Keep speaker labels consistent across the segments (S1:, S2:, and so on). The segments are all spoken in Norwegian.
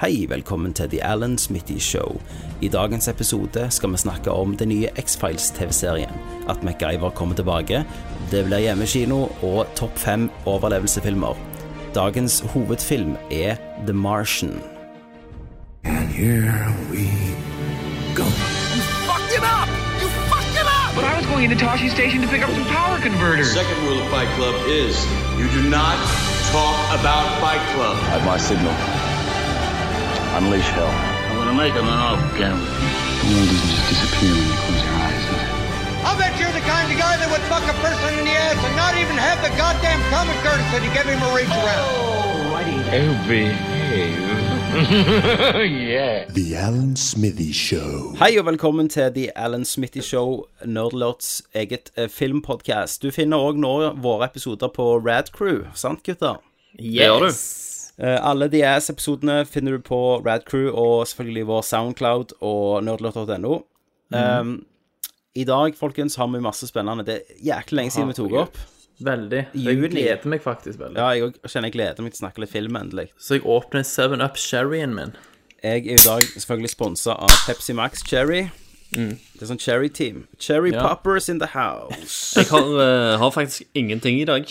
S1: Hei, velkommen til The Alan Smitty Show. I dagens episode skal vi snakke om den nye X-Files-TV-serien, at MacGyver kommer tilbake, det blir hjemmekino og topp fem overlevelsefilmer. Dagens hovedfilm er The Martian.
S2: And here we go.
S3: fucked it up! You fucked it up!
S4: But I was going into Toshi Station to pick up some power converters.
S5: Second rule of Fight Club is you do not talk about Fight Club.
S6: At my signal, unleash hell.
S7: I'm gonna make him an off camera.
S6: The world doesn't just disappear when you close your eyes, does it?
S8: I bet you're the kind of guy that would fuck a person in the ass and not even have the goddamn common courtesy to give him a reach around.
S7: Oh, behave. yeah.
S2: The Alan Smithy Show.
S1: Hei og velkommen til The Alan Smitty Show, Nerdlords eget eh, filmpodcast. Du finner òg nå våre episoder på Radcrew, sant gutter?
S9: Det gjør du.
S1: Eh, Alle de AS-episodene finner du på Radcrew og selvfølgelig vår Soundcloud og nerdlot.no.
S10: Mhm.
S1: Um, I dag, folkens, har vi masse spennende. Det er jæklig lenge
S10: Ah,
S1: siden vi tok opp.
S9: Veldig. Jeg
S1: Juli.
S9: gleder meg faktisk veldig.
S1: Ja, jeg òg kjenner jeg gleder meg til å snakke litt film, endelig.
S9: Så jeg åpner Seven Up Sherryen min.
S1: Jeg er i dag selvfølgelig sponsa av Pepsi Max Cherry.
S10: Mm.
S1: Det er sånn cherry team. Cherry
S9: Ja.
S1: poppers in the house.
S10: Jeg har, eh, har faktisk ingenting i dag.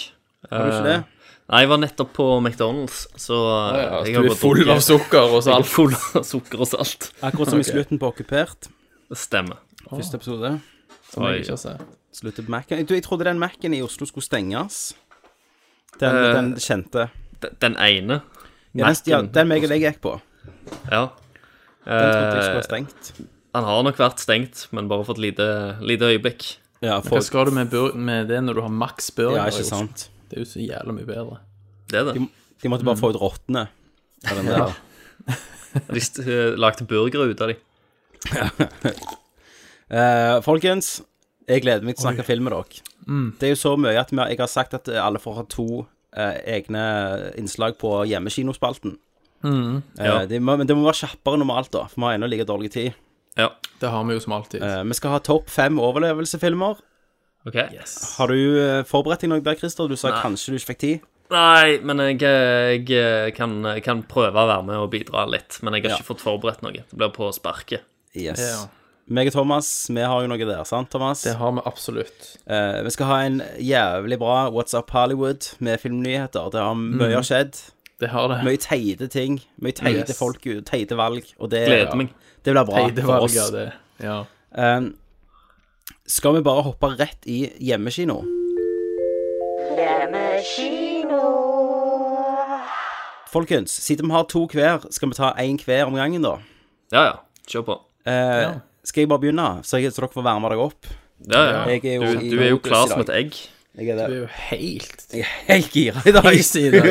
S1: Har du ikke det?
S10: Nei, jeg var nettopp på McDonald's, så eh, jeg
S9: Du
S10: har
S9: er full av sukker og
S10: salt.
S9: salt.
S10: Full av sukker og salt.
S1: Akkurat som i slutten på Okkupert.
S10: Stemmer.
S1: Første episode.
S9: Som jeg ikke har sett.
S1: Slutter på Mac-en. Du, jeg trodde den Mac-en i Oslo skulle stenges. Den,
S10: Eh,
S1: den kjente.
S10: Den, den ene.
S1: Ja, den, ja,
S10: Mac-en.
S1: den meg og deg gikk på.
S10: Ja.
S1: Den trodde jeg
S10: Eh,
S1: skulle være stengt.
S10: han har nok vært stengt, men bare for et lite, lite øyeblikk.
S1: Ja,
S9: Hva skal du med, bur med det når du har maks burger?
S1: ja, ikke
S9: i Oslo?
S1: sant.
S9: Det er jo så jævla mye bedre.
S10: Det er det.
S1: De, de måtte bare få ut rottene. av den der.
S10: De st- eh, lagde burgere ut av dem.
S1: Eh, folkens, jeg gleder meg til å snakke film med dere. Det er jo så mye at vi, har- jeg har sagt at alle får ha to eh, egne innslag på hjemmekinospalten. Eh,
S10: Ja.
S1: de må, men det må være kjappere normalt, da, for vi har ennå like dårlig tid.
S10: Ja.
S9: Det har vi jo som alltid.
S1: Eh, vi skal ha topp fem overlevelsefilmer.
S10: OK.
S1: Har du eh, forberedt deg noe der, Christer? Du sa
S10: Nei.
S1: kanskje du ikke fikk tid.
S10: Nei, men jeg, eh, jeg eh, kan, kan prøve å være med og bidra litt. Men jeg har
S1: Ja.
S10: ikke fått forberedt noe. Det blir på sparket.
S1: Yes.
S9: Ja.
S1: Meg og Thomas, vi har jo noe der, sant, Thomas?
S9: Det har vi absolutt.
S1: Eh, vi skal ha en jævlig bra What's Up Hollywood med filmnyheter. Det har
S9: Mhm.
S1: mye har skjedd.
S9: Det har det.
S1: Mye teite ting. Mye teite
S9: Yes.
S1: folk, teite valg. Og det,
S10: Gleder meg.
S1: det blir bra
S9: Teite
S1: for
S9: valg
S1: oss.
S9: av det. Ja.
S1: Eh, skal vi bare hoppe rett i hjemmekino? Folkens, siden vi har to hver, skal vi ta én hver om gangen, da?
S10: Ja, ja. Kjør på.
S1: Eh,
S9: Ja.
S1: Skal jeg bare begynne, så, jeg, så dere får varme dere opp?
S10: Ja, ja.
S1: Jeg er jo
S10: du,
S1: i
S10: du er jo
S1: modus i
S10: klar som
S1: dag.
S10: et egg.
S1: Jeg er
S9: Du
S1: det.
S9: er jo helt
S1: Jeg er helt gira i dag.
S9: Heis i det.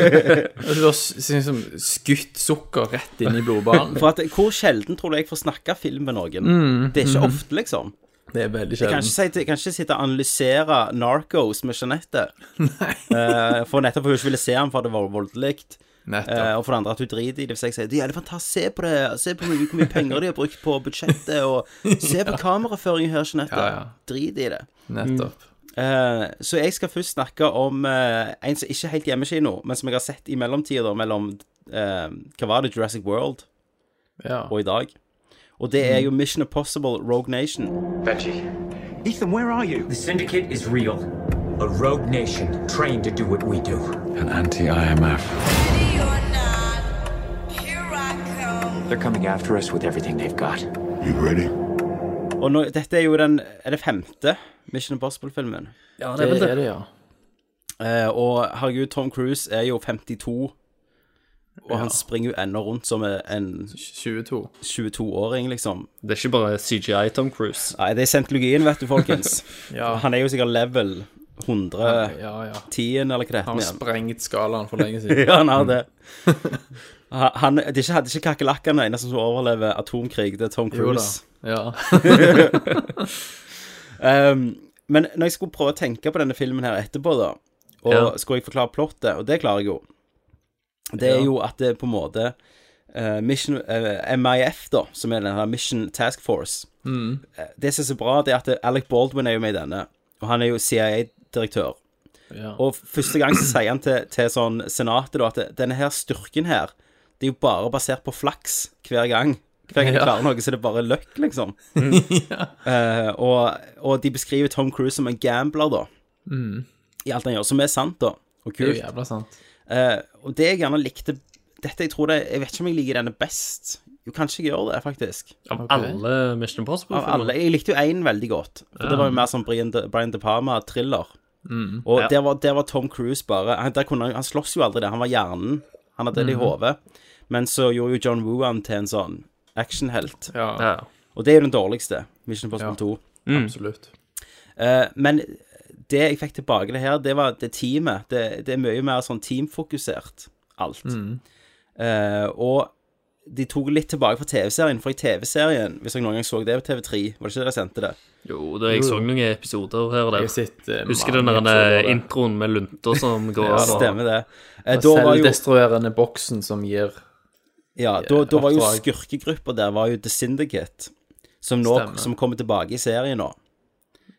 S9: Du har s- liksom skutt sukker rett inn i blodbanen.
S1: For at, hvor sjelden tror du jeg får snakke film med noen?
S9: Mm.
S1: det er ikke ofte, liksom.
S9: Det er veldig
S1: Jeg kan ikke,
S9: sjelden.
S1: si, jeg kan ikke sitte og analysere Narcos med Jeanette. Eh, for nettopp for hun ikke ville se den, for det var voldelig. Eh,
S9: Nettopp.
S1: og for det andre at hun driter i det. Hvis jeg sier det er jævlig fantastisk, se på det. Se på hvor mye- hvor mye penger de har brukt på budsjettet, og se på kameraføringen her, Jeanette.
S9: Ja, ja.
S1: Drit i det.
S9: Nettopp.
S1: Eh, så jeg skal først snakke om eh, en som ikke er helt hjemmekino, men som jeg har sett i mellomtida, da, mellom eh, Hva var det? Jurassic World?
S9: Ja.
S1: og i dag. Og det er
S9: Mm.
S1: jo Mission Impossible Rogue Nation.
S3: Ethan, where are you? The syndicate is real. A rogue nation trained to do what we do.
S6: An anti-IMF.
S11: Ready or not, here I come.
S3: They're coming after us with everything they've got.
S2: You ready?
S1: Og nå, dette er jo den er det femte Mission Impossible-filmen.
S10: Ja,
S9: Det er det, ja.
S1: Eh, og herregud, Tom Cruise er jo 52, og han springer jo ennå rundt som en
S9: 22.
S1: 22-åring, liksom.
S10: Det er ikke bare CGI Tom Cruise.
S1: Nei, det er sentologien, vet du, folkens.
S9: Ja.
S1: Han er jo sikkert level 110,
S9: Ja, ja.
S1: eller hva det heter.
S9: Han har
S1: igjen.
S9: sprengt skalaen for lenge siden.
S1: Ja, han har det. Han, han- det er ikke, det er ikke kakerlakkene ene som overlever atomkrig, det er Tom
S9: Jo da.
S1: Cruise.
S9: Ja.
S1: Ehm, men når jeg skulle prøve å tenke på denne filmen her etterpå, da, og
S10: Ja.
S1: skulle jeg forklare plottet, og det klarer jeg jo, det er jo at det er på en måte eh, Mission, eh, MIF, da, som er denne Mission Task Force Eh, Det som er så bra, det er at eh, Alec Baldwin er jo med i denne, og han er jo CIA-direktør.
S9: Ja.
S1: Og første gang så sier han til, til sånn senatet da at denne her eh, styrken her, Det er jo bare basert på flaks hver gang. Hver gang de
S9: Ja.
S1: klarer noe, så er det bare løkk, liksom. Eh, og, og de beskriver Tom Cruise som en gambler, da. I alt han gjør, som er sant, da. Og
S9: Det er
S1: kult.
S9: jo jævla sant.
S1: Eh, og det jeg gjerne likte Dette jeg tror det Jeg vet ikke om jeg liker denne best. Jo, kanskje jeg gjør det, faktisk.
S10: Av alle Mission
S1: Av alle.
S10: Impossible-filmer.
S1: Jeg likte jo én veldig godt. For Det var jo mer sånn Brian De, Brian De Palma-thriller. Og der, var, der var Tom Cruise bare Han, der kunne, han- han sloss jo aldri der. Han var hjernen. Han hadde det i hodet. Men så gjorde jo John Woo han til en sånn actionhelt.
S9: Ja,
S10: Ja.
S1: Og det er jo den dårligste. Mission Impossible
S9: Ja.
S1: 2.
S9: absolutt.
S1: Eh, men det jeg fikk tilbake det her, det var det teamet. Det, det er mye mer sånn teamfokusert, alt. Eh, og de tok litt tilbake fra TV-serien, for i TV-serien, hvis jeg noen gang så det på TV3, var det ikke det jeg sendte det?
S10: Jo, det, jeg så noen episoder her og
S9: Jeg har
S10: der.
S9: sett eh,
S10: Husker
S9: mange
S10: den der
S9: episoder av
S10: eh,
S9: det.
S10: introen med lunta som går av?
S1: Stemmer det. Eh,
S9: Den
S1: da var jo,
S9: Selvdestruerende boksen som gir
S1: ja, da, da var jo
S9: oppdrag.
S1: skurkegruppa der var jo The Syndicate, som, nå,
S9: Stemmer.
S1: som kommer tilbake i serien nå.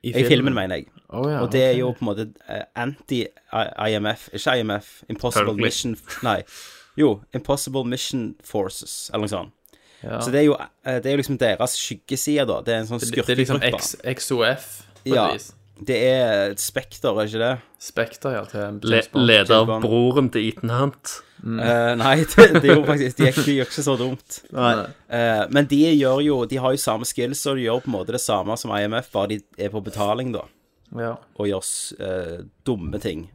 S9: i
S1: I filmen, mener jeg.
S9: Å, ja,
S1: Og det er
S9: ok.
S1: jo på en måte eh, anti-IMF Ikke IMF, Impossible
S10: Selvfølgelig.
S1: Mission Nei. Jo, Impossible Mission Forces, eller noe sånt.
S9: Ja.
S1: Så det er jo, eh, det er jo liksom deres skyggeside, da. Det er en sånn
S9: Det- Det er liksom
S1: skurkegruppe.
S9: X, XOF på
S1: Ja.
S9: et vis.
S1: Det er et spekter, er ikke det?
S9: Spekter, ja, til en
S10: Le
S9: James Bond.
S10: leder
S1: James
S10: av
S1: Bond.
S10: broren til Ethan Hunt.
S9: Mm.
S1: Eh, nei, det, det er jo faktisk De gjør de gjør ikke så dumt.
S9: Nei.
S1: Eh, men de gjør jo De har jo samme skills, og de gjør på en måte det samme som IMF, bare de er på betaling, da,
S9: Ja,
S1: og gjør s- eh, dumme ting.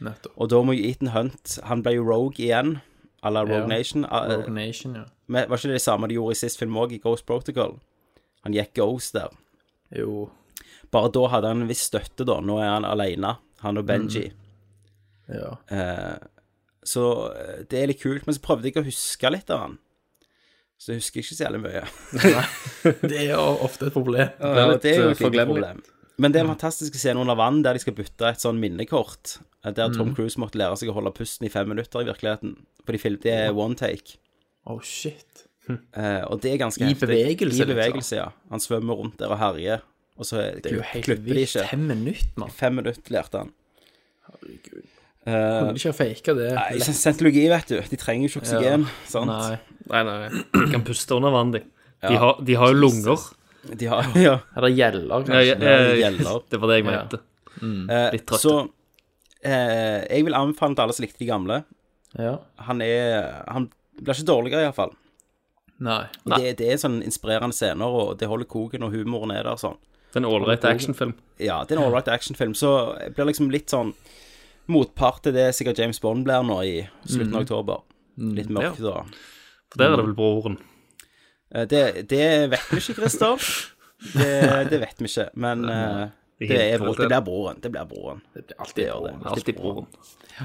S9: nettopp.
S1: Og da må jo Ethan Hunt Han ble jo rogue igjen, à la Rogue
S9: Ja.
S1: Nation. eh,
S9: Rogue Nation, ja.
S1: Men var ikke det det samme de gjorde i sist film òg, i Ghost Protocol? Han gikk Ghost der.
S9: Jo.
S1: Bare da hadde han en viss støtte, da. Nå er han alene, han og Benji.
S9: Mm. Ja.
S1: Så eh, det er litt kult. Men så prøvde jeg å huske litt av han. Så jeg husker ikke så jævlig mye.
S9: Det er jo ofte et problem.
S1: Ja,
S9: litt,
S1: det er jo
S9: eh,
S1: et lite
S9: forglemmelig. Mm.
S1: problem. Men det er en fantastisk scene under vann der de skal bytte et sånn minnekort. eh, Der Tom
S9: Mm.
S1: Cruise måtte lære seg å holde pusten i fem minutter i virkeligheten. For de film, det er one take.
S9: Oh, shit.
S1: Eh, og det er ganske
S9: I bevegelse, liksom.
S1: I bevegelse, ja. Han svømmer rundt der og herjer. Og så
S9: Det er jo
S1: klu-
S9: helt
S1: klipper de
S9: vilt.
S1: ikke.
S9: Fem minutter, mann.
S1: Fem minutter lærte han.
S9: Herregud.
S1: Eh,
S9: Kunne de ikke ha faka det?
S1: nei, Scientologi, sånn vet du. De trenger jo ikke oksygen. sant?
S9: Nei.
S10: Nei, nei. De kan puste under vann, de. De har, de har jo lunger.
S1: De har ja,
S9: Eller gjeller,
S10: Ja,
S9: kanskje.
S10: ja, ja,
S1: gjeller.
S10: det var det jeg
S9: Ja.
S10: mente.
S1: eh,
S10: Litt trøtte.
S1: Så eh, jeg vil anbefale til alle som likte de gamle.
S9: Ja.
S1: Han er Han blir ikke dårligere, iallfall.
S9: Nei.
S10: Nei.
S1: Det, det er sånn inspirerende scener, og det holder koken, og humoren er der sånn.
S10: Det er en ålreit actionfilm.
S1: Ja, det er en ålreit actionfilm, så jeg blir liksom litt sånn motpart til det sikkert James Bond blir nå i slutten
S9: Mm.
S1: av oktober. Litt mørkt da.
S10: For der er det vel broren.
S1: Eh, Det, det vet vi ikke, Christer. Det, det vet vi ikke, men eh,
S10: Det
S1: det,
S10: er
S1: er, bro- det blir broren. Det blir broren.
S9: Det blir alltid
S1: gjør det.
S9: problem.
S10: Alltid broren.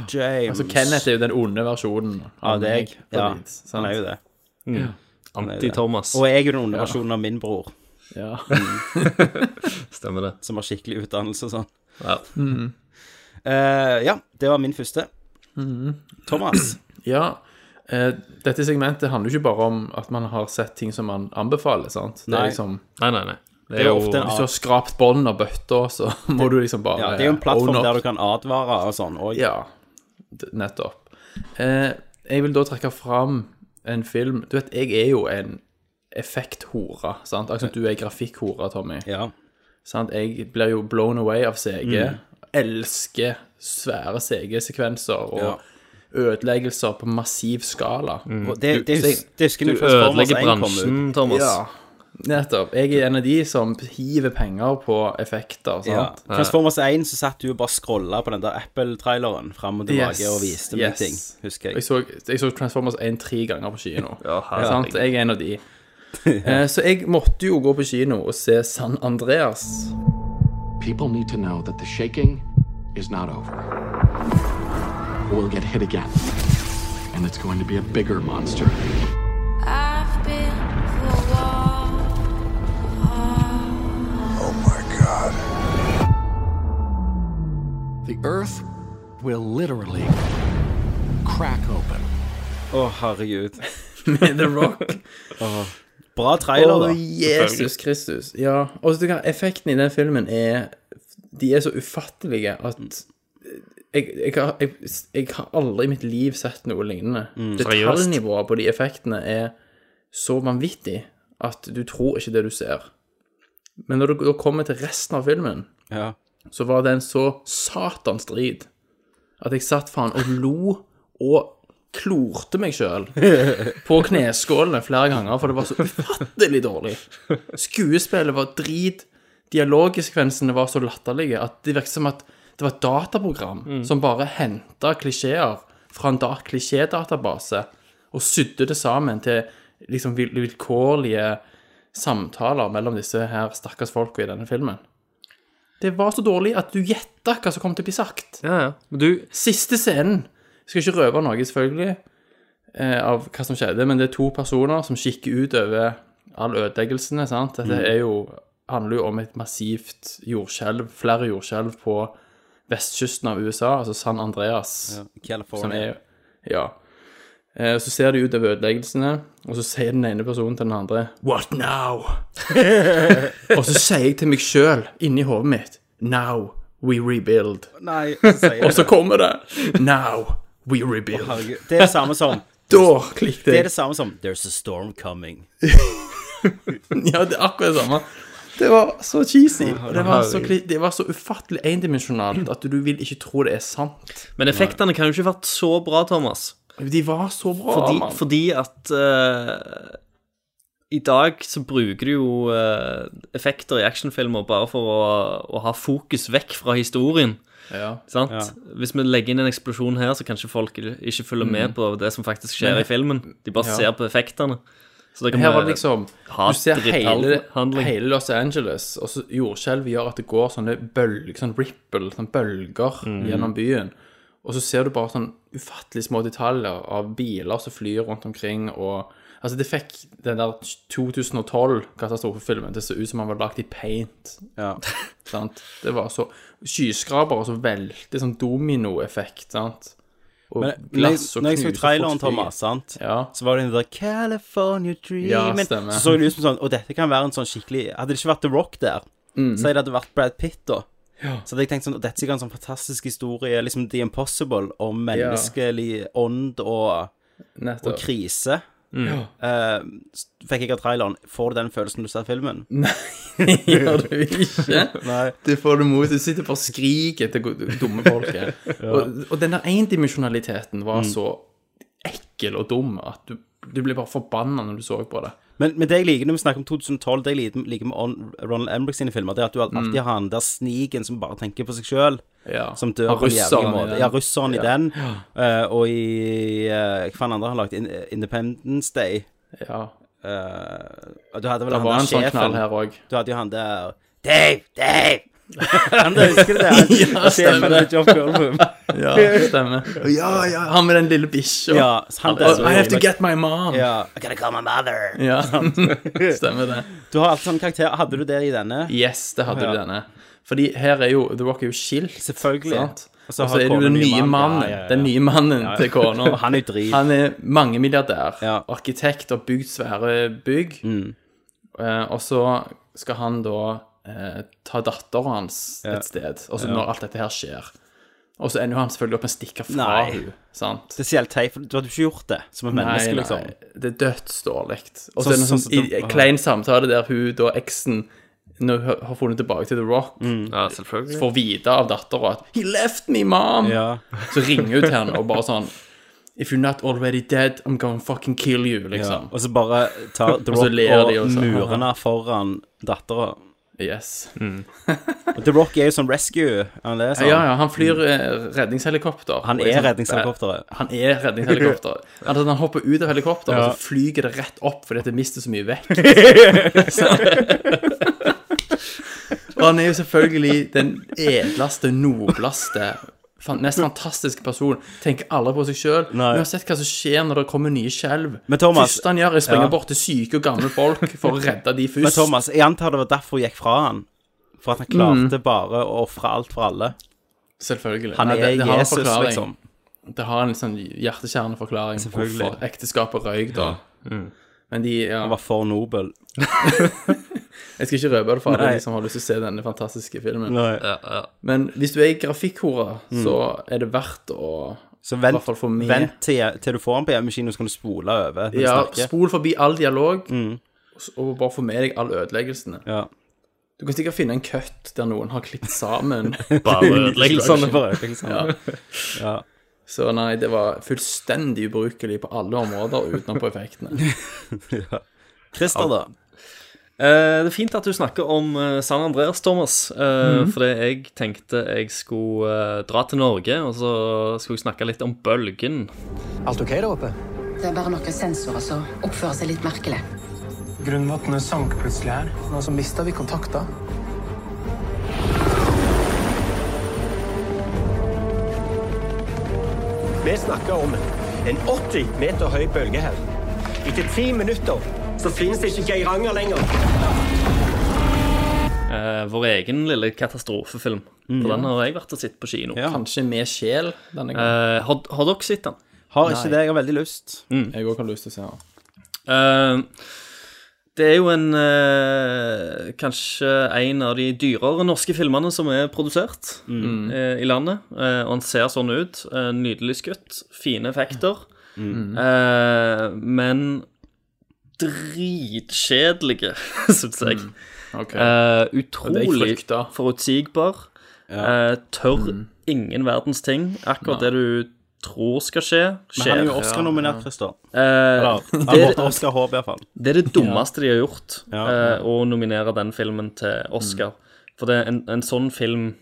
S1: James
S9: Altså, Kenneth er jo den onde versjonen
S1: av deg.
S9: meg, på
S1: Ja,
S9: et vis, sant?
S1: han er jo det.
S10: Mm. Anti-Thomas.
S1: Og jeg er den onde versjonen av min bror,
S9: Ja.
S10: Stemmer det.
S1: som har skikkelig utdannelse og sånn.
S10: Ja.
S1: Eh, ja, det var min første.
S9: Mhm.
S1: Thomas.
S9: ja. eh, dette segmentet handler jo ikke bare om at man har sett ting som man anbefaler, sant? Det
S1: Nei.
S9: er liksom
S10: Nei, nei, nei. Det
S1: Det
S10: er
S1: er
S10: jo
S1: ofte en
S9: Hvis du har skrapt bånd og bøtta, så må du liksom bare
S1: Ja, det er jo en plattform
S9: own up.
S1: der du kan advare og sånn. Og
S9: Ja, d- nettopp. Eh, jeg vil da trekke fram en film Du vet, jeg er jo en effekthore, sant? Akkurat som du er grafikkhore, Tommy.
S1: Ja.
S9: Sant? Jeg blir jo blown away av CG.
S1: Mm.
S9: Elsker svære CG-sekvenser og
S1: Ja. Mm.
S9: ødeleggelser på massiv skala.
S1: Og det, det,
S9: Du-
S1: hus- det husker
S10: Du
S1: du først Formers
S10: ødelegger
S1: 1 kom ut.
S10: bransjen, Thomas.
S9: Ja, nettopp. Jeg er en av de som hiver penger på effekter,
S1: Ja.
S9: sant?
S1: Transformers 1 så satt du og bare scrolla på den der Apple-traileren fram og tilbake og viste meg ting, husker
S9: Jeg
S1: jeg.
S9: så, jeg så Transformers 1 tre ganger på kino.
S10: Ja, herregud.
S9: sant? Jeg er en av de. Eh, Så jeg måtte jo gå på kino og se San Andreas.
S6: People need to know that the shaking is not over. We'll get hit again. And it's going to be a bigger monster.
S11: I've been the wall.
S2: Oh my god.
S6: The earth will literally crack open.
S1: Å, herregud.
S9: Med The Rock.
S1: Bra trailer,
S9: Å,
S1: da.
S9: Jesus Kristus. Ja.
S1: Mm.
S9: Og så du kan, effekten i den filmen er De er så ufattelige at jeg, jeg, har, jeg, jeg har aldri i mitt liv sett noe lignende.
S10: Mm.
S9: Detaljnivået på de effektene er så vanvittig at du tror ikke det du ser. Men når du da kommer til resten av filmen, så var det en så satans drit at jeg satt faen og lo og klorte meg sjøl på kneskålene flere ganger, for det var så ufattelig dårlig. Skuespillet var drit. Dialogsekvensene var så latterlige at det virket som at det var et dataprogram
S10: Mm.
S9: som bare henta klisjeer fra en da klisjédatabase og sydde det sammen til liksom vil vilkårlige samtaler mellom disse her stakkars folka i denne filmen. Det var så dårlig at du gjetta hva som kom til å bli sagt. Siste scenen. Jeg skal ikke røve noe, selvfølgelig, eh, av hva som skjedde, men det er to personer som kikker ut over all ødeleggelsene. sant? Dette
S10: Mm.
S9: er jo, handler jo om et massivt jordskjelv, flere jordskjelv på vestkysten av USA, altså San Andreas.
S1: California.
S9: Som er, ja. Eh, Så ser de ut over ødeleggelsene, og så sier den ene personen til den andre What now? og så sier jeg til meg sjøl, inni hodet mitt Now we rebuild.
S1: Nei, så sier jeg
S9: Og så
S1: det.
S9: kommer det Now we rebuild.
S1: Å, herregud. Det er det samme som
S9: Da klikket jeg.
S1: Det er det samme som There's a storm coming.
S9: ja, det er akkurat det samme. Det var så cheesy.
S1: Å,
S9: Og det, var så,
S10: herregud.
S9: kli- det var så ufattelig endimensjonalt at du vil ikke tro det er sant.
S10: Men effektene kan jo ikke ha vært så bra, Thomas.
S9: De var så bra,
S10: Fordi,
S9: mann.
S10: fordi at eh, I dag så bruker du jo eh, effekter i actionfilmer bare for å, å ha fokus vekk fra historien.
S9: Ja.
S10: Sant?
S9: Ja.
S10: Hvis vi legger inn en eksplosjon her, så kanskje folk ikke følger
S9: Mm.
S10: med på det som faktisk skjer
S9: Men-
S10: i filmen. De bare
S9: Ja.
S10: ser på effektene. Så da kan
S9: her var
S12: eh,
S9: det
S10: vi
S9: liksom
S10: ha
S9: Du ser hele,
S10: dritthandling.
S9: hele Los Angeles, og så jordskjelvet gjør at det går sånne bølger, sånn ripple, sånne bølger
S10: Mm.
S9: gjennom byen. Og så ser du bare sånn ufattelig små detaljer av biler som flyr rundt omkring, og Altså, det fikk den der 2012-katastrofefilmen til å se ut som han var lagd i paint.
S1: Ja.
S9: sant? Det var så Skyskrapere som velter, sånn dominoeffekt, sant? Og
S1: Men når
S9: glass
S1: jeg-
S9: og
S1: når jeg så
S9: knuser
S1: traileren,
S9: folk i.
S1: Thomas, sant? så var det den der California
S9: Ja,
S1: Dreamin'
S9: stemmer.
S1: Så så det ut som sånn Og dette kan være en sånn skikkelig Hadde det ikke vært The Rock der,
S9: Mm.
S1: så hadde det vært Brad Pitt, da.
S9: Ja.
S1: Så hadde jeg tenkt sånn «Å, Dette er sikkert en sånn fantastisk historie, liksom The Impossible, om
S9: Ja.
S1: menneskelig ånd og,
S9: Nettopp.
S1: og krise.
S9: Mm. Ja.
S1: Eh, s- fikk jeg av traileren. Får du den følelsen du ser filmen?
S9: Nei, gjør du ikke.
S1: Nei.
S9: Du får det mot. Du sitter bare og skriker til go- dumme folk. her.
S1: Ja.
S9: og, og den der endimensjonaliteten var
S1: Mm.
S9: så ekkel og dum at du, du ble bare forbanna når du så på det.
S1: Men, men det jeg liker når vi snakker om 2012, det jeg liker, liker med On- Ronald Emmerich sine filmer, det er at du alltid
S9: Mm.
S1: har han der sniken som bare tenker på seg sjøl.
S9: Ja.
S1: Som dør
S9: Ja,
S1: på en jævlig
S9: russeren i
S1: måte.
S9: den.
S1: Ja, russeren
S9: Ja.
S1: i den. eh, og i eh, Hva faen andre har lagt? In Independence Day. Eh,
S9: Ja.
S1: du hadde vel
S9: Det
S1: han
S9: var
S1: der
S9: en sånn
S1: sjefen.
S9: knall her også.
S1: Du hadde jo han der Dave! Dave! han der, husker du det? Han,
S9: Ja,
S1: sjefen
S9: stemmer.
S1: til John Goldblum.
S9: Ja, stemmer. Ja, ja, han med den lille bikkja.
S1: Ja, han der som-
S9: I have to get my mom.
S1: Ja. I gotta call my mother.
S9: Ja,
S1: Sant?
S9: stemmer det.
S1: Du har alltid sånn karakter. Hadde du det i denne?
S9: Yes, det hadde
S1: Ja.
S9: du denne. Fordi her er jo The Rock er jo skilt.
S1: Selvfølgelig.
S9: Sant?
S1: Og
S9: Og
S1: så
S9: så
S1: har
S9: er det jo
S1: kona
S9: den
S1: ny
S9: nye
S1: mann.
S9: mannen.
S1: Ja, ja, ja.
S9: Den nye mannen
S1: Ja, ja.
S9: til kona.
S1: Han er jo drit.
S9: Han er mangemilliardær. Arkitekt og bygd svære bygg.
S1: Mm.
S9: Eh, og så skal han da eh, ta datteren hans
S1: Ja.
S9: et sted, og så
S1: Ja.
S9: når alt dette her skjer. Og så ender jo han selvfølgelig opp med å stikke fra
S1: Nei.
S9: henne. Sant?
S1: Det er så jævlig teit, for du hadde jo ikke gjort det som et menneske, liksom.
S9: Det er dødsdårlig.
S1: Sånn-
S9: Og så er det en sånn,
S1: sånn som det-
S9: i- klein samtale der hun, da eksen, når hun har funnet tilbake til The Rock, får vite av dattera at He left me, mom! Så ringer hun til henne og bare sånn If you're not already dead, I'm gonna fucking kill you, liksom.
S1: Og så bare tar The
S9: Og så
S1: Rock
S9: ler
S1: og,
S9: de også.
S1: murene foran dattera.
S9: Yes.
S1: Og The Rock er jo sånn rescue. Han er sånn.
S9: Ja, ja, han flyr eh, redningshelikopter.
S1: Han
S9: Og i
S1: er
S9: sånn-
S1: redningshelikopteret.
S9: Han er redningshelikopter. Altså, han hopper ut av helikopteret,
S1: Ja.
S9: og så flyger det rett opp fordi det mister så mye vekt. Så- og han er jo selvfølgelig den edleste, nobleste, fan- mest fantastiske personen. Tenker alle på seg sjøl. Uansett hva som skjer når det kommer nye skjelv.
S1: Men Thomas-
S9: første han gjør, er å springe
S1: Ja.
S9: bort til syke og gamle folk for å redde de først.
S1: Men Thomas, jeg antar det var derfor hun gikk fra han. For at han klarte bare å ofre alt for alle.
S9: Selvfølgelig.
S1: Han
S9: Nei,
S1: er
S9: har en
S1: Jesus,
S9: forklaring.
S1: liksom.
S9: Det har en litt sånn hjertekjerneforklaring på
S1: Selvfølgelig.
S9: hvorfor ekteskapet røyk, da.
S1: Ja. Mm.
S9: Men de ja.
S1: Han var for nobel.
S9: Jeg skal ikke røpe det for alle
S12: Nei.
S9: de som har lyst til å se denne fantastiske filmen.
S12: Nei. Ja, ja.
S9: Men hvis du er grafikkhore,
S1: Mm.
S9: så er det verdt å
S1: Så
S9: i
S1: vent,
S9: hvert fall få med
S1: vent til, til du får den på hjemmemaskinen, så kan du spole over. når du
S9: Ja,
S1: snakker.
S9: spol forbi all dialog, og s- og bare få med deg all ødeleggelsene. Du kan sikkert finne en cut der noen har klippet sammen.
S12: Bare
S9: sånn
S12: ødeleggelsene.
S1: Bare ødeleggelsene.
S9: Ja. Så nei, det var fullstendig ubrukelig på alle områder utenom på effektene.
S1: ja. Christer, da?
S12: Eh, det er fint at du snakker om eh, San Andreas, Thomas. Uh,
S9: Mhm.
S12: Fordi jeg tenkte jeg skulle eh, dra til Norge, og så skulle jeg snakke litt om bølgen.
S13: Alt ok der oppe? Det er bare noen sensorer som oppfører seg litt merkelig.
S14: Grunnvatnet sank plutselig her.
S13: Nå så mister vi kontakta.
S14: Vi snakker om en 80 meter høy bølge her. Etter ti minutter så finnes det ikke Geiranger lenger.
S12: Eh, vår egen lille katastrofefilm.
S9: Mhm.
S12: For den har jeg vært og sett på kino.
S9: Kanskje med sjel denne gangen.
S12: Eh, har, har dere sett den?
S9: Har ikke Nei. det,
S1: jeg har veldig lyst.
S9: Jeg òg har lyst til å se den.
S12: Eh, det er jo en eh, Kanskje en av de dyrere norske filmene som er produsert
S9: Mm.
S12: eh, i landet. Eh, og han ser sånn ut. Eh, nydelig skutt. Fine effekter.
S9: Mm.
S12: Eh, men dritkjedelige, syns jeg.
S9: ok. Mm.
S12: Eh,
S9: Det er
S12: utrolig
S9: jeg frykta. Mm.
S12: forutsigbar. Eh, tør ingen verdens ting. Akkurat det du tror skal skje, skjer.
S1: Men han er jo Oscar-nominert, Christer.
S12: Eh,
S1: Eller, han
S12: det-
S1: vant Oscar-håp, i hvert fall.
S12: det er det dummeste de har gjort,
S1: Ja.
S12: eh, å nominere den filmen til Oscar. For det, er en, en sånn film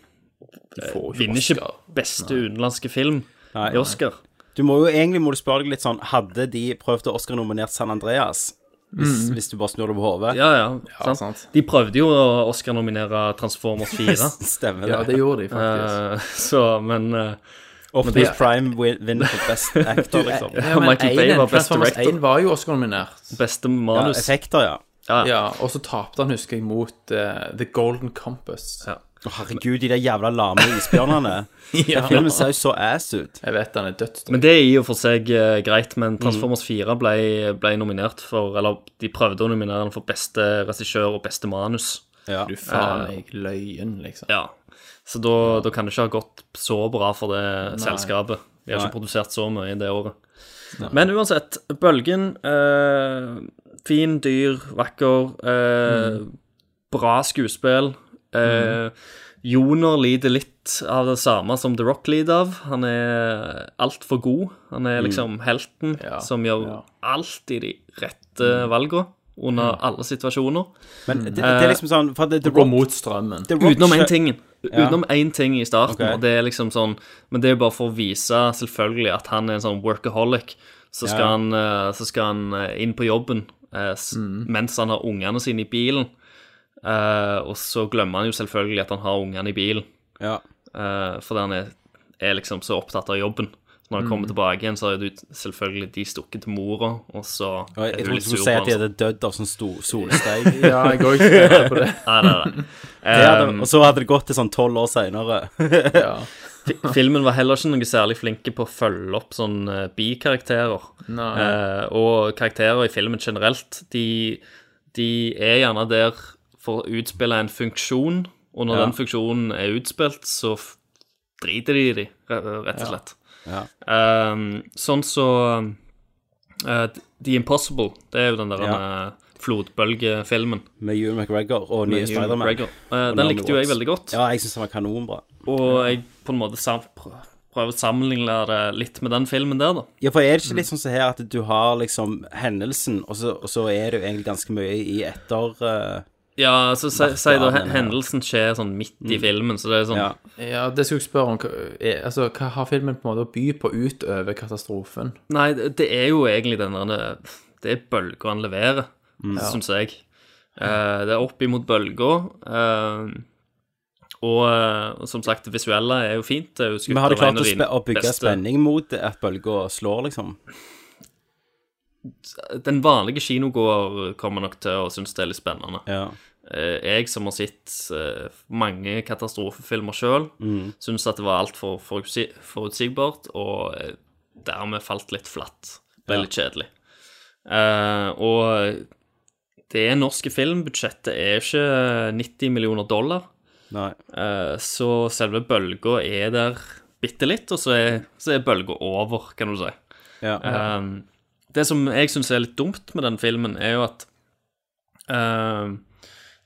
S12: eh,
S1: får jo
S12: vinner ikke beste utenlandske film i Oscar.
S1: Du må jo egentlig må du spørre deg litt sånn Hadde de prøvd å Oscar-nominert San Andreas? Hvis,
S12: Mm.
S1: hvis du bare snur det på hodet?
S12: Ja, ja. sant? De prøvde jo å Oscar-nominere Transformers 4.
S1: Stemmer det. Ja, det gjorde de faktisk.
S12: Eh, så, men eh,
S1: Optimus
S12: men de-
S1: Prime win- vinner for Best Actor, liksom.
S12: Ja, Michael Bay var Best Director.
S9: 1 var jo Oscar-nominert.
S12: Beste manus.
S9: Ja,
S1: effekter, ja.
S12: Ja,
S9: Og så tapte han, husker jeg, mot eh, The Golden Compass.
S1: Å, herregud, de der jævla lame isbjørnene.
S9: Ja.
S1: Den filmen ser jo så ass ut.
S9: Jeg vet den er dødsdårlig.
S12: Men det er i og for seg eh, greit, men Transformers 4 ble, ble nominert for Eller de prøvde å nominere den for beste regissør og beste manus.
S9: Du faen meg løyen, liksom.
S12: Ja. Så da, da kan det ikke ha gått så bra for det selskapet. De har
S9: Nei.
S12: ikke produsert så mye i det året.
S9: Nei.
S12: Men uansett, Bølgen eh, Fin, dyr, vakker. Eh,
S9: Mm.
S12: Bra skuespill. Eh, Joner lider litt av det samme som The Rock lider av. Han er altfor god. Han er
S9: Mm.
S12: liksom helten som gjør alltid de rette
S9: Mm.
S12: valgene under alle situasjoner.
S1: Men det, det er liksom sånn for det, The Rock- The Rock
S12: Utenom én
S1: kjø-
S12: ting.
S1: Ja.
S12: Utenom én ting i starten,
S1: Ok.
S12: og det er liksom sånn Men det er bare for å vise selvfølgelig at han er en sånn workaholic. Så skal,
S1: Ja.
S12: han, eh, så skal han eh, inn på jobben eh, s-
S1: Mm.
S12: mens han har ungene sine i bilen. Eh, og så glemmer han jo selvfølgelig at han har ungene i bilen. Eh, fordi han er, er liksom så opptatt av jobben. Så når han
S1: Mm.
S12: kommer tilbake igjen, så har jo du selvfølgelig de stukket til mora, og så
S1: Ja, Jeg
S12: er du
S1: trodde du
S12: litt sur
S1: skulle
S12: på
S1: si
S12: han.
S1: at de hadde dødd av sånn stor solsteig.
S12: Ja, jeg går ikke med på det. Nei, nei, nei.
S1: Det hadde,
S12: Um,
S1: og så hadde det gått til sånn tolv år seinere.
S12: Fi- Filmen var heller ikke noe særlig flinke på å følge opp sånn eh, bikarakterer.
S9: Nei.
S12: Eh, og karakterer i filmen generelt, de, de er gjerne der for å utspille en funksjon, og når
S1: Ja.
S12: den funksjonen er utspilt, så f- driter de i de, re- rett
S1: Ja.
S12: og slett.
S1: Ja.
S12: Eh, sånn så eh, The Impossible, det er jo den der
S1: Ja.
S12: eh, flodbølgefilmen.
S1: Med Ewan McGregor og nye
S12: Med Ewan
S1: Spider-Man.
S12: McGregor. Eh,
S1: Og
S12: den
S1: Naomi
S12: likte jo jeg
S1: Watts.
S12: veldig godt.
S1: Ja, jeg syns den var kanonbra.
S12: Og jeg på en måte sam prø- prøver å sammenligne det litt med den filmen der, da.
S1: Ja, for er det ikke litt sånn så her at du har liksom hendelsen, og så, og så er det jo egentlig ganske mye i etter... eh,
S12: Ja, så si, si da
S1: Merkearmen
S12: hen-
S1: her.
S12: hendelsen skjer sånn midt i
S1: Mm.
S12: filmen, så det er sånn
S1: Ja.
S9: Ja, det skulle jeg spørre om. Hva, er, altså, hva har filmen på en måte å by på utover katastrofen?
S12: Nei, det det er jo egentlig den der Det er bølger han leverer,
S9: Mm. Ja.
S12: syns jeg. Eh, det er opp imot bølger. eh, og eh, som sagt, det visuelle er jo fint. Det er jo skutt
S1: Men har de
S12: av en
S1: klart
S12: av
S1: å,
S12: de
S1: spe, å bygge
S12: beste-
S1: spenning mot det at bølger slår, liksom?
S12: Den vanlige kinogåer kommer nok til å synes det er litt spennende. Eh, Jeg som har sett eh, mange katastrofefilmer sjøl,
S1: Mm.
S12: syns at det var altfor forutsi- forutsigbart, og eh, dermed falt litt flatt. Ble
S1: Ja.
S12: litt kjedelig. Eh, og Det norske filmbudsjettet er ikke 90 millioner dollar. Eh, Så selve bølga er der bitte litt, og så er, så er bølga over, kan du si. Eh, det som jeg syns er litt dumt med den filmen, er jo at eh,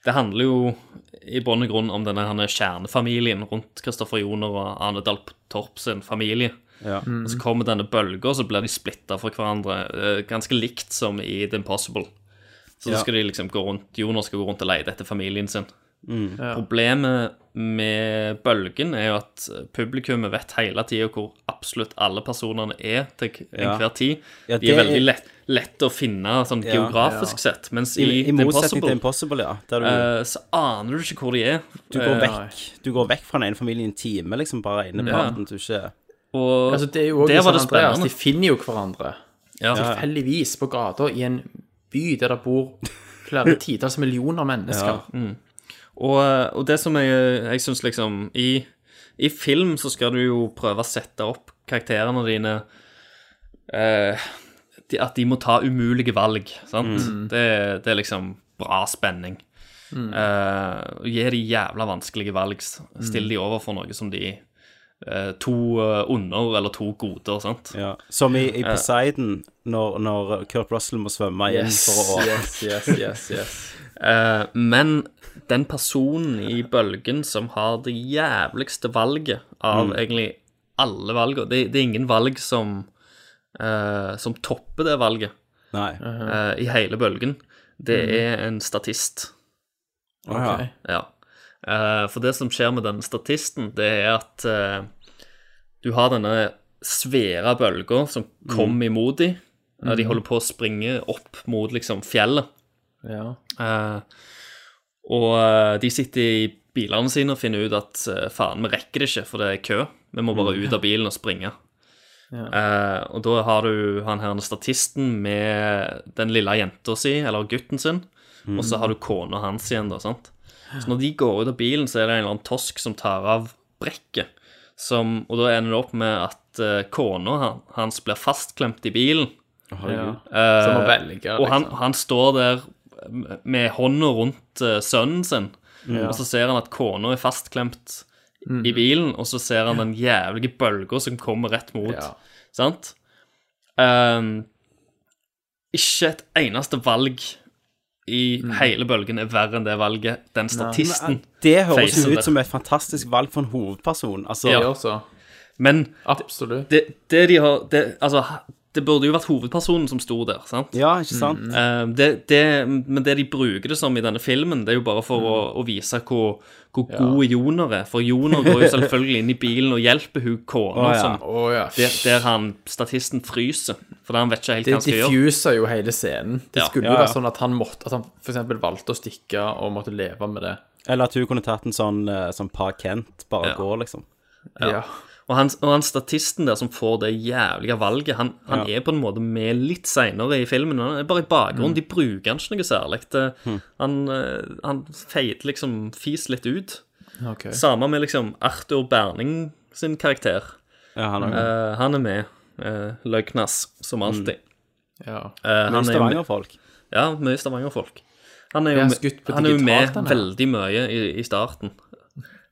S12: det handler jo i bunn og grunn om denne herne kjernefamilien rundt Kristoffer Joner og Arne Dahl Torp sin familie. Og
S1: Mm.
S12: så kommer denne bølga, og så blir de splitta fra hverandre. eh, Ganske likt som i The Impossible. Så
S9: Ja.
S12: da skal de liksom gå rundt Joner skal gå rundt og lete etter familien sin.
S9: Mm. Ja.
S12: Problemet med bølgen er jo at publikummet vet hele tida hvor absolutt alle personene er til k-
S1: Ja.
S12: enhver tid.
S1: Ja,
S12: de
S1: det
S12: er
S1: er-
S12: veldig lett, lett å finne sånn
S1: Ja.
S12: geografisk
S1: Ja.
S12: sett, mens
S1: I-
S12: i,
S1: i motsetning til Impossible, ja, der du-
S12: eh, så aner du ikke hvor de er.
S1: Du går,
S12: Eh,
S1: vekk, du går vekk fra den ene familien i en time, liksom, bare ene
S12: Ja.
S1: parten du ikke
S12: Og
S9: Altså, det er jo også
S12: der
S9: i San
S12: var det
S9: Andreas,
S12: spennende.
S9: de finner jo hverandre.
S12: Ja.
S9: Tilfeldigvis på gata i en by der det bor flere titalls millioner mennesker.
S12: Ja. Mm. Og, og det som jeg, jeg syns liksom i, I film så skal du jo prøve å sette opp karakterene dine eh, de, At de må ta umulige valg, sant?
S9: Mm.
S12: Det, det er liksom bra spenning.
S9: Mm.
S12: Eh, gi de jævla vanskelige valg. s- Still
S1: Mm.
S12: de overfor noe som de eh, To eh, onder eller to goder, sant?
S1: Ja. Som i, i
S12: Eh,
S1: Poseidon, når, når Kurt Russell må svømme inn for å
S9: yes, yes, yes, yes.
S12: Eh, men den personen i bølgen som har det jævligste valget av
S1: Mm.
S12: egentlig alle valgene det, det er ingen valg som, eh, som topper det valget
S1: Nei.
S12: eh, i hele bølgen. Det er en statist.
S1: Å, ja. Ok.
S12: Ja. Eh, for det som skjer med den statisten, det er at eh, du har denne svære bølga som kommer imot dem. De
S9: Mhm.
S12: holder på å springe opp mot liksom fjellet.
S9: Ja.
S12: Eh, og eh, de sitter i bilene sine og finner ut at eh, faen, vi rekker det ikke, for det er kø. Vi må bare
S9: Mm.
S12: ut av bilen og springe.
S9: Ja.
S12: Eh, og da har du han her statisten med den lille jenta si, eller gutten sin,
S9: Mm.
S12: og så har du kona hans igjen, da, sant. Så når de går ut av bilen, så er det en eller annen tosk som tar av brekket. Som, og da ender det opp med at eh, kona han- hans blir fastklemt i bilen.
S9: herregud.
S12: Eh,
S9: Så må velge,
S12: Og han,
S9: liksom.
S12: han står der med hånda rundt eh, sønnen sin,
S9: Ja.
S12: og så ser han at kona er fastklemt
S9: Mm.
S12: i bilen, og så ser han den jævlige bølga som kommer rett mot.
S9: Ja.
S12: Sant? Ehm, ikke et eneste valg i
S9: Mm.
S12: hele bølgen er verre enn det valget den statisten
S1: Men, eh, Det høres
S12: facer
S1: jo
S12: der.
S1: ut som et fantastisk valg for en hovedperson. Altså,
S12: Ja.
S9: eh,
S12: Men Det, det de har det, Altså, det burde jo vært hovedpersonen som sto der, sant?
S1: Ja, ikke sant? Mm.
S12: Eh, det, det, men det de bruker det som i denne filmen, det er jo bare for å, å vise hvor, hvor god Joner er. For Joner går jo selvfølgelig inn i bilen og hjelper hun kona
S9: Å, ja.
S12: som-
S9: Å, ja.
S12: der, der han statisten fryser, for han vet ikke helt
S9: Det
S12: hva han skal gjøre.
S9: diffuser jo hele scenen. Det
S12: Ja.
S9: skulle
S12: Ja,
S9: jo
S12: ja.
S9: være sånn at han måtte At han f.eks. valgte å stikke og måtte leve med det.
S1: Eller at hun kunne tatt en sånn, eh, sånn par Kent, bare
S12: Ja.
S1: gå, liksom.
S12: Ja.
S9: Ja.
S12: Og, han, og han statisten der som får det jævlige valget, han, han
S1: Ja.
S12: er på en måte med litt seinere i filmen. Han er bare i bakgrunnen.
S1: Mm.
S12: De bruker han ikke noe særlig. Det-
S1: Mm.
S12: Han, eh, han feier liksom fis litt ut.
S9: Ok.
S12: Samme med liksom Arthur Berning sin karakter.
S1: Ja, han er med. Mm.
S12: Eh, han er med. eh, Løgnas, som alltid.
S9: Ja.
S12: Eh,
S1: Mye
S12: han er jo med-
S1: Stavanger-folk.
S12: Ja, mye Stavanger-folk. Han er
S9: Er
S12: jo
S9: han
S12: med,
S9: skutt på
S12: han er jo med
S9: digitalt, han her?
S12: veldig mye i, i starten.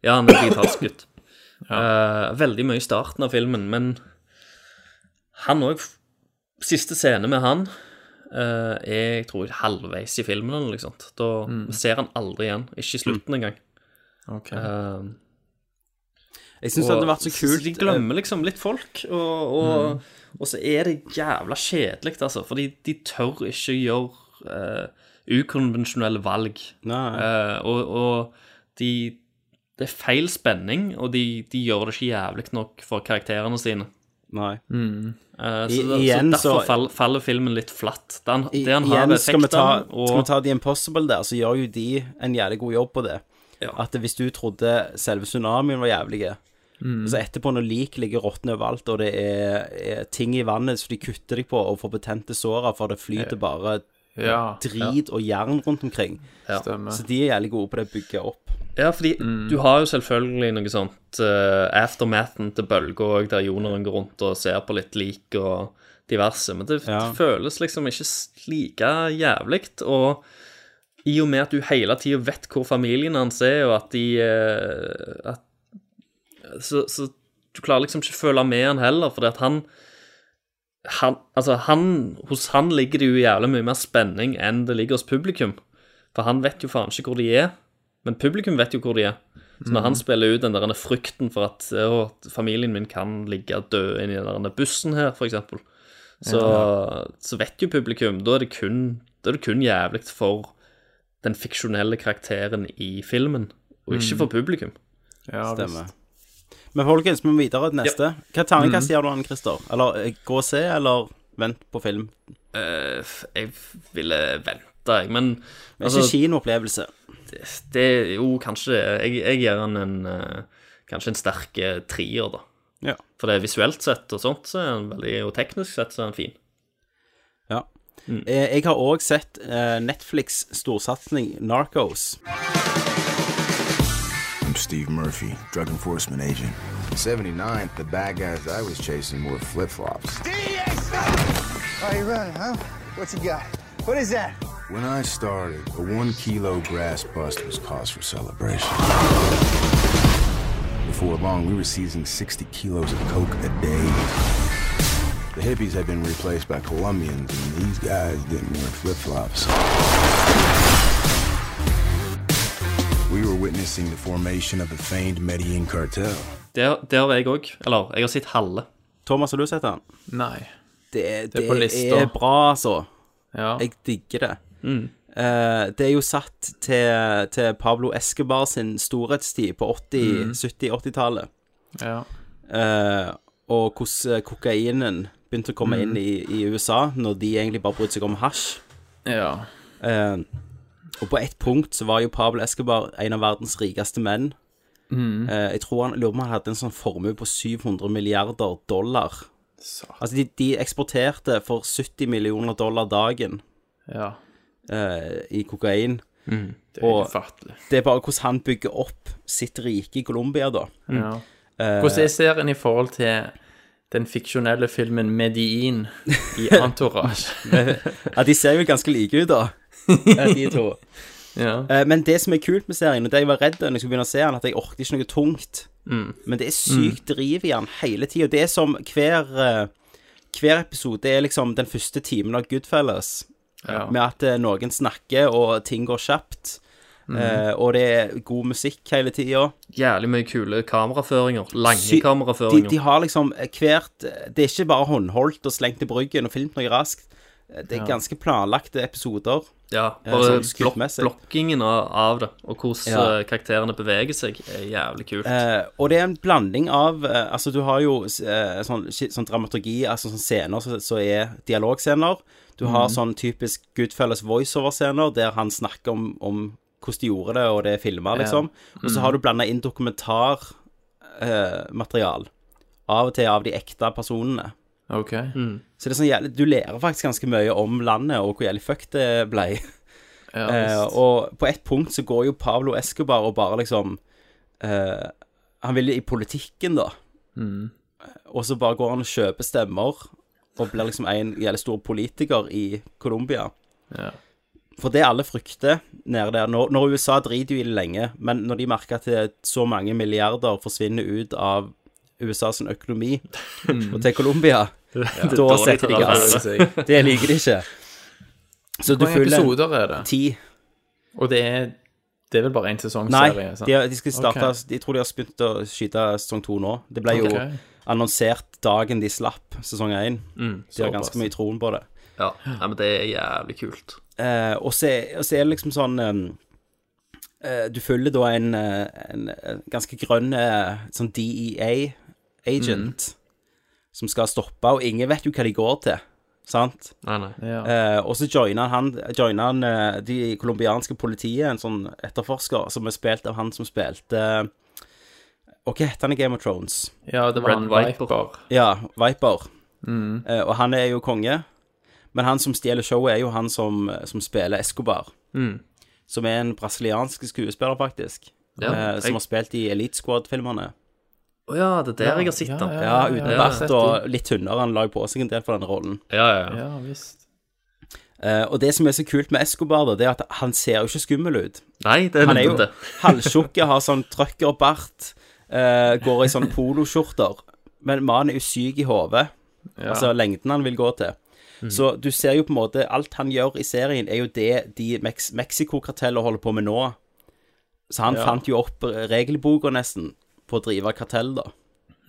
S12: Ja, han er digitalt skutt. Eh, veldig mye i starten av filmen, men han òg Siste scene med han eh, er jeg tror halvveis i filmen, eller noe sånt. Da
S1: Mm.
S12: ser han aldri igjen. Ikke i slutten engang. Eh,
S9: Ok.
S1: Eh, Jeg synes det hadde vært så kult, eh,
S12: De glemmer liksom litt folk, og, og,
S1: Mm.
S12: og så er det jævla kjedelig, altså. Fordi de tør ikke gjøre eh, ukonvensjonelle valg. Eh, og og de, det er feil spenning, og de, de gjør det ikke jævlig nok for karakterene sine.
S1: Nei.
S9: Mm.
S12: Eh,
S1: I-
S12: så, da-
S1: igjen
S12: så derfor
S1: så-
S12: fall, faller filmen litt flatt. Den,
S1: I-
S12: det han har
S1: igjen,
S12: ved
S1: skal vi, ta,
S12: effektene, og
S1: skal vi ta The Impossible der, så gjør jo de en jævlig god jobb på det. At hvis du trodde selve tsunamien var jævlig, eh,
S9: Mm.
S1: så etterpå når lik ligger råtne overalt, og det er, er ting i vannet som de kutter deg på og får betente sårer, for det flyter bare
S9: Ja.
S1: drit og jern rundt omkring.
S9: Stemmer.
S1: Så de er jævlig gode på det å bygge opp.
S12: Ja, fordi du har jo selvfølgelig noe sånt eh, aftermathen til bølga òg, der Joneren går rundt og ser på litt lik og diverse, men det, det føles liksom ikke s- like jævlig. Og I og med at du hele tida vet hvor familien hans er, og at de eh, at, så, så du klarer liksom ikke føle med han heller, fordi at han han, altså han, hos han ligger det jo jævlig mye mer spenning enn det ligger hos publikum. For han vet jo faen ikke hvor de er, men publikum vet jo hvor de er. Så når
S9: Mhm.
S12: han spiller ut den der frykten for at å, familien min kan ligge død inni den der bussen her, for eksempel, så, så vet jo publikum. Da er det kun, da er det kun jævlig for den fiksjonelle karakteren i filmen, og ikke
S1: Mhm.
S12: for publikum.
S1: Stemmer. Men folkens, vi må videre til neste. Hva
S9: Mm.
S1: terningkast gir du han, Christer? Eller eh, gå og se, eller vent på film?
S12: Eh, f- jeg ville vente, jeg, men
S1: Men ikke
S9: Altså-
S1: kinoopplevelse.
S12: Det, det er jo kanskje Jeg, jeg gir han en eh, kanskje en sterk eh, trier, da.
S1: Ja.
S12: For det er visuelt sett og sånt, så er han veldig, og teknisk sett så er han fin.
S1: Ja.
S9: Mm.
S1: Eh, Jeg har òg sett eh, Netflix' storsatsing Narcos.
S15: I'm Steve Murphy, drug enforcement agent. 79, the bad guys I was chasing were flip flops.
S16: Oh, you running, huh? What you got? What is that?
S15: When I started, a one kilo grass bust was cause for celebration. Before long, we were seizing 60 kilos of coke a day. The hippies had been replaced by Colombians, and these guys didn't wear flip flops. We were witnessing the formation of the famed Medellin cartel.
S12: Der, der var jeg òg. Eller, jeg har sett halve.
S1: Thomas, har du sett den?
S9: Nei.
S1: Det, det,
S9: Det er på lista. Mm.
S1: er bra, altså.
S9: Ja.
S1: Jeg digger det. Eh, det er jo satt til, til Pablo Escobar sin storhetstid på 80-,
S9: Mm.
S1: 70-, 80-tallet.
S9: Ja.
S1: Eh, og hvordan eh, kokainen begynte å komme
S9: Mm.
S1: inn i, i USA, når de egentlig bare brydde seg om hasj.
S9: Ja.
S1: Eh, og på et punkt så var jo Pablo Escobar en av verdens rikeste menn.
S9: Mm.
S1: Eh, jeg tror han, lurer på om han hadde en sånn formue på 700 milliarder dollar. Altså, de, de eksporterte for 70 millioner dollar dagen
S9: Ja.
S1: eh, i kokain.
S9: Mm. Det er ufattelig.
S1: Det er bare hvordan han bygger opp sitt rike i Colombia, da.
S9: ja.
S1: Eh,
S9: Hvordan er serien i forhold til den fiksjonelle filmen Medin i Entourage?
S1: ja, de ser jo ganske like ut, da. eh, De to.
S9: Ja.
S1: Eh, Men det som er kult med serien, og det jeg var redd da jeg skulle begynne å se den, at jeg orket ikke noe tungt.
S9: Mm.
S1: Men det er sykt driv i den hele tida. Det er som hver eh, Hver episode er liksom den første timen av Goodfellas.
S9: Ja.
S1: Med at eh, noen snakker, og ting går kjapt.
S9: Mhm.
S1: Eh, og det er god musikk hele tida.
S12: Jævlig mye kule kameraføringer. Lange
S1: Sy-
S12: kameraføringer.
S1: De, de har liksom hvert Det er ikke bare håndholdt og slengt i bryggen og filmt noe raskt. Eh, Det er
S12: Ja.
S1: ganske planlagte episoder.
S12: Ja,
S1: Eh,
S12: bare
S1: sånn
S12: blok
S1: skuddmessig.
S12: blokkingen av, av det, og hvordan
S1: Ja.
S12: eh, karakterene beveger seg, er jævlig kult.
S1: Eh, og det er en blanding av eh, Altså, du har jo eh, sånn, shit, sånn dramaturgi, altså sånn scener som så, er dialogscener. Du har
S9: Mhm.
S1: sånn typisk Goodfellas voiceover-scener der han snakker om, om hvordan de gjorde det, og det er filma,
S9: Ja.
S1: liksom. Og så
S9: Mhm.
S1: har du blanda inn dokumentarmaterial. Eh, av og til av de ekte personene.
S9: OK.
S1: Så det er sånn jævlig, du lærer faktisk ganske mye om landet og hvor jævlig fuck det ble.
S9: Ja,
S1: Eh, og på et punkt så går jo Pablo Escobar og bare liksom eh, Han vil jo i politikken, da. Eh,
S9: Mm.
S1: Og så bare går han og kjøper stemmer og blir liksom en jævlig stor politiker i Colombia. For det alle frykter nede der Når, når USA driter jo i det lenge, men når de merker at så mange milliarder forsvinner ut av USAs økonomi og til Colombia,
S9: Ja. Mm. Det er
S1: da
S9: dårlig
S1: setter de
S9: til å
S1: gass.
S9: være seg.
S1: Det liker de ikke. Så du
S9: Hvor mange
S1: følger
S9: episoder er det?
S1: Ti.
S9: Og det er, det er vel bare én
S1: Nei,
S9: sesongserie? sant?
S1: de, har- de skal starte
S9: sånn. Ok.
S1: Jeg tror de har begynt å skyte sesong to nå. Det ble jo
S9: Ok.
S1: annonsert dagen de slapp sesong én.
S12: Mm,
S1: de har
S12: såpass.
S1: ganske mye troen på det.
S12: Ja, ja, men det er jævlig kult.
S1: Eh, og, så, er- og så er det liksom sånn eh, eh, Du følger da en, eh, en, eh, ganske grønn eh, sånn DEA-agent som skal stoppe, og ingen vet jo hva de går til, sant?
S12: Nei, nei.
S1: Eh, og så joiner han, joiner han eh, de colombianske politiet, en sånn etterforsker, som er spilt av han som spilte Og hva heter han i Game of Thrones?
S9: Ja, det var Red han Viper. Viper.
S1: Ja, Viper.
S9: Mm.
S1: Eh, og han er jo konge, men han som stjeler showet, er jo han som, eh, som spiller Escobar.
S9: Mm.
S1: Som er en brasiliansk skuespiller, faktisk.
S12: Ja,
S1: eh, som
S12: jeg-
S1: har spilt i Elite Squad-filmerne.
S12: Å ja, det er der jeg har sett den.
S1: Ja, uten bart og litt tynnere. Han la jo på seg en del for den rollen.
S12: Ja, ja, ja.
S9: Ja, visst.
S1: Eh, og det som er så kult med Escobar, da, det er at han ser jo ikke skummel ut.
S10: Nei, det er
S1: han er jo
S10: nettopp det.
S1: halvtjukk, har sånn trøkkerbart, eh, går i sånne poloskjorter. Men mannen er jo syk i hodet.
S10: Ja.
S1: Altså lengden han vil gå til.
S10: Mm.
S1: Så du ser jo på en måte Alt han gjør i serien, er jo det de Mex Mexico-kartellene holder på med nå. Så han
S9: Ja.
S1: fant jo opp regelboka, nesten, på å drive kartell, da.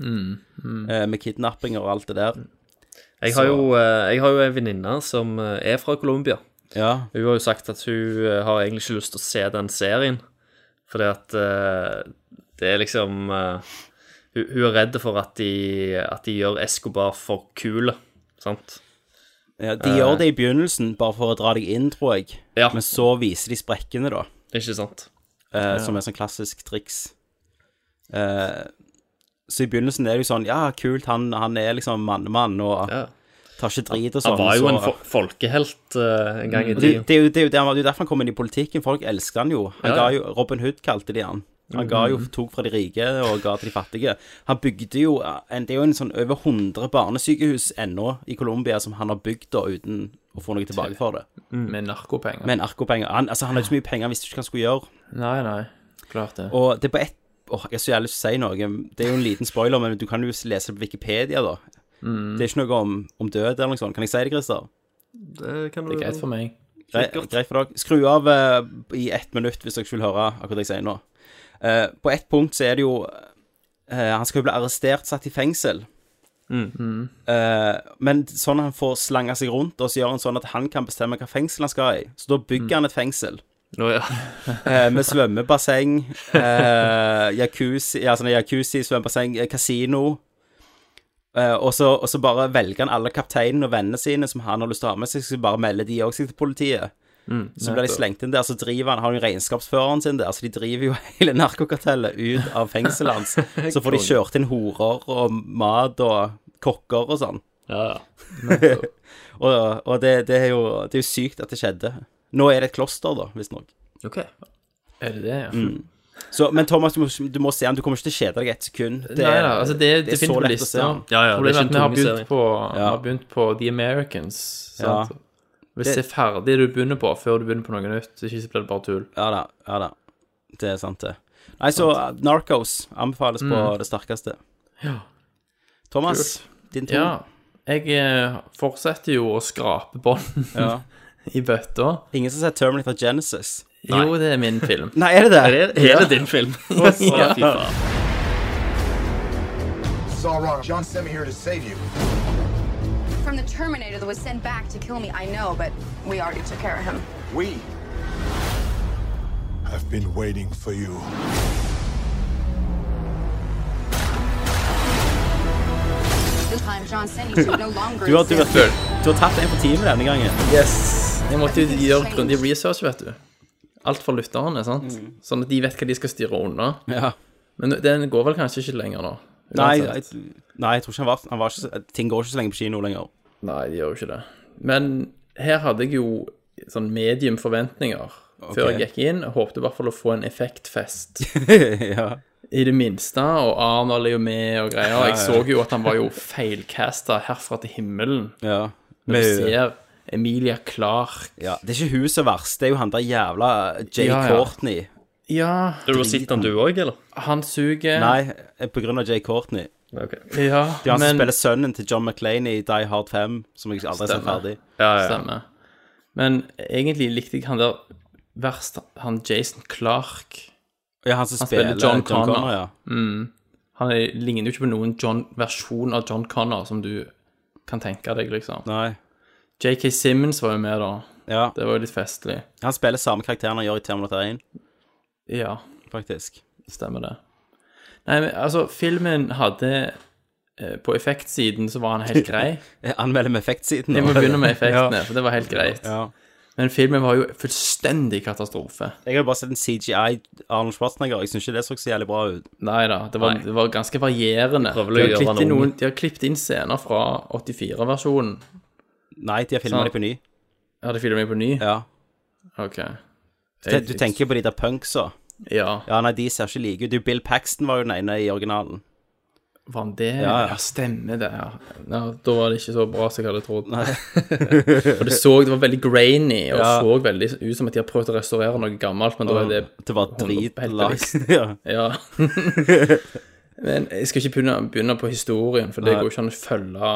S9: Mm, mm.
S1: Eh, med kidnappinger og alt det der.
S10: Jeg har,
S1: Så-
S10: jo, eh, jeg har jo en venninne som eh, er fra Colombia. Hun har jo sagt at hun eh, har egentlig ikke lyst til å se den serien, fordi at eh, det er liksom eh, Hun hun er redd for at de, at de gjør Escobar for kule, sant?
S1: Ja, De
S9: Eh.
S1: gjør det i begynnelsen, bare for å dra deg inn, tror jeg. Men så viser de sprekkene, da.
S10: Ikke sant.
S1: Eh,
S10: Ja.
S1: Som er sånn klassisk triks. Eh, så i begynnelsen er det jo sånn Ja, kult, han, han er liksom mannemann og tar ikke drit og sånn.
S10: Han var jo
S1: så-
S10: en fo- folkehelt eh, en gang i
S1: Mm.
S10: tiden.
S1: Det, det, er jo- det, er jo der- det er jo derfor han kom inn i politikken. Folk elsker han jo. Han
S10: Ja,
S1: ga
S10: ja.
S1: jo Robin Hood kalte de han. Han ga jo,
S10: Mhm.
S1: tok fra de rike og ga til de fattige. Han bygde jo en, Det er jo en sånn over 100 barnesykehus ennå i Colombia som han har bygd da uten å få noe tilbake for det.
S9: Med narkopenger.
S1: Med narkopenger. Han, altså, han hadde ikke så mye penger, han visste ikke hva han skulle gjøre.
S9: Nei, nei. Klart det.
S1: Og det er på ett Åh, jeg har så jævlig lyst til å si noe. Det er jo en liten spoiler, men du kan jo lese det på Wikipedia, da.
S9: Mm.
S1: Det er ikke noe om, om død eller noe sånt. Kan jeg si det, Christer?
S10: Det, kan
S9: Det er greit for meg.
S1: Grei- Greit for dere. Skru av eh, i ett minutt hvis dere ikke vil høre akkurat det jeg sier nå. Eh, på ett punkt så er det jo eh, Han skal jo bli arrestert, satt i fengsel.
S9: Mm.
S1: Eh, men sånn han får slanga seg rundt, og så gjør han sånn at han kan bestemme hva fengsel han skal i. Så da bygger han et fengsel.
S10: Nå, ja.
S1: Eh, med svømmebasseng, eh, jacuzzi, ja, sånn jacuzzi, svømmebasseng, eh, kasino. Eh, og, så, og så bare velger han alle kapteinene og vennene sine som han har lyst til å ha med seg, så bare melder de også seg til politiet.
S9: Mm,
S1: så blir de
S9: nettopp.
S1: slengt inn der, så driver han, har jo regnskapsføreren sin der, så de driver jo hele narkokartellet ut av fengselet hans. Så får de
S9: Konge.
S1: kjørt inn horer og mat og kokker og sånn. og og det, det, er jo, det er jo sykt at det skjedde. Nå er det et kloster, da, visstnok.
S9: OK. Er det det, ja?
S1: Mm. Så, men Thomas, du må, du må se den. Du kommer ikke til å kjede deg et sekund.
S9: Det, nei, nei, altså det, det,
S1: det er
S9: finnes
S1: så
S9: på
S1: lett å se
S9: lista.
S1: den.
S9: Problemet er at vi har
S10: tung
S9: begynt
S10: serie.
S9: på, vi har begynt på The Americans.
S1: Ja.
S9: Sant? Hvis
S1: Det-
S9: det er ferdig det du begynner på, før du begynner på noe nytt, så ikke så blir det bare tull.
S1: Ja da, ja da. Det er sant, det. Nei, så uh, Narcos anbefales på
S9: Mm.
S1: det sterkeste.
S9: Ja.
S1: Thomas, din tur.
S9: Ja. Jeg eh, fortsetter jo å skrape bånd
S1: Ja.
S9: i bøtta.
S1: Ingen som har sett Terminator Genesis?
S9: Jo, det er min film.
S1: Nei, er det det?
S9: Er det- er det din film?
S1: Å, så-
S9: Ja, fy faen.
S17: It's all wrong. John sent me here to save you.
S13: From the Terminator that was sent back to kill me, I know, but we already took care of him.
S17: We have been waiting for you.
S13: This time, John Cena should no longer
S1: Du har, du,
S13: exist.
S1: har, du har tatt en for time denne gangen.
S9: Yes. Jeg måtte jo gjøre grundig research, vet du. Alt for lytterne, sant? Sånn at de vet hva de skal styre unna.
S1: Ja.
S9: Men den går vel kanskje ikke lenger nå?
S1: Nei, jeg,
S9: uansett.
S1: nei, jeg tror ikke han var, han var ikke, Ting går ikke så lenge på kino lenger.
S9: Nei, de gjør jo ikke det. Men her hadde jeg jo sånn medium forventninger
S1: Ok.
S9: før jeg gikk inn. Jeg håpte i hvert fall å få en effektfest.
S1: ja.
S9: I det minste. Og Arnold er jo med
S1: Ja,
S9: og greier.
S1: ja.
S9: Jeg så jo at han var jo feilcasta herfra til himmelen.
S1: Ja.
S9: Når du
S1: Med-
S9: ser Emilia Clark
S1: ja. Det er ikke hun som er verst, det er jo han der jævla Jay
S9: Ja, ja.
S1: Courtney.
S9: Ja.
S10: Du har sett den du òg, eller?
S9: Han suger.
S1: Nei, eh, på grunn av Jay Courtney.
S9: Ja,
S1: det er han
S9: men-
S1: som spiller sønnen til John McClane i Die Hard 5, som jeg aldri har sett ferdig.
S9: Stemmer. Men egentlig likte jeg han der verst, han Jason Clark.
S1: Ja, han som spiller John Connor, ja.
S9: Mm. Han er, ligner jo ikke på noen John, versjon av John Connor som du kan tenke deg, liksom.
S1: Nei.
S9: JK Simmons var jo med, da.
S1: Ja.
S9: Det var jo litt festlig.
S1: Han spiller samme karakteren han gjør i Terminator 1.
S9: Ja.
S1: Faktisk.
S9: Stemmer det. Nei, men altså, filmen hadde eh, På effektsiden så var han helt grei.
S1: Jeg anmelder med effektsiden.
S9: Jeg må
S1: nå.
S9: begynne med effektene,
S1: Ja.
S9: for det var helt greit.
S1: Ja.
S9: Men filmen var jo fullstendig katastrofe.
S1: Jeg har bare sett en CGI Arnold Schwarzenegger. Jeg syns ikke det så så jævlig bra ut.
S9: Nei da, det var,
S1: Nei.
S9: det var ganske varierende.
S1: Prøver vel
S9: De
S1: å
S9: har,
S1: gjøre
S9: klippet
S1: han
S9: inn
S1: ung.
S9: noen, de har klippet inn scener fra 84-versjonen.
S1: Nei, de har filmet det på ny.
S9: Ja, de filmer det på ny?
S1: Sånn. Ja.
S9: OK.
S1: Du- Du tenker på de der punksa?
S9: Ja.
S1: ja. Nei, de ser ikke like ut. Du, Bill Paxton var jo den ene i originalen.
S9: Var han det?
S1: Ja,
S9: Ja,
S1: ja.
S9: stemmer det. Ja. ja. Da var det ikke så bra som jeg hadde trodd. For det så det var veldig grainy, og
S1: Ja.
S9: så veldig ut som at de har prøvd å restaurere noe gammelt, men da er det
S1: Det var dritlagt.
S9: ja. ja. men jeg skal ikke begynne, begynne på historien, for det
S1: Nei.
S9: går jo ikke an å følge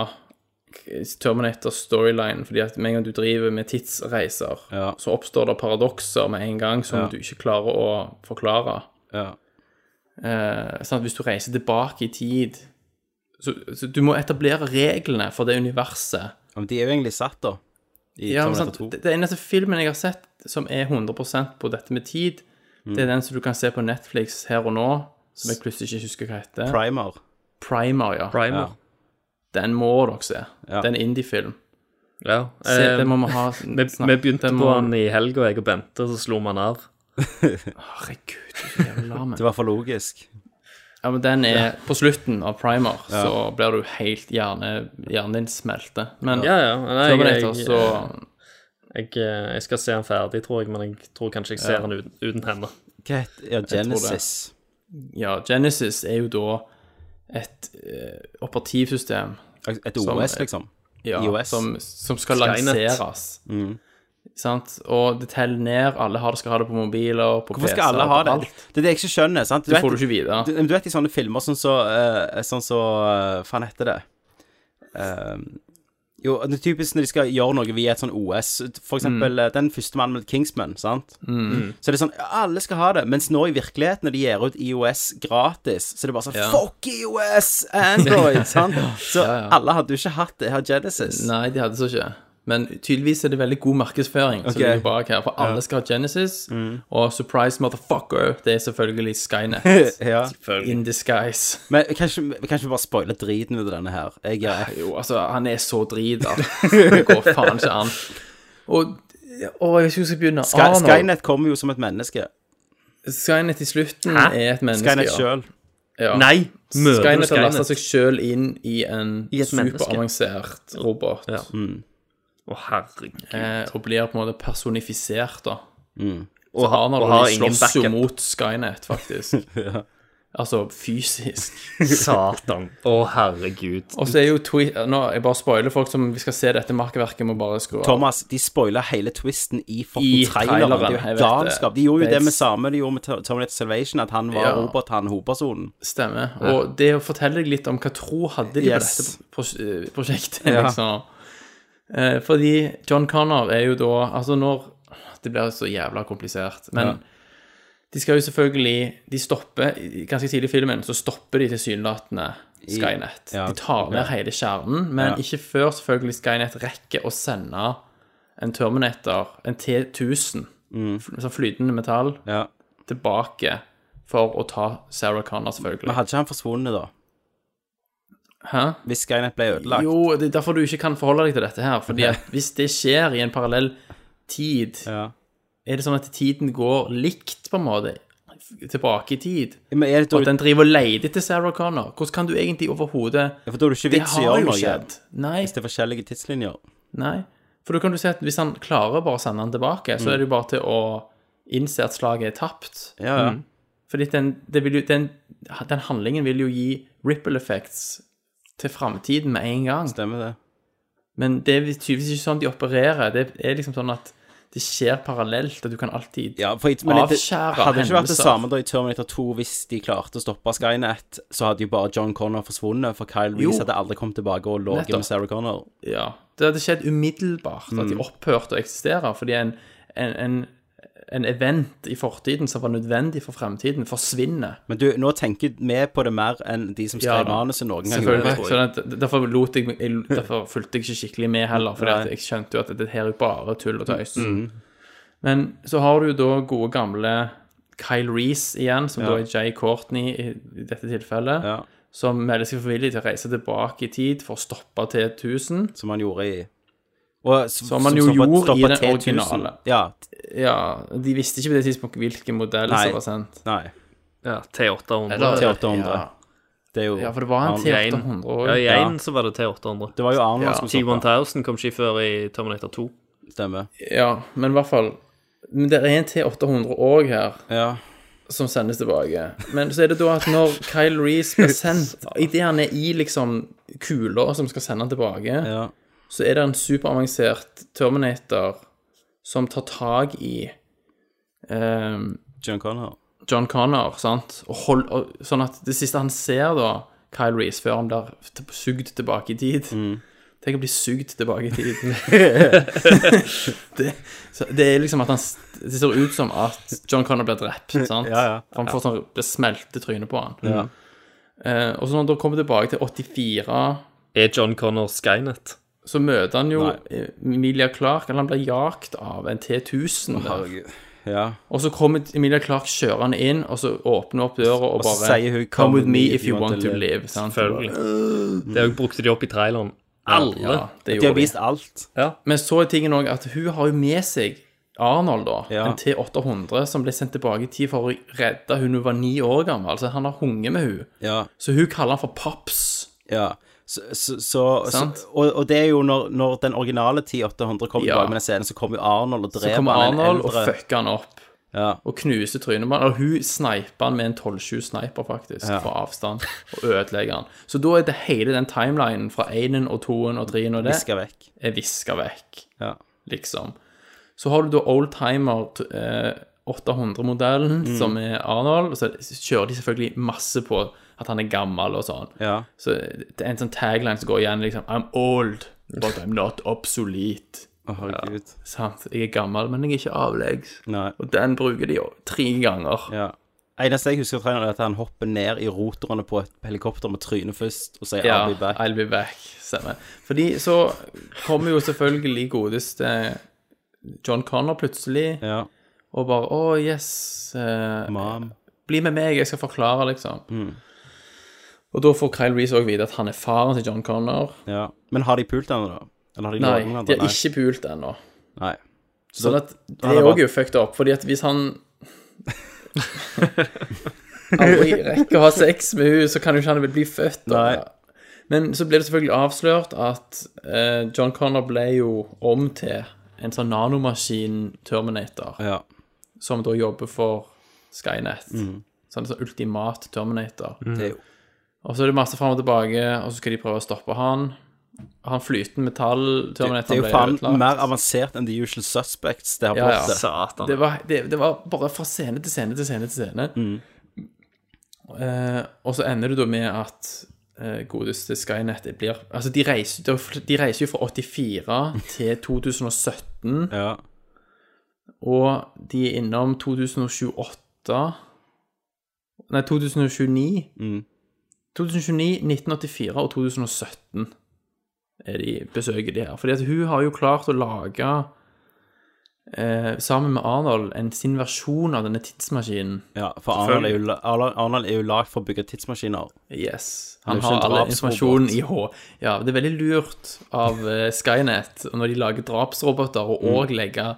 S9: Terminator-storyline, fordi at med en gang du driver med tidsreiser, så oppstår det paradokser med en gang som
S1: Ja.
S9: du ikke klarer å forklare.
S1: Ja.
S9: Eh, sant? Hvis du reiser tilbake i tid, så, så du må etablere reglene for det universet.
S1: Ja, Men de er jo egentlig satt, da. I
S9: Ja, men
S1: Terminator
S9: sant,
S1: 2.
S9: det, det eneste filmen jeg har sett som er 100 på dette med tid, det er
S1: Mm.
S9: den som du kan se på Netflix her og nå, som jeg plutselig ikke husker hva heter.
S1: Primer.
S9: Primer, ja.
S1: Primer.
S9: Ja. Den må dere se.
S1: Ja.
S9: Det er en indiefilm.
S10: Ja.
S9: Se,
S10: eh,
S9: den må vi ha
S10: vi, vi begynte
S9: den
S10: på
S9: må-
S10: han i helga, jeg og Bente, så slo vi han av.
S9: Herregud, så jævla lamen.
S1: Det var for logisk.
S9: Ja, men den er På slutten av Primer
S1: Ja.
S9: så blir du helt hjerne, Hjernen din smelter. Men
S10: ja, ja. Nei, jeg,
S9: Terminator,
S10: jeg,
S9: så
S10: jeg, eh, jeg skal se han ferdig, tror jeg, men jeg tror kanskje jeg ser
S9: Ja.
S10: han uten, uten henne.
S1: Hva heter Ja,
S9: Jeg tror det.
S1: Genesis.
S9: Ja, Genesis er jo da et eh, operativsystem
S1: Et
S9: som-
S1: OS, liksom.
S9: Ja,
S1: IOS.
S9: Som, som skal
S1: Skynet. Mm.
S9: lanseres. Sant? Og det teller ned. Alle har det, skal ha det på mobiler, på
S1: Hvorfor skal
S9: PC-er,
S1: alle ha
S9: på
S1: det?
S9: alt.
S1: Det er det jeg ikke skjønner. sant?
S9: Det får du ikke vite.
S1: Du, du vet i sånne filmer sånn så eh, Sånn så eh, Faen heter det Eh, Jo, det er typisk når de skal gjøre noe via et sånn OS. For eksempel eh, den første mannen med Kingsman, sant?
S9: Mm.
S1: Så det er sånn Alle skal ha det. Mens nå i virkeligheten, når de gir ut IOS gratis, så er det bare sånn
S9: Ja.
S1: Fuck IOS! Android! sant? Så
S9: Ja, ja.
S1: alle hadde jo ikke hatt det her Genesis.
S9: Nei, de hadde så ikke. Men tydeligvis er det veldig god markedsføring som
S1: Ok.
S9: ligger bak her, for alle
S1: Ja. Mm.
S9: skal ha Genesis, og surprise motherfucker, det er selvfølgelig Skynet.
S1: Ja.
S9: In disguise.
S1: Men kanskje, kanskje vi bare spoiler driten ut av denne her. Jeg er
S9: Jo, altså, han er så drita. Det går faen ikke an. Og Å, jeg husker jeg skal begynne.
S1: Sky,
S9: Arnold.
S1: Skynet kommer jo som et menneske.
S9: Skynet i slutten
S1: Hæ?
S9: er et menneske.
S1: Skynet
S9: ja. Ah.
S1: selv?
S9: Ja.
S1: Nei, møter du
S9: Skynet har lasta
S1: Skynet?
S9: seg sjøl inn i en
S1: I et menneske.
S9: superavansert robot.
S1: Ja. Mm.
S10: Å, herregud.
S9: Eh, og blir på en måte personifisert, da.
S1: Mm.
S9: Og,
S10: Og ha-
S9: Arnold
S10: og har ingen
S9: slåss jo
S10: backup.
S9: mot Skynet, faktisk. Altså fysisk.
S10: Satan. Å, herregud.
S9: Og så er jo tweet... Nå, jeg bare spoiler folk som vi skal se dette makkverket, må bare skru av.
S1: Thomas, de spoiler hele twisten i
S9: I
S1: fucking traileren.
S9: traileren,
S1: Det er
S9: jeg
S1: jo
S9: vet
S1: galskap.
S9: det.
S1: De gjorde jo
S9: Det er
S1: det med
S9: s-
S1: samme de gjorde med Ter- Terminator Salvation, at han var
S9: Ja.
S1: robot, han hovedpersonen.
S9: Stemmer. Og det å fortelle deg litt om hva tro hadde de
S1: Yes.
S9: på dette pros- eh, prosjektet,
S1: Ja.
S9: liksom. Eh, fordi John Connor er jo da Altså, når Det blir så jævla komplisert. Men
S1: Ja.
S9: de skal jo selvfølgelig De stopper i- Ganske tidlig i filmen så stopper de tilsynelatende
S1: I-
S9: Skynet.
S1: ja,
S9: de tar ned
S1: ok.
S9: hele kjernen, men
S1: Ja.
S9: ikke før selvfølgelig Skynet rekker å sende en Terminator, en T1000,
S1: Mm.
S9: fl- sånn flytende metall, tilbake for å ta Sarah Connor, selvfølgelig.
S1: Men hadde ikke han forsvunnet, da?
S9: Hæ?
S1: Hvis Skynet ble ødelagt?
S9: Jo, det er derfor du ikke kan forholde deg til dette her. Fordi at hvis det skjer i en parallell tid, er det sånn at tiden går likt, på en måte, tilbake i tid?
S1: Men er det
S9: Og at den driver og leter etter Sarah Connor? Hvordan kan du egentlig overhodet
S1: Ja, For da er det ikke
S9: Det
S1: vits i å
S9: har
S1: gjøre
S9: jo
S1: noe.
S9: skjedd. Hvis
S1: det er forskjellige tidslinjer.
S9: Nei. For da kan du si at hvis han klarer bare å sende han tilbake, så
S1: Mm.
S9: er det jo bare til å innse at slaget er tapt.
S1: Ja, ja.
S9: Fordi den, det vil jo, den, den handlingen vil jo gi ripple effects til framtiden med en gang.
S1: Stemmer det.
S9: Men det er tydeligvis ikke sånn de opererer. Det er liksom sånn at det skjer parallelt, og du kan alltid
S1: Ja, for, men det,
S9: avskjære
S1: hadde det ikke vært det
S9: hendelser.
S1: samme da i Terminator 2 hvis de klarte å stoppe Skynet, så hadde jo bare John Connor forsvunnet, for Kyle
S9: Jo.
S1: Reese hadde aldri kommet tilbake og ligget
S9: Nettopp.
S1: med Sarah Connor.
S9: Ja. Det hadde skjedd umiddelbart at de
S1: Mm.
S9: opphørte å eksistere, fordi en, en, en, en event i fortiden som var nødvendig for fremtiden, forsvinner.
S1: Men du, nå tenker vi på det mer enn de som skrev manuset noen gang.
S9: Selvfølgelig.
S1: gjorde, tror
S9: Så
S1: jeg.
S9: den- derfor, lot jeg, jeg, derfor fulgte jeg ikke skikkelig med heller, for
S1: Nei.
S9: jeg skjønte jo at det her er bare tull og tøys.
S1: Mm.
S9: Men så har du jo da gode gamle Kyle Reese igjen, som
S1: Ja.
S9: da er Jay Courtney i, i dette tilfellet, som melder seg for villig til å reise tilbake i tid for å stoppe T1000.
S1: Som han gjorde i Og s-
S9: Som man
S1: som
S9: jo
S1: stoppet-
S9: gjorde i
S1: stoppet
S9: den
S1: T1000.
S9: originale.
S1: Ja.
S9: De visste ikke på det tidspunktet hvilken modell
S1: Nei.
S9: som var sendt.
S1: Nei.
S10: Ja, T800.
S9: Eller-
S1: T800.
S9: Ja.
S1: Det er jo
S9: Ja, for det var en T800 også.
S10: Ja, i
S9: Ja.
S10: én så var altså- det T800.
S1: Det var jo Arnold
S10: ja.
S1: som stoppet.
S10: T1000 kom ikke før i Terminator 2.
S1: Stemmer.
S9: Ja, men i hvert fall Men det er en T800 òg her.
S1: Ja.
S9: som sendes tilbake. Men så er det da at når Kyle Reese blir sendt Idet han er i liksom kula som skal sende han tilbake, så er det en superavansert Terminator som tar tak i ehm,
S1: John Connor.
S9: John Connor, sant? Og hold, og, sånn at det siste han ser, da, Kyle Reese, før han blir t- sugd tilbake i tid
S1: Mm.
S9: Tenk å bli sugd tilbake i tid. det, så, det er liksom at han s- Det ser ut som at John Connor blir drept, sant?
S1: Ja, ja.
S9: Han får sånn Det smelter trynet på han.
S1: Ja.
S9: Eh, og så når han da kommer tilbake til 84
S12: Er John Connor Skynet?
S9: Så møter han jo Emilia Clark, eller han blir jagt av en T1000 der.
S1: Ja.
S9: Og så kommer Emilia Clark kjørende inn, og så åpner opp døra og,
S12: Og så
S9: bare
S12: sier hun,
S9: Come with me if you want to live. sant?
S12: Selvfølgelig.
S9: Bare,
S12: Det òg brukte de opp i traileren. Alle.
S9: Ja, det gjorde
S1: alt.
S12: Ja.
S9: Men så er tingen òg at hun har jo med seg Arnold, da. En T800 som ble sendt tilbake i tid for å redde hun hun var ni år gammel. Altså, han har hunget med hun.
S1: Ja.
S9: Så hun kaller han for Paps.
S1: Ja. Så, så, så,
S9: Sant.
S1: så og, og det er jo når, når den originale 10800 kommer
S9: Ja.
S1: tilbake med den scenen, så kommer jo Arnold og
S9: Så
S1: dreper
S9: kommer
S1: han en
S9: Arnold og
S1: eldre.
S9: fucker han opp. Og knuser trynet på han. Og hun sniper han med en 12-7-sniper, faktisk,
S1: Ja.
S9: fra avstand. Og ødelegger han. Så da er det hele den timelinen fra 1-en og 2-en og 3-en og det
S1: Visker vekk.
S9: er viska vekk. Liksom. Så har du da oldtimer t- eh, 800-modellen,
S1: Mm.
S9: som er Arnold. Og så kjører de selvfølgelig masse på at han er gammel og sånn. Så det er en sånn tagline som går igjen, liksom I'm old, but I'm not obsolete.
S1: ja,
S9: sant? Jeg er gammel, men jeg er ikke avleggs.
S1: Nei.
S9: Og den bruker de jo tre ganger.
S1: Ja. Eneste jeg husker fra traileren, er at han hopper ned i rotorene på et helikopter med trynet først og sier
S9: Ja,
S1: I'll be back.
S9: I'll be back. Stemmer. Fordi så kommer jo selvfølgelig godeste John Connor plutselig og bare Å, yes. eh, Bli med meg, jeg skal forklare, liksom.
S1: Mm.
S9: Og da får Kyle Reece òg vite at han er faren til John Connor.
S1: Ja. Men har de pult henne, da? Eller har de
S9: Nei,
S1: laget noen andre?
S9: de har ikke pult ennå.
S1: Nei. Så
S9: Sånn
S1: da-
S9: at
S1: da
S9: det
S1: er
S9: er
S1: det
S9: òg
S1: bare-
S9: jo fucked up, fordi at hvis han aldri rekker å ha sex med henne, så kan jo ikke han bli født. da. Men så ble det selvfølgelig avslørt at eh, John Connor ble jo om til en sånn nanomaskin-terminator, som da jobber for Skynet.
S1: Mhm.
S9: Sånn sånn ultimat terminator.
S1: Mhm. Det er jo-
S9: Og så er det masse fram og tilbake, og så skal de prøve å stoppe han. Han flytende
S1: Det,
S9: metall-terminatoren
S1: det er jo
S9: ble
S1: faen
S9: ødelagt.
S1: mer avansert enn The Usual Suspects. Det har
S9: Ja, ja.
S1: plottet.
S9: Det var, det, det var bare fra scene til scene til scene til scene.
S1: Mm.
S9: Eh, og så ender det da med at eh, godeste Skynet det blir Altså, de reiser, de fl- de reiser jo fra 84 til 2017. Og de er innom 2028 Nei, 2029.
S1: Mm.
S9: 2029, 1984 og 2017 er de besøker de her. Fordi at hun har jo klart å lage eh, sammen med Arnold en sin versjon av denne tidsmaskinen.
S1: Ja, for Arnold er jo, la- Arnold- Arnold er jo lagd for å bygge tidsmaskiner.
S9: Yes.
S1: Han
S9: Han
S1: er jo ikke
S9: har
S1: en
S9: all
S1: drapsrobot.
S9: informasjonen i H. Ja, det er veldig lurt av eh, Skynet og når de lager drapsroboter, og
S1: Mm.
S9: òg legge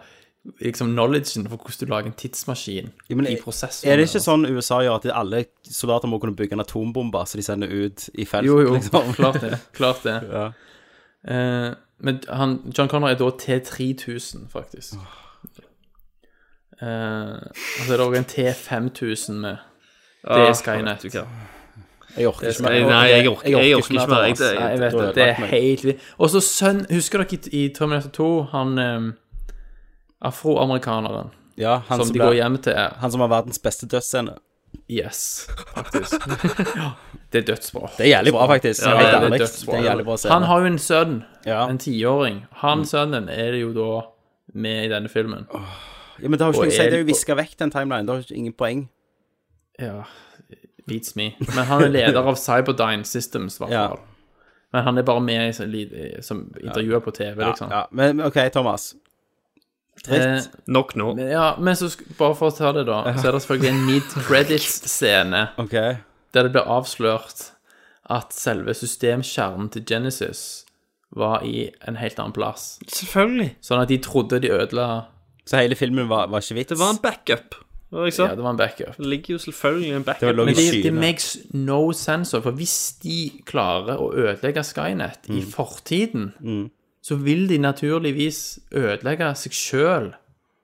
S9: liksom knowledgen for hvordan du lager en tidsmaskin i prosessen.
S1: Er det ikke sånn USA gjør at alle soldater må kunne bygge en atombombe så de sender ut i felt?
S9: Jo, jo,
S1: liksom?
S9: klart det. Klart det. Eh, men han, John Connor er da T3000, faktisk. Eh, og så er det òg en T5000 med. Det
S12: Ah,
S9: er Skynet.
S12: vet du hva.
S1: Jeg orker
S9: Det
S1: ikke
S9: er-
S1: mer.
S12: Nei, jeg orker- jeg orker ikke mer. Jeg-
S9: Nei, jeg vet
S12: det-
S9: det. Det er
S12: det-
S9: helt vilt. Og så sønn Husker dere i, i Terminator 2, han eh, afroamerikaneren
S1: Ja, han
S9: som,
S1: som
S9: de
S1: ble-
S9: går hjem til?
S1: Han som har verdens beste dødsscene.
S9: Yes, faktisk. ja, det er dødsbra.
S1: Det er jævlig bra, faktisk.
S9: Ja,
S1: Helt
S9: det,
S1: ærlig.
S9: er dødsbra.
S1: Det er jævlig bra scene.
S9: Han har jo en sønn, en tiåring.
S1: Mm.
S9: Han sønnen er det jo da med i denne filmen.
S1: Ja, men det har jo ikke
S9: Og
S1: noe å si. Det er
S9: er-
S1: jo viska vekk, den timelinen. Det har jo ingen poeng.
S9: Ja, beats me. Men han er leder av Cyberdyne Systems, i hvert fall. Men han er bare med i, sånn li- som intervjuer på TV,
S1: Ja,
S9: liksom.
S1: ja. Men OK, Thomas. Dritt.
S9: Eh, Men, ja, men så sk- bare for å ta det, da, så er det selvfølgelig en mid-credits-scene der det blir avslørt at selve systemkjernen til Genesis var i en helt annen plass.
S12: Selvfølgelig.
S9: Sånn at de trodde de ødela
S1: Så hele filmen var, var ikke vits?
S12: Det var en backup. Hva var det jeg sa?
S9: Ja, det var en backup.
S12: Det ligger jo selvfølgelig en backup.
S9: Men det, det makes no sense. For hvis de klarer å ødelegge Skynet i
S12: Mm.
S9: fortiden,
S1: Mm.
S9: så vil de naturligvis ødelegge seg sjøl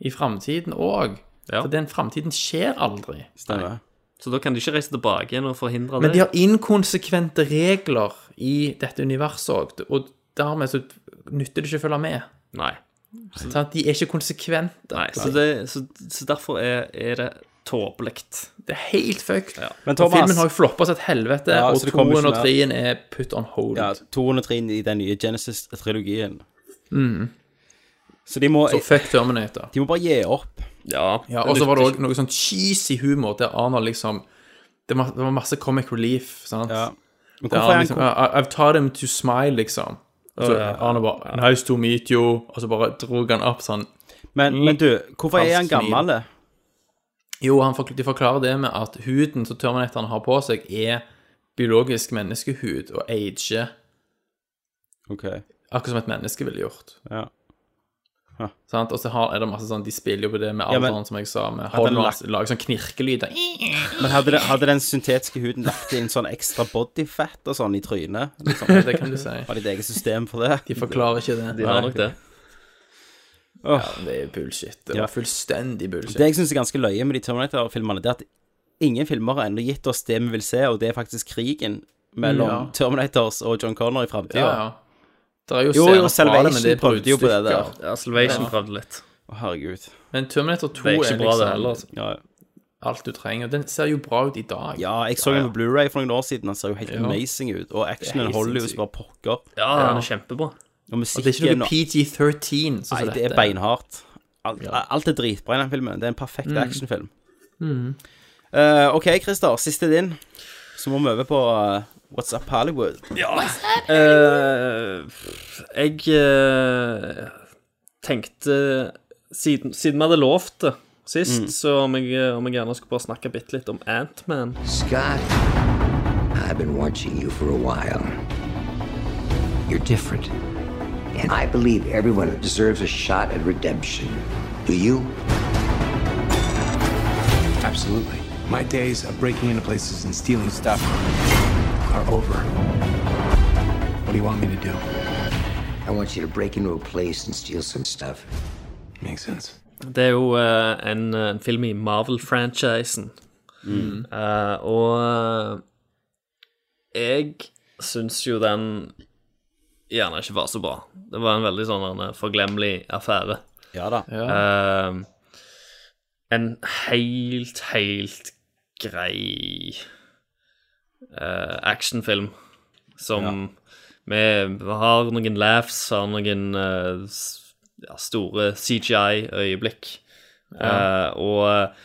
S9: i framtiden òg. For den framtiden skjer aldri.
S1: Stemmer.
S12: Så da kan de ikke reise tilbake igjen og forhindre
S9: Men de
S12: det.
S9: har inkonsekvente regler i dette universet òg, og dermed så nytter det ikke å følge med.
S12: Nei.
S9: Sant? De er ikke konsekvente. Altså,
S12: Nei, så, det, så, så derfor er, er det tåpelig.
S9: Det er helt fucked.
S1: Men Thomas-
S9: Og filmen har jo floppa seg et helvete,
S1: Ja,
S9: og
S1: så det kommer ikke
S9: 200 og
S1: mer.
S9: 3-en er put on hold.
S1: Ja, 203 i den nye Genesis-trilogien.
S9: Mm.
S1: Så de må
S9: Så fuck Terminator.
S1: De må bare gi opp.
S12: Ja,
S9: Ja, og så var det òg noe sånn cheesy humor der Arnold liksom Det var, det var masse comic relief, sant?
S1: Men
S9: Der
S1: hvorfor er
S9: han
S1: han
S9: liksom
S1: kom-
S9: "I- I've taught him to smile, liksom. Og så
S1: Ja, ja.
S9: Arnold bare Nice to meet you. Og så bare drog han opp sånn.
S1: Men, men du, hvorfor er han gammel?
S9: Jo, han forkl- de forklarer det med at huden som Terminatoren har på seg, er biologisk menneskehud og ager.
S1: Ok.
S9: Akkurat som et menneske ville gjort.
S1: Ja. Huh.
S9: Sant? Og så har- er det masse sånn De spiller jo på det med
S1: Ja,
S9: alderen,
S1: men-
S9: som jeg sa, med
S1: Hadde han
S9: hånden
S1: lagt-
S9: lager sånn knirkelyder.
S1: Men hadde, det, hadde den syntetiske huden lagt inn sånn ekstra bodyfat og sånn i trynet? Liksom?
S9: Det kan du si.
S1: Har de et eget system for det?
S9: De forklarer ikke det.
S1: De har nok det. Åh.
S9: Ja, det er bullshit. Det
S1: Ja.
S9: var fullstendig bullshit.
S1: Det jeg syns er ganske løye med de Terminator-filmene, det er at ingen filmer har ennå gitt oss det vi vil se, og det er faktisk krigen mellom
S9: Ja.
S1: Terminators og John Connor i framtida.
S9: Ja, ja. Det er jo
S1: jo,
S9: scener
S1: jo,
S9: fra det, men det
S1: Salvation
S9: er
S1: prøvde jo på det der.
S9: bruddstykker. Ja, Salvation prøvde
S12: litt.
S1: Å, herregud.
S9: Men Terminator 2
S1: Det
S9: er,
S1: er ikke bra,
S9: liksom
S1: det heller, altså.
S9: alt du trenger. Den ser jo bra ut i dag.
S1: Ja, jeg så den på Blu-ray for noen år siden, han ser jo helt
S9: Ja.
S1: amazing ut. Og actionen
S9: Det er helt
S1: holder jo
S9: sinnssykt.
S1: som bare pokker.
S12: Ja, han er kjempebra.
S1: Og
S9: Og det er ikke
S1: musikken
S9: noe PG-13, sånn som
S1: Nei, det er
S9: dette.
S1: beinhardt. Alt, alt er dritbra i den filmen. Det er en perfekt
S9: Mm.
S1: actionfilm.
S9: Mhm.
S1: Eh, OK, Christer. Siste din. Så må vi over på eh, What's Up Hollywood.
S12: Ja. Eh, jeg eh, tenkte siden, siden vi hadde lovt det sist,
S18: Mm.
S12: så om jeg, om jeg gjerne skulle bare snakke bitte litt om Ant-Man.
S18: Scott, I've been watching you for a while. You're different. And I believe everyone deserves a shot at redemption. Do you?
S19: Absolutely. My days of breaking into places and stealing stuff are over.
S18: What do you want me to do? I want you to break into a place and steal some stuff. Makes sense.
S12: Det er jo eh, en, en film i Marvel-franchisen.
S18: Mm.
S12: Eh, og eh, jeg syns jo den gjerne ikke var så bra. Det var en veldig sånn en forglemmelig affære.
S1: Ja da.
S12: Eh, en helt, helt grei eh, actionfilm som med, har noen laughs, har noen eh, s- ja, store CGI-øyeblikk.
S9: Ja.
S12: Eh, og,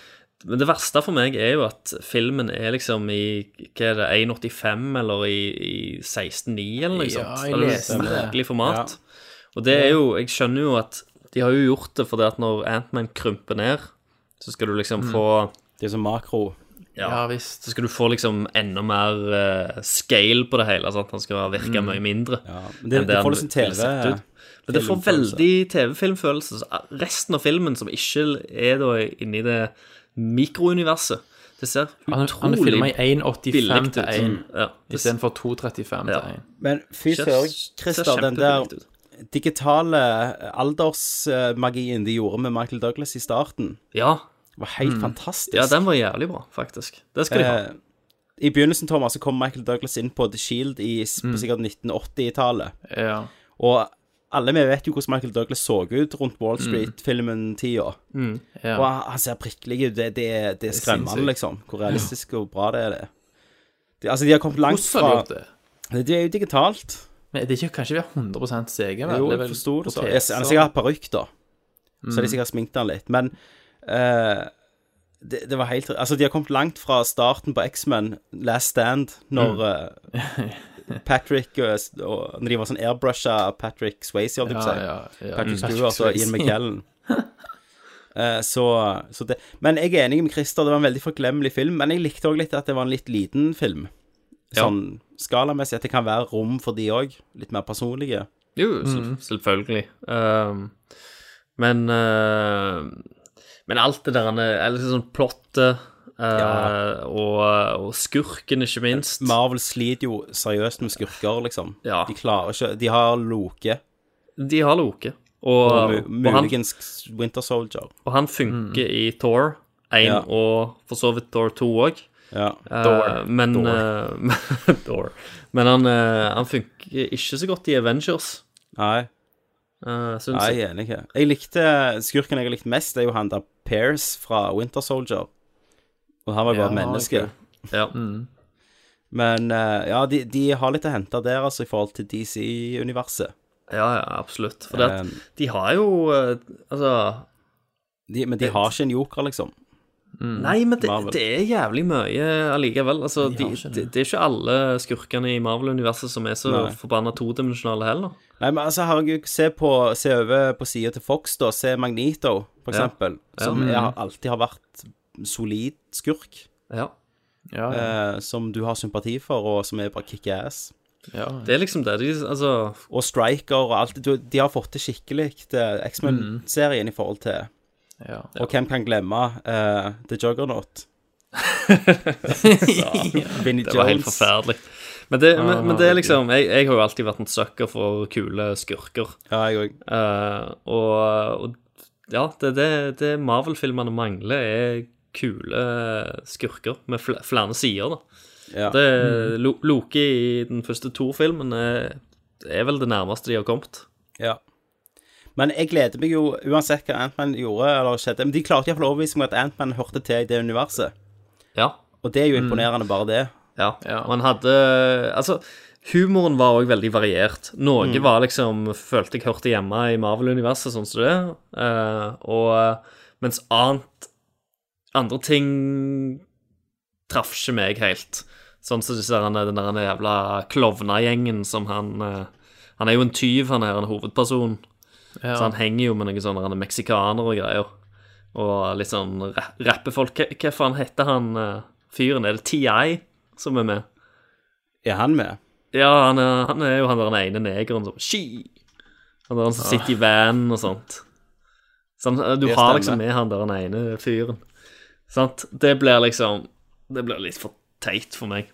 S12: men det verste for meg er jo at filmen er liksom i hva er det, 1,85 eller i, i 16,9 eller noe
S9: Ja,
S12: sånt.
S9: jeg
S12: Eller
S9: leste det.
S12: merkelig format. Og det er jo, jeg skjønner jo at de har jo gjort det fordi at når Ant-Man krymper ned, så skal du liksom
S9: Mm.
S12: få
S1: Det er som makro.
S12: Ja,
S9: Ja, visst.
S12: Så skal du få liksom enda mer eh, scale på det hele. Sant? Han skal virke
S1: Mm.
S12: mye mindre.
S1: men det-
S12: enn
S1: det får
S12: han
S1: liksom
S12: ville sett
S1: TV
S12: ut. Men det får
S1: filmfølelse.
S12: veldig TV-filmfølelse. Så eh, Resten av filmen, som ikke er da inni det mikrouniverset, det ser
S9: Han, han er
S12: utrolig
S9: filma i 1,85
S12: billig
S9: til
S12: ut.
S1: liksom.
S9: 1,
S12: Ja, det ser
S9: istedenfor 2,35 til 1.
S1: Men fy
S12: Ser-
S1: søren,
S12: ser
S1: Christer, den der
S12: kjempebillig
S1: digitale eh, aldersmagien de gjorde med Michael Douglas i starten,
S12: Ja.
S1: var helt
S12: Mm.
S1: fantastisk.
S12: Ja, den var jævlig bra, faktisk. Det skal de ha.
S1: Eh, I begynnelsen, Thomas, så kom Michael Douglas inn på The Shield i s-
S9: Mm.
S1: på sikkert 1980-tallet.
S9: Ja.
S1: Og alle vi vet jo hvordan Michael Douglas så ut rundt Wall Street-filmen-tida.
S9: Mm, ja.
S1: Og han- han ser prikkelig ut. Det, det, er- det er skremmende,
S9: sinnssykt.
S1: liksom. Hvor realistisk og bra det er. det. De, altså, de har kommet langt
S9: Hvordan har de
S1: fra
S9: gjort det?
S1: Det er jo digitalt.
S9: Men det er ikke, kanskje vi har 100 CG? vel?
S1: Jo,
S9: Det er
S1: jeg
S9: vel
S1: forsto det så. Jeg-
S9: proteser.
S1: Han har sikkert hatt parykk, da. Så har de
S9: Mm.
S1: sikkert sminket han litt. Men eh, det, det var helt Altså, de har kommet langt fra starten på X-Men, Last Stand, når
S9: Mm.
S1: eh, Patrick og, og Når de var sånn airbrusha Patrick Swayze, holdt jeg på å si.
S9: Ja, ja, ja.
S1: Patrick
S9: Mm.
S1: Stewart og altså Ian
S9: Swayze.
S1: McKellen. Eh, Så, så det Men jeg er enig med Christer, det var en veldig forglemmelig film. Men jeg likte òg litt at det var en litt liten film.
S12: Ja.
S1: Sånn skalamessig. At det kan være rom for de òg. Litt mer personlige.
S12: Jo, jo, selv-
S1: Mhm.
S12: selvfølgelig. Ehm, men eh, Men alt det der er liksom sånn plottet eh, og, og skurken, ikke minst.
S1: Marvel sliter jo seriøst med skurker, liksom.
S12: Ja.
S1: De klarer ikke De har Loke.
S12: De har Loke. Og,
S1: Og mu-
S12: og han-
S1: muligens Winter Soldier.
S12: Og han funker i Thor 1
S1: Ja.
S12: og for så vidt Thor 2 òg.
S1: Ja.
S12: Uh,
S1: Thor.
S12: men
S1: Thor.
S12: eh, Thor. Men han, eh, han funker ikke så godt i Avengers.
S1: Nei.
S12: synes
S1: Nei,
S12: jeg.
S1: jeg er enig her. Jeg likte Skurken jeg har likt mest, er jo han der Pears fra Winter Soldier. Og han var jo bare
S12: Ja,
S1: et menneske.
S12: ok. Ja.
S1: Men eh, ja, de, de har litt å hente der, altså, i forhold til DC-universet.
S12: Ja, ja, absolutt. For det at
S1: Um,
S12: de har jo eh, Altså
S1: Men de har ikke en joker, liksom.
S12: Nei, men det,
S1: Marvel.
S12: det er jævlig mye allikevel. Altså, de, det, det er ikke alle skurkene i Marvel-universet som er så
S1: Nei.
S12: forbanna todimensjonale heller.
S1: Nei, men altså, herregud, se, på, se over på sida til Fox, da. Se Magnito, for
S12: Ja.
S1: eksempel.
S12: Ja.
S1: Som
S12: Mhm.
S1: er, alltid har vært solid skurk.
S12: Ja.
S1: Eh, som du har sympati for, og som er bare kick-ass.
S12: Ja. Det er liksom det. De, altså
S1: Og Striker og alt. Du, de har fått det skikkelig, det X-Men-serien, i forhold til
S9: Ja.
S1: Og hvem kan glemme eh, The Juggernaut? Vinnie
S12: det var helt
S1: Jones.
S12: forferdelig. Men det, men, men det
S1: Ah,
S12: er liksom jeg, jeg har jo alltid vært en sucker for kule skurker. Eh,
S1: Ja, jeg òg.
S12: og, og ja, det, det, det Marvel-filmene mangler, er kule skurker med fl flere sider, da.
S1: Ja.
S12: Det, Lo- Loki i den første Thor-filmen er, er vel det nærmeste de har kommet.
S1: Ja. Men jeg gleder meg jo uansett hva Ant-Man gjorde eller skjedde. Men de klarte iallfall å overbevise meg at Ant-Man hørte til i det universet.
S12: Ja.
S1: Og det er jo imponerende, bare det.
S12: Ja. Og han hadde Altså, humoren var òg veldig variert. Noe
S1: Mm.
S12: var liksom Følte jeg hørte hjemme i Marvel-universet, sånn som det. er, eh, og mens annet Andre ting traff ikke meg helt. Sånn som disse der, den der jævla klovnegjengen som han eh, Han er jo en tyv, han er en hovedperson.
S1: Eh, sånn-
S9: Ja.
S12: Så han henger jo med noen sånne der meksikanere og greier. Og litt sånn ra- rappefolk. Hva- Hva faen heter han eh, fyren? Er det TI som er med?
S1: Er han med?
S12: Ja, han er, han er jo han der den ene negeren som Ski! Han der han som
S9: Ah.
S12: sitter i vanen og sånt. Så han, du
S9: Det
S12: har
S9: stemmer.
S12: liksom med han der den ene fyren. Sant? Det blir liksom Det blir litt for teit for meg.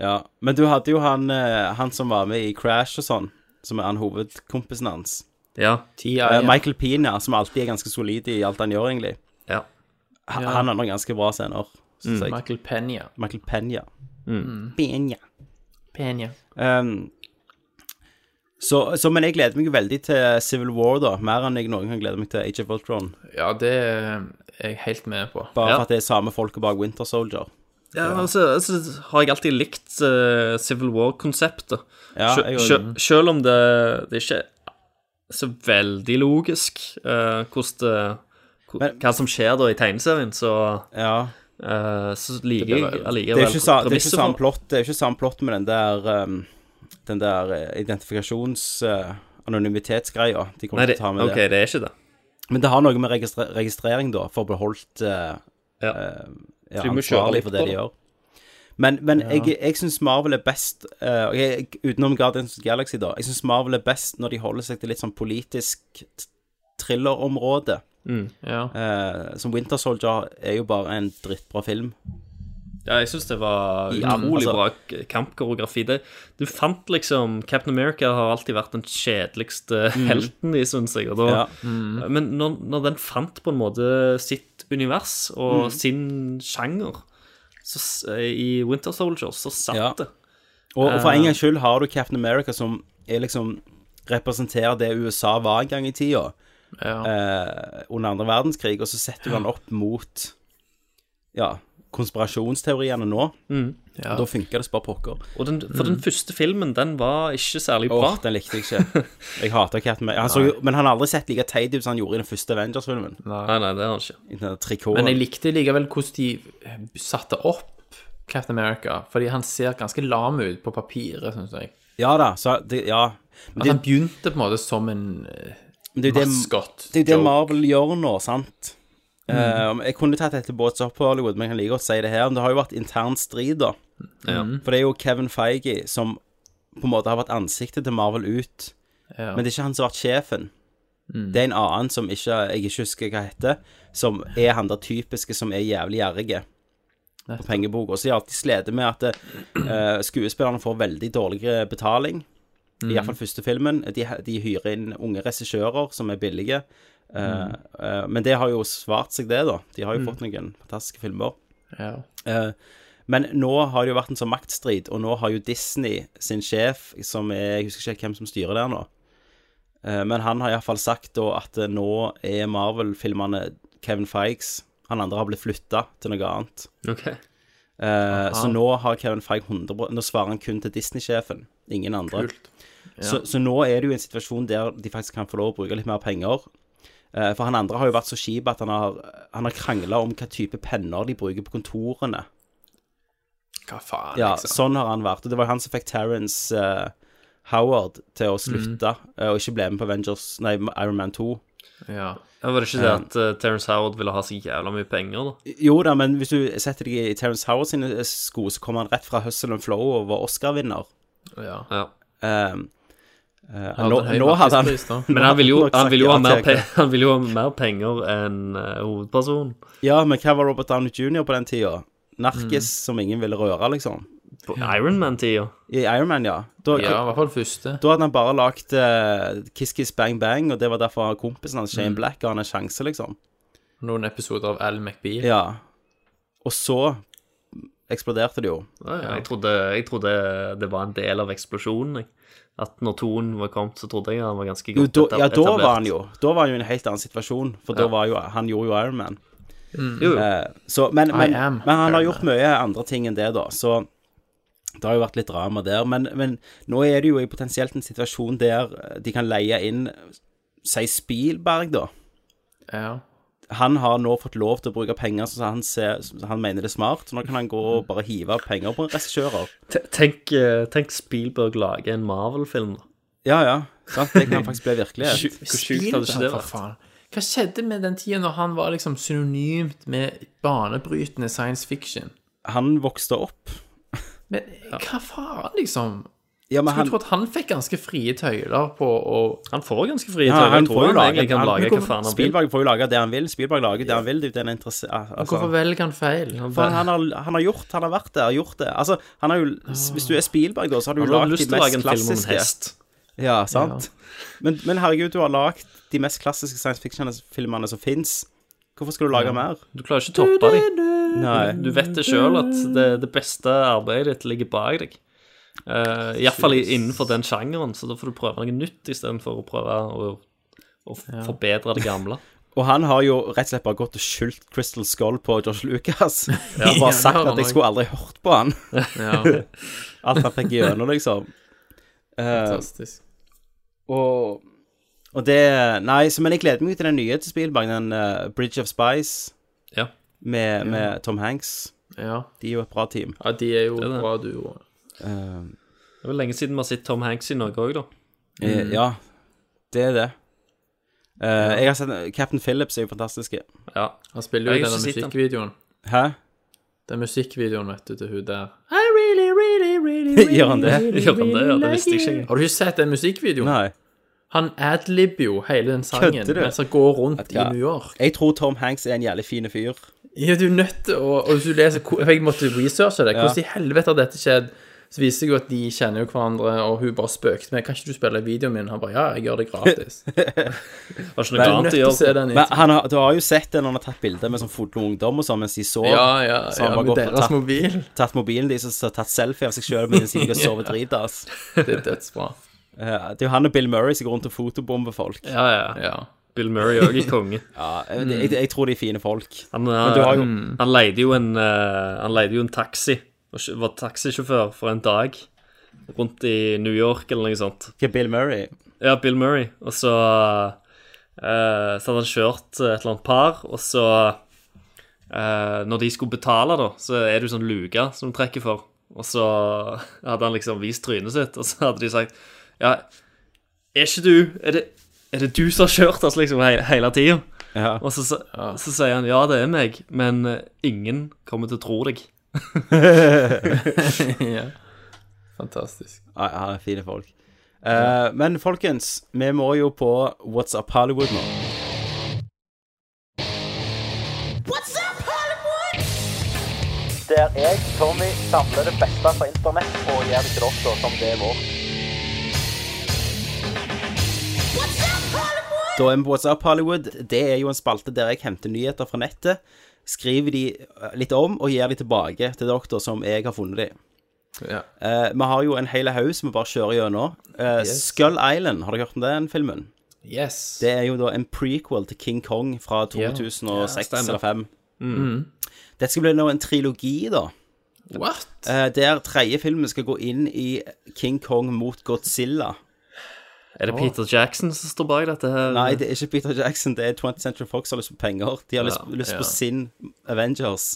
S1: Ja. Men du hadde jo han, eh, han som var med i Crash og sånn, som er han hovedkompisen hans.
S12: Ja.
S1: Eh, Michael Pina, som alltid er ganske solid i alt han gjør, egentlig.
S12: Ja.
S1: Ha-
S9: Ja.
S1: Han har noen ganske bra scener, synes
S9: Mm.
S1: jeg.
S9: Michael Penya.
S1: Michael Penya.
S9: Mm.
S1: Penya.
S9: Penya.
S1: Um, så, så, men jeg gleder meg jo veldig til Civil War, da. Mer enn jeg noen gang gleder meg til Age of Ultron.
S9: Ja, det er jeg helt med på.
S1: Bare
S9: ja.
S1: for at det er samme folket bak Winter Soldier.
S12: Ja, altså, altså har jeg alltid likt eh, Civil War-konseptet.
S1: Ja,
S12: Sjø-
S1: jeg
S12: sjø-
S1: også.
S12: Selv om det, det er ikke er så veldig logisk eh, hvordan det, hvor- hva som skjer da i tegneserien, så, eh, så liker
S1: Det
S12: jeg
S1: blir- det er
S12: allikevel
S1: jo ikke, sa, det er ikke
S12: premisset for
S1: samme plott, det er ikke samme plott med den der um, Den der eh, identifikasjons... eh, anonymitetsgreia. De kommer
S12: Nei,
S1: til
S12: det-
S1: å ta med
S12: ok, det er ikke det.
S1: Men det har noe med registre registrering, da, for å bli holdt eh, eh, ja,
S12: Så de må kjøre
S1: ansvarlig
S12: litt
S1: for
S12: på
S1: det de
S12: det.
S1: gjør. Men, men
S12: Ja.
S1: jeg, jeg syns Marvel er best eh, og jeg, Utenom Guardians of the Galaxy, da. Jeg syns Marvel er best når de holder seg til litt sånn politisk t- thrillerområde.
S9: Mm, ja.
S1: Eh, som Winter Soldier er jo bare en drittbra film.
S12: Ja, jeg syns det var
S1: Ja,
S12: utrolig
S1: altså-
S12: bra k- kampkoreografi. Det, du fant liksom Captain America har alltid vært den kjedeligste
S1: Mm.
S12: helten i, syns jeg. Og
S1: Ja.
S12: da, Men når, når den fant på en måte sitt univers og
S1: Mm.
S12: sin sjanger så, s- eh, i Winter Soldiers, så satt
S1: Ja.
S12: det.
S1: Og, og for en
S12: Eh,
S1: gangs skyld har du Captain America som er liksom representerer det USA var en gang i tida. Eh, under andre verdenskrig, og så setter du han opp mot ja, konspirasjonsteoriene nå.
S12: Mm.
S1: Og Da funker det som bare pokker.
S12: Og den, for den første filmen, den var ikke særlig
S1: Mm. Åh,
S12: bra.
S1: den likte jeg ikke. Jeg hater Captain America. Han så, jo- men han har aldri sett like teit ut som han gjorde i den første Avengers-filmen.
S12: Nei, nei, det har han ikke.
S1: I den der trikoten.
S9: Men jeg likte likevel hvordan de eh, satte opp Captain America, fordi han ser ganske lam ut på papiret, syns jeg.
S1: Ja da, så det, Ja. Men
S9: At han
S1: det,
S9: begynte på en måte som en eh,
S1: men det er jo det-
S9: maskott.
S1: det er jo det
S9: joke. Mm.
S1: Marvel gjør nå, sant? Eh, jeg kunne tatt dette båts opp på Hollywood, men jeg kan like godt si det her. Men det har jo vært intern strid, da.
S9: Ja.
S1: For det er jo Kevin Feige som på en måte har vært ansiktet til Marvel ut.
S9: Ja. Mm.
S1: Men det er ikke han som har vært sjefen. Det er en annen som ikke, jeg ikke husker hva heter, som er han der typiske som er jævlig gjerrige på pengeboka. Så de har alltid slitt med at eh, skuespillerne får veldig dårlig betaling.
S9: Mm.
S1: I hvert fall første filmen. De, de hyrer inn unge regissører som er billige. Eh,
S9: Mm.
S1: eh, men det har jo svart seg, det, da. De har jo
S9: Mm.
S1: fått noen fantastiske filmer.
S9: Ja.
S1: Eh, men nå har det jo vært en sånn maktstrid, og nå har jo Disney sin sjef, som er Jeg husker ikke helt hvem som styrer der nå, Eh, men han har iallfall sagt da at eh, nå er Marvel-filmene Kevin Fikes. Han andre har blitt flytta til noe annet.
S12: Ok.
S1: Eh, så nå har Kevin Feige 100 Nå svarer han kun til Disney-sjefen, ingen andre.
S12: Kult. Ja.
S1: Så, så nå er det jo en situasjon der de faktisk kan få lov å bruke litt mer penger. Eh, for han andre har jo vært så kjip at han har, han har krangla om hva type penner de bruker på kontorene.
S9: Hva faen,
S1: Ja,
S9: liksom.
S1: sånn har han vært. Og det var jo han som fikk Terence eh, Howard til å slutte
S12: Mhm.
S1: eh, og ikke ble med på Avengers, nei, Iron Man 2.
S12: Ja. Var det ikke det
S1: Ja.
S12: at eh, Terence Howard ville ha så jævla mye penger, da?
S1: Jo da, men hvis du setter deg i Terence Howard sine sko, så kommer han rett fra Hustle and Flow og var Oscar-vinner.
S9: Ja.
S1: Um, uh,
S12: Hadde
S1: nå,
S12: en høy
S1: nå hadde han
S12: markedspris, da. Men han vil jo,
S1: nå
S12: han vil jo,
S1: sagt
S12: ha,
S1: ja
S12: mer
S1: til
S12: pe
S1: det.
S12: han vil jo ha mer penger enn eh, hovedpersonen.
S1: Ja, men hva var Robert Downey Jr. på den tida?
S12: Mm.
S1: Narkis som ingen ville røre, liksom.
S12: På Ironman-tida.
S1: I Iron Man, ja. Da,
S9: Ja, i hvert fall første.
S1: da hadde han bare lagd eh, Kiss Kiss Bang Bang, og det var derfor kompisen hans, Shane
S9: Mm.
S1: Black, ga han en sjanse, liksom.
S9: Noen episoder av Al McBeal.
S1: Ja. Og så eksploderte det jo.
S12: Ja, Jeg, trodde, jeg trodde det var en del av eksplosjonen. Jeg. At når toen var kommet, så trodde jeg han var ganske
S1: Jo,
S12: godt
S1: da,
S12: etab-
S1: ja, da
S12: etablert.
S1: var han jo Da var han jo i en helt annen situasjon, for
S12: Ja.
S1: da var jo han gjorde jo Iron Man.
S12: Mm. Jo, jo.
S1: Eh, så, men,
S12: I
S1: men,
S12: am
S1: men han har gjort mye andre ting enn det, da. Så det har jo vært litt drama der. Men, men nå er det jo i potensielt en situasjon der eh, de kan leie inn, si Spielberg, da. Han har nå fått lov til å bruke penger så han, ser, så han mener det er smart, så nå kan han gå og bare hive penger på en regissører.
S12: Te- Tenk, eh, tenk Spielberg lager en Marvel-film, da.
S1: Ja, ja. Sant? Det kan faktisk bli virkelighet.
S12: Sju- Hvor sjukt hadde ikke det
S9: Spielberg, for
S12: vært?
S9: faen. Hva skjedde med den tida når han var liksom synonymt med banebrytende science fiction?
S1: Han vokste opp.
S9: Men hva faen, liksom?
S1: Ja, men
S9: Skulle
S1: han-
S9: tro at han fikk ganske frie tøyler på å
S12: Han får ganske
S1: Ja, han får jo lage- han-
S9: Men
S1: hvorfor-
S9: hvorfor-
S1: Spielberg får jo lage det han vil. Spielberg lager det han vil. Det er jo det han er interesse- al- altså.
S9: Hvorfor velger han feil?
S1: For han, har, han har gjort, han har vært der, gjort det. Altså, han har jo, hvis du er Spielberg, da, så har du jo
S12: Han har
S1: lagd de mest
S12: lyst til å lage en film om en
S1: klassiske
S12: hest.
S1: Ja, sant. Men, men herregud, du har lagd de mest klassiske science fiction-filmene som fins. Hvorfor skal du lage mer?
S12: Du klarer ikke å toppe dem.
S1: Nei.
S12: Du vet det sjøl at det, det beste arbeidet ditt ligger bak deg. Uh, Iallfall innenfor den sjangeren, så da får du prøve noe nytt istedenfor å prøve å, å f-
S1: Ja.
S12: forbedre det gamle.
S1: Og han har jo rett og slett bare gått og skyldt Crystal Skull på Josh Lucas. Og
S12: Ja,
S1: bare
S12: det
S1: sagt
S12: har
S1: at
S12: han
S1: jeg
S12: også.
S1: skulle aldri hørt på han.
S9: Ja.
S1: Alt han fikk gjennom, liksom. Eh,
S9: Fantastisk.
S1: og, og det Nei, så, men jeg gleder meg til den nye til Spielberg, den eh, Bridge of Spice,
S12: Ja.
S1: med,
S9: Ja.
S1: med Tom Hanks.
S9: Ja.
S1: De er jo et bra team.
S9: Ja, de er jo
S12: Det er det.
S9: bra duoer.
S12: Det er vel lenge siden vi har sett Tom Hanks i Norge òg, da.
S1: Eh, Ja, det er det. Eh, Jeg har sett Captain Phillips er jo fantastisk.
S12: Ja.
S9: Han spiller jo
S12: Jeg
S9: i
S12: har
S9: denne
S12: ikke sett den.
S9: musikkvideoen.
S1: Hæ?
S9: Den musikkvideoen, vet du, til hun der.
S12: I really, really, really,
S9: Gjør han det?
S12: Gjør han det, ja, det visste jeg ikke.
S9: Har du ikke sett den musikkvideoen?
S1: Nei.
S9: Han adlibber jo hele den sangen
S1: Kødder du?
S9: mens han går rundt
S1: Ja.
S9: i New York.
S1: Jeg tror Tom Hanks er en jævlig fin fyr.
S9: Ja, du er nødt til å Og hvis du leser hvor- Jeg måtte researche det.
S1: Ja.
S9: Hvordan i helvete har dette skjedd? Så viser det jo at de kjenner jo hverandre, og hun bare spøkte med Kan ikke du spille videoen min? Han bare Ja, jeg gjør det gratis.
S12: Var ikke
S9: Men-
S12: noe annet å
S9: Nødt til å se den
S12: gjøre.
S9: i-
S1: Men han har, du har jo sett det når han har tatt bilder med sånn fotlung ungdom og sånn mens de sover.
S9: Ja, ja,
S1: Så han
S9: ja,
S1: bare
S9: med
S1: går for å
S9: deres
S1: tatt-
S9: mobil.
S1: Tatt mobilen de som har tatt selfie av seg sjøl mens de ligger og sover
S9: Ja.
S1: drita, ass.
S9: Det er dødsbra.
S1: Eh, Det er jo han og Bill Murray som går rundt og fotobomber folk.
S12: Ja, ja. Bill Murray òg er konge.
S1: Ja, jeg, jeg, jeg tror de er fine folk.
S12: Han,
S1: Men du har jo
S12: han- han leide jo en eh, Han leide jo en taxi og sj- var taxisjåfør for en dag rundt i New York eller noe sånt.
S1: Hva, Bill Murray?
S12: Ja, Bill Murray. Og så eh, Så hadde han kjørt et eller annet par, og så eh, Når de skulle betale, da, så er det jo sånn luke som du trekker for. Og så hadde han liksom vist trynet sitt, og så hadde de sagt Ja, er ikke du Er det, er det du som har kjørt oss liksom he hele tida?
S1: Ja.
S12: Og så, sa- så sier han ja, det er meg, men eh, ingen kommer til å tro deg.
S9: ja. Fantastisk.
S1: Ja, ja, fine folk. Eh, Men folkens, vi må jo på What's Up Hollywood nå.
S11: What's up, Hollywood?
S20: Der jeg, Tommy, samler det beste fra internett og gjør det til dere som det er vårt.
S1: Da er vi på What's Up Hollywood. Det er jo en spalte der jeg henter nyheter fra nettet, skriver de eh, litt om og gir de tilbake til dere da, som jeg har funnet de.
S9: Ja.
S1: Eh, vi har jo en hel haug som vi bare kjører gjennom. Eh,
S9: Yes.
S1: Skull Island, har dere hørt om den filmen?
S9: Yes.
S1: Det er jo da en prequel til King Kong fra
S9: Ja.
S1: 2006
S9: Ja,
S1: eller
S9: stemmer.
S1: 2005.
S9: Mm.
S1: Dette skal bli nå en trilogi, da.
S9: What?
S1: Eh, der tredje filmen skal gå inn i King Kong mot Godzilla.
S12: Er det Peter Jackson som står bak dette? her?
S9: Mm.
S1: Nei, det er ikke Peter Jackson. Det er 20th Century Fox som har lyst på penger. De har lyst,
S9: Ja,
S1: lyst
S9: ja.
S1: på sin Avengers.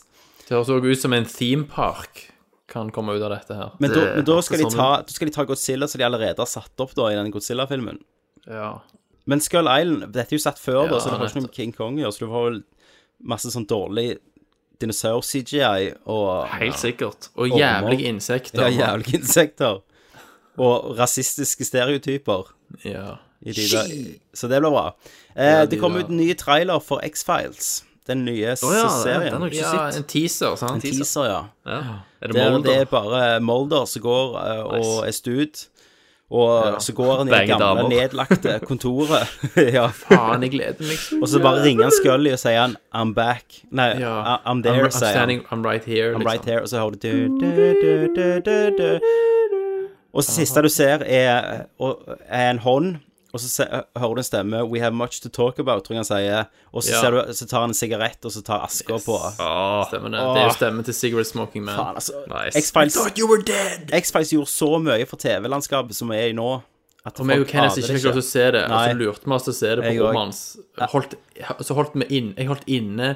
S9: Det høres også ut som en theme park kan komme ut av dette her.
S1: Men, da, men da, skal de
S9: Det- sånn-
S1: ta, da skal de ta Godzilla, som de allerede har satt opp da i den Godzilla-filmen.
S9: Ja.
S1: Men Skull Island Dette er jo satt før, da,
S9: Ja,
S1: så det har ikke noe med King Kong å gjøre. Så du får vel masse sånn dårlig dinosaur-CGI og
S9: Helt sikkert. Og
S1: ormer.
S9: jævlige insekter.
S1: Ja, jævlige insekter. Og rasistiske stereotyper.
S9: Ja.
S1: I de der. Så det blir bra. Eh,
S9: Ja, de
S1: det kom
S9: der.
S1: ut en ny trailer for X-Files. Den nye
S9: Å ja,
S1: serien.
S9: den har jeg ikke sett. En teaser, sant?
S1: En teaser, ja.
S9: Er det
S1: Der
S9: Molder?
S1: det er bare Molder som går eh, og er stud. Og
S9: Ja.
S1: så går han i det
S9: Begge
S1: gamle,
S9: damer.
S1: nedlagte kontoret. ja.
S9: Faen, liksom. jeg gleder meg så
S1: Og så bare ringer han Scully og sier han I'm back. Nei,
S9: Ja.
S1: I- I'm there,
S9: I'm
S1: sier han.
S9: standing- I'm right here,
S1: I'm
S9: liksom.
S1: right here. Og så hører du du, du, du, du, du, du. Og så siste du ser, er, og- er en hånd. Og så se, hører du en stemme We have much to talk about, tror jeg han sier. Og så,
S9: Ja.
S1: ser du, så tar han en sigarett, og så tar aska på.
S9: Stemmer det. Det er
S1: Åh.
S9: jo stemmen til Cigarette Smoking Man.
S1: Faen, altså.
S9: Ah. Nice.
S1: X-Files
S9: I thought you were dead!
S1: X-Files gjorde så mye for TV-landskapet som vi er i nå. At
S9: Og meg og
S1: folk
S9: Kenneth
S1: aner
S9: ikke fikk lov til å se det, og
S1: Nei.
S9: så lurte vi oss til å se det
S1: Jeg
S9: på
S1: også.
S9: rommet hans. Holdt, så holdt vi inn, jeg holdt inne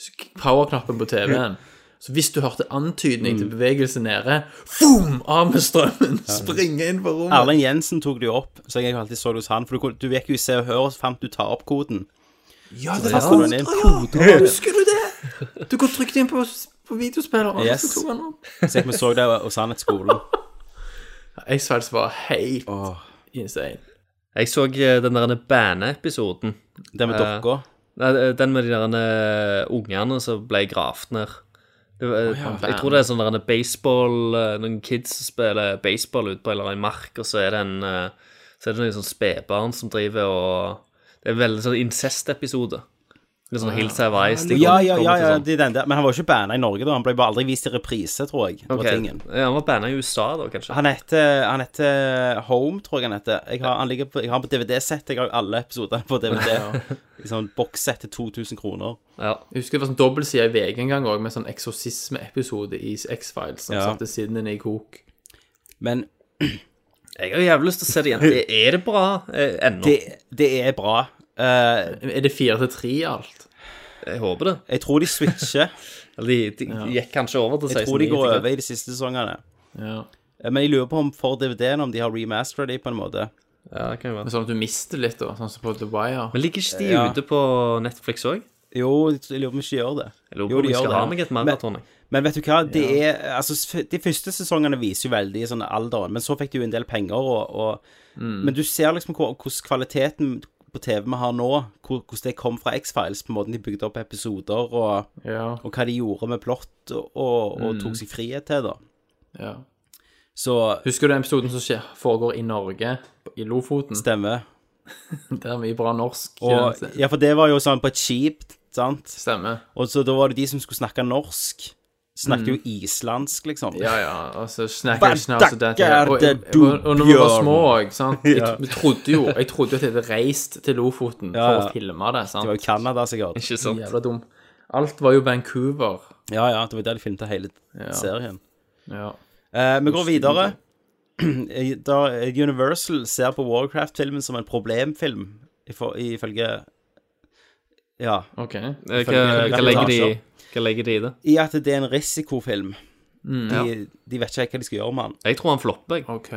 S9: sk- powerknappen på TV-en. Så hvis du hørte antydning
S1: Mm.
S9: til bevegelse nede, boom, av med strømmen, springe inn på rommet.
S1: Erlend Jensen tok det jo opp, så jeg alltid så det hos han. For du, kunne- du gikk jo i Se og Hør, og så fant du ta opp koden.
S9: Ja,
S1: Så
S9: det
S1: tastet
S9: var
S1: du den inn.
S9: koder, ja. Husker du det? Du går trygt inn på, på videospilleren, og
S1: Yes.
S9: så tok han opp.
S1: Så jeg så det hos han etter skolen.
S9: X-Files var helt insane.
S12: Jeg så eh, den der Bane-episoden.
S1: Den med
S12: Eh,
S1: dokka?
S12: Nei, den med de der eh, ungene som ble gravd ned. Det var,
S9: Å ja,
S12: jeg
S9: Bane.
S12: tror det er sånn der en baseball eh, Noen kids som spiller baseball ute på en eller annen mark, og så er det en eh, Så er det noen sånn spedbarn som driver og Det er en veldig sånn incest-episode. Litt sånn Hills Have Eyes. de
S1: Ja,
S12: kommer-
S1: ja,
S12: kommer
S1: ja,
S12: til
S1: ja
S12: sånn-
S1: det er den der. Men han var jo ikke banna i Norge, da. Han ble bare aldri vist i reprise, tror jeg. Det var
S12: Ok,
S1: tingen.
S12: Ja, han var banna i USA da, kanskje.
S1: Han heter, han heter Home, tror jeg han heter. Jeg har han, ligger på, jeg har han på DVD-sett. Jeg har jo alle episoder på
S9: Ja.
S1: DVD. I sånn bokssett til 2000 kroner.
S9: Jeg husker det var sånn dobbeltside i VG en gang òg, med sånn eksorsismeepisode i X-Files som
S1: Ja.
S9: satte sinnene i kok.
S1: Men
S12: Jeg har jævlig lyst til å se det igjen. Er det bra eh, ennå?
S1: det, det er bra. Eh,
S9: Er det fire til tre i alt?
S12: Jeg håper det.
S1: jeg tror de switcher.
S12: Eller de, de gikk kanskje over til 16
S1: Jeg tror de går over i de siste sesongene.
S9: Ja.
S1: Eh, Men jeg lurer på om for DVD-en om de har remasteret de på en måte.
S12: Ja, det kan jo være.
S9: Men sånn at du mister litt, da. Sånn som på The Wire.
S12: Men ligger ikke de
S1: Ja.
S12: ute på Netflix òg?
S1: Jo, jeg lurer på om de ikke gjør det.
S12: Jeg lurer
S1: Jo,
S12: på
S1: de
S12: om jeg
S1: gjør
S12: skal
S1: det.
S12: ha meg et maraton. jeg.
S1: Men vet du hva, det er, altså, f- de første sesongene viser jo veldig sånn alderen, men så fikk de jo en del penger. Og, og, Men du ser liksom hvor- hvordan kvaliteten på TV vi har nå, hvor- hvordan det kom fra X-Files, på måten de bygde opp episoder, og,
S9: Ja.
S1: og hva de gjorde med plott, og, og, og
S9: Mm.
S1: tok seg frihet til, da.
S9: ja.
S1: Så
S9: Husker du den episoden som skjer, foregår i Norge, i Lofoten?
S1: stemmer.
S9: Det er mye bra norsk.
S1: Og,
S9: i den-
S1: ja, for det var jo sånn på et skip, sant?
S9: Stemmer.
S1: Og så da var det de som skulle snakke norsk. Snakket jo islandsk, liksom.
S9: Ja, ja. altså, Og så snakker
S1: Hva
S9: jeg snart så dette
S1: dakker
S9: og, og,
S1: det du,
S9: og, og når vi var
S1: Bjørn?
S9: små òg, sant jeg,
S1: Ja.
S9: vi trodde jo, Jeg trodde jo at jeg hadde reist til Lofoten
S1: Ja,
S9: for
S1: ja.
S9: å filme det. sant
S1: Det var jo Canada, sikkert.
S12: Ikke sant?
S9: Jævla dum. Alt var jo Vancouver.
S1: Ja, ja, det var der de filmte hele serien.
S9: Ja.
S1: Eh, vi går videre. da eh, Universal ser på Warcraft-filmen som en problemfilm, ifo- ifølge Ja.
S9: OK.
S12: Eh, Hva,
S1: Ifølge
S12: hva, legger de,
S1: reportasjer.
S12: hva legger de i det?
S1: I at det er en risikofilm.
S12: Mm,
S1: de,
S12: ja.
S1: de vet ikke helt hva de skal gjøre med den.
S12: Jeg tror han flopper, jeg.
S9: ok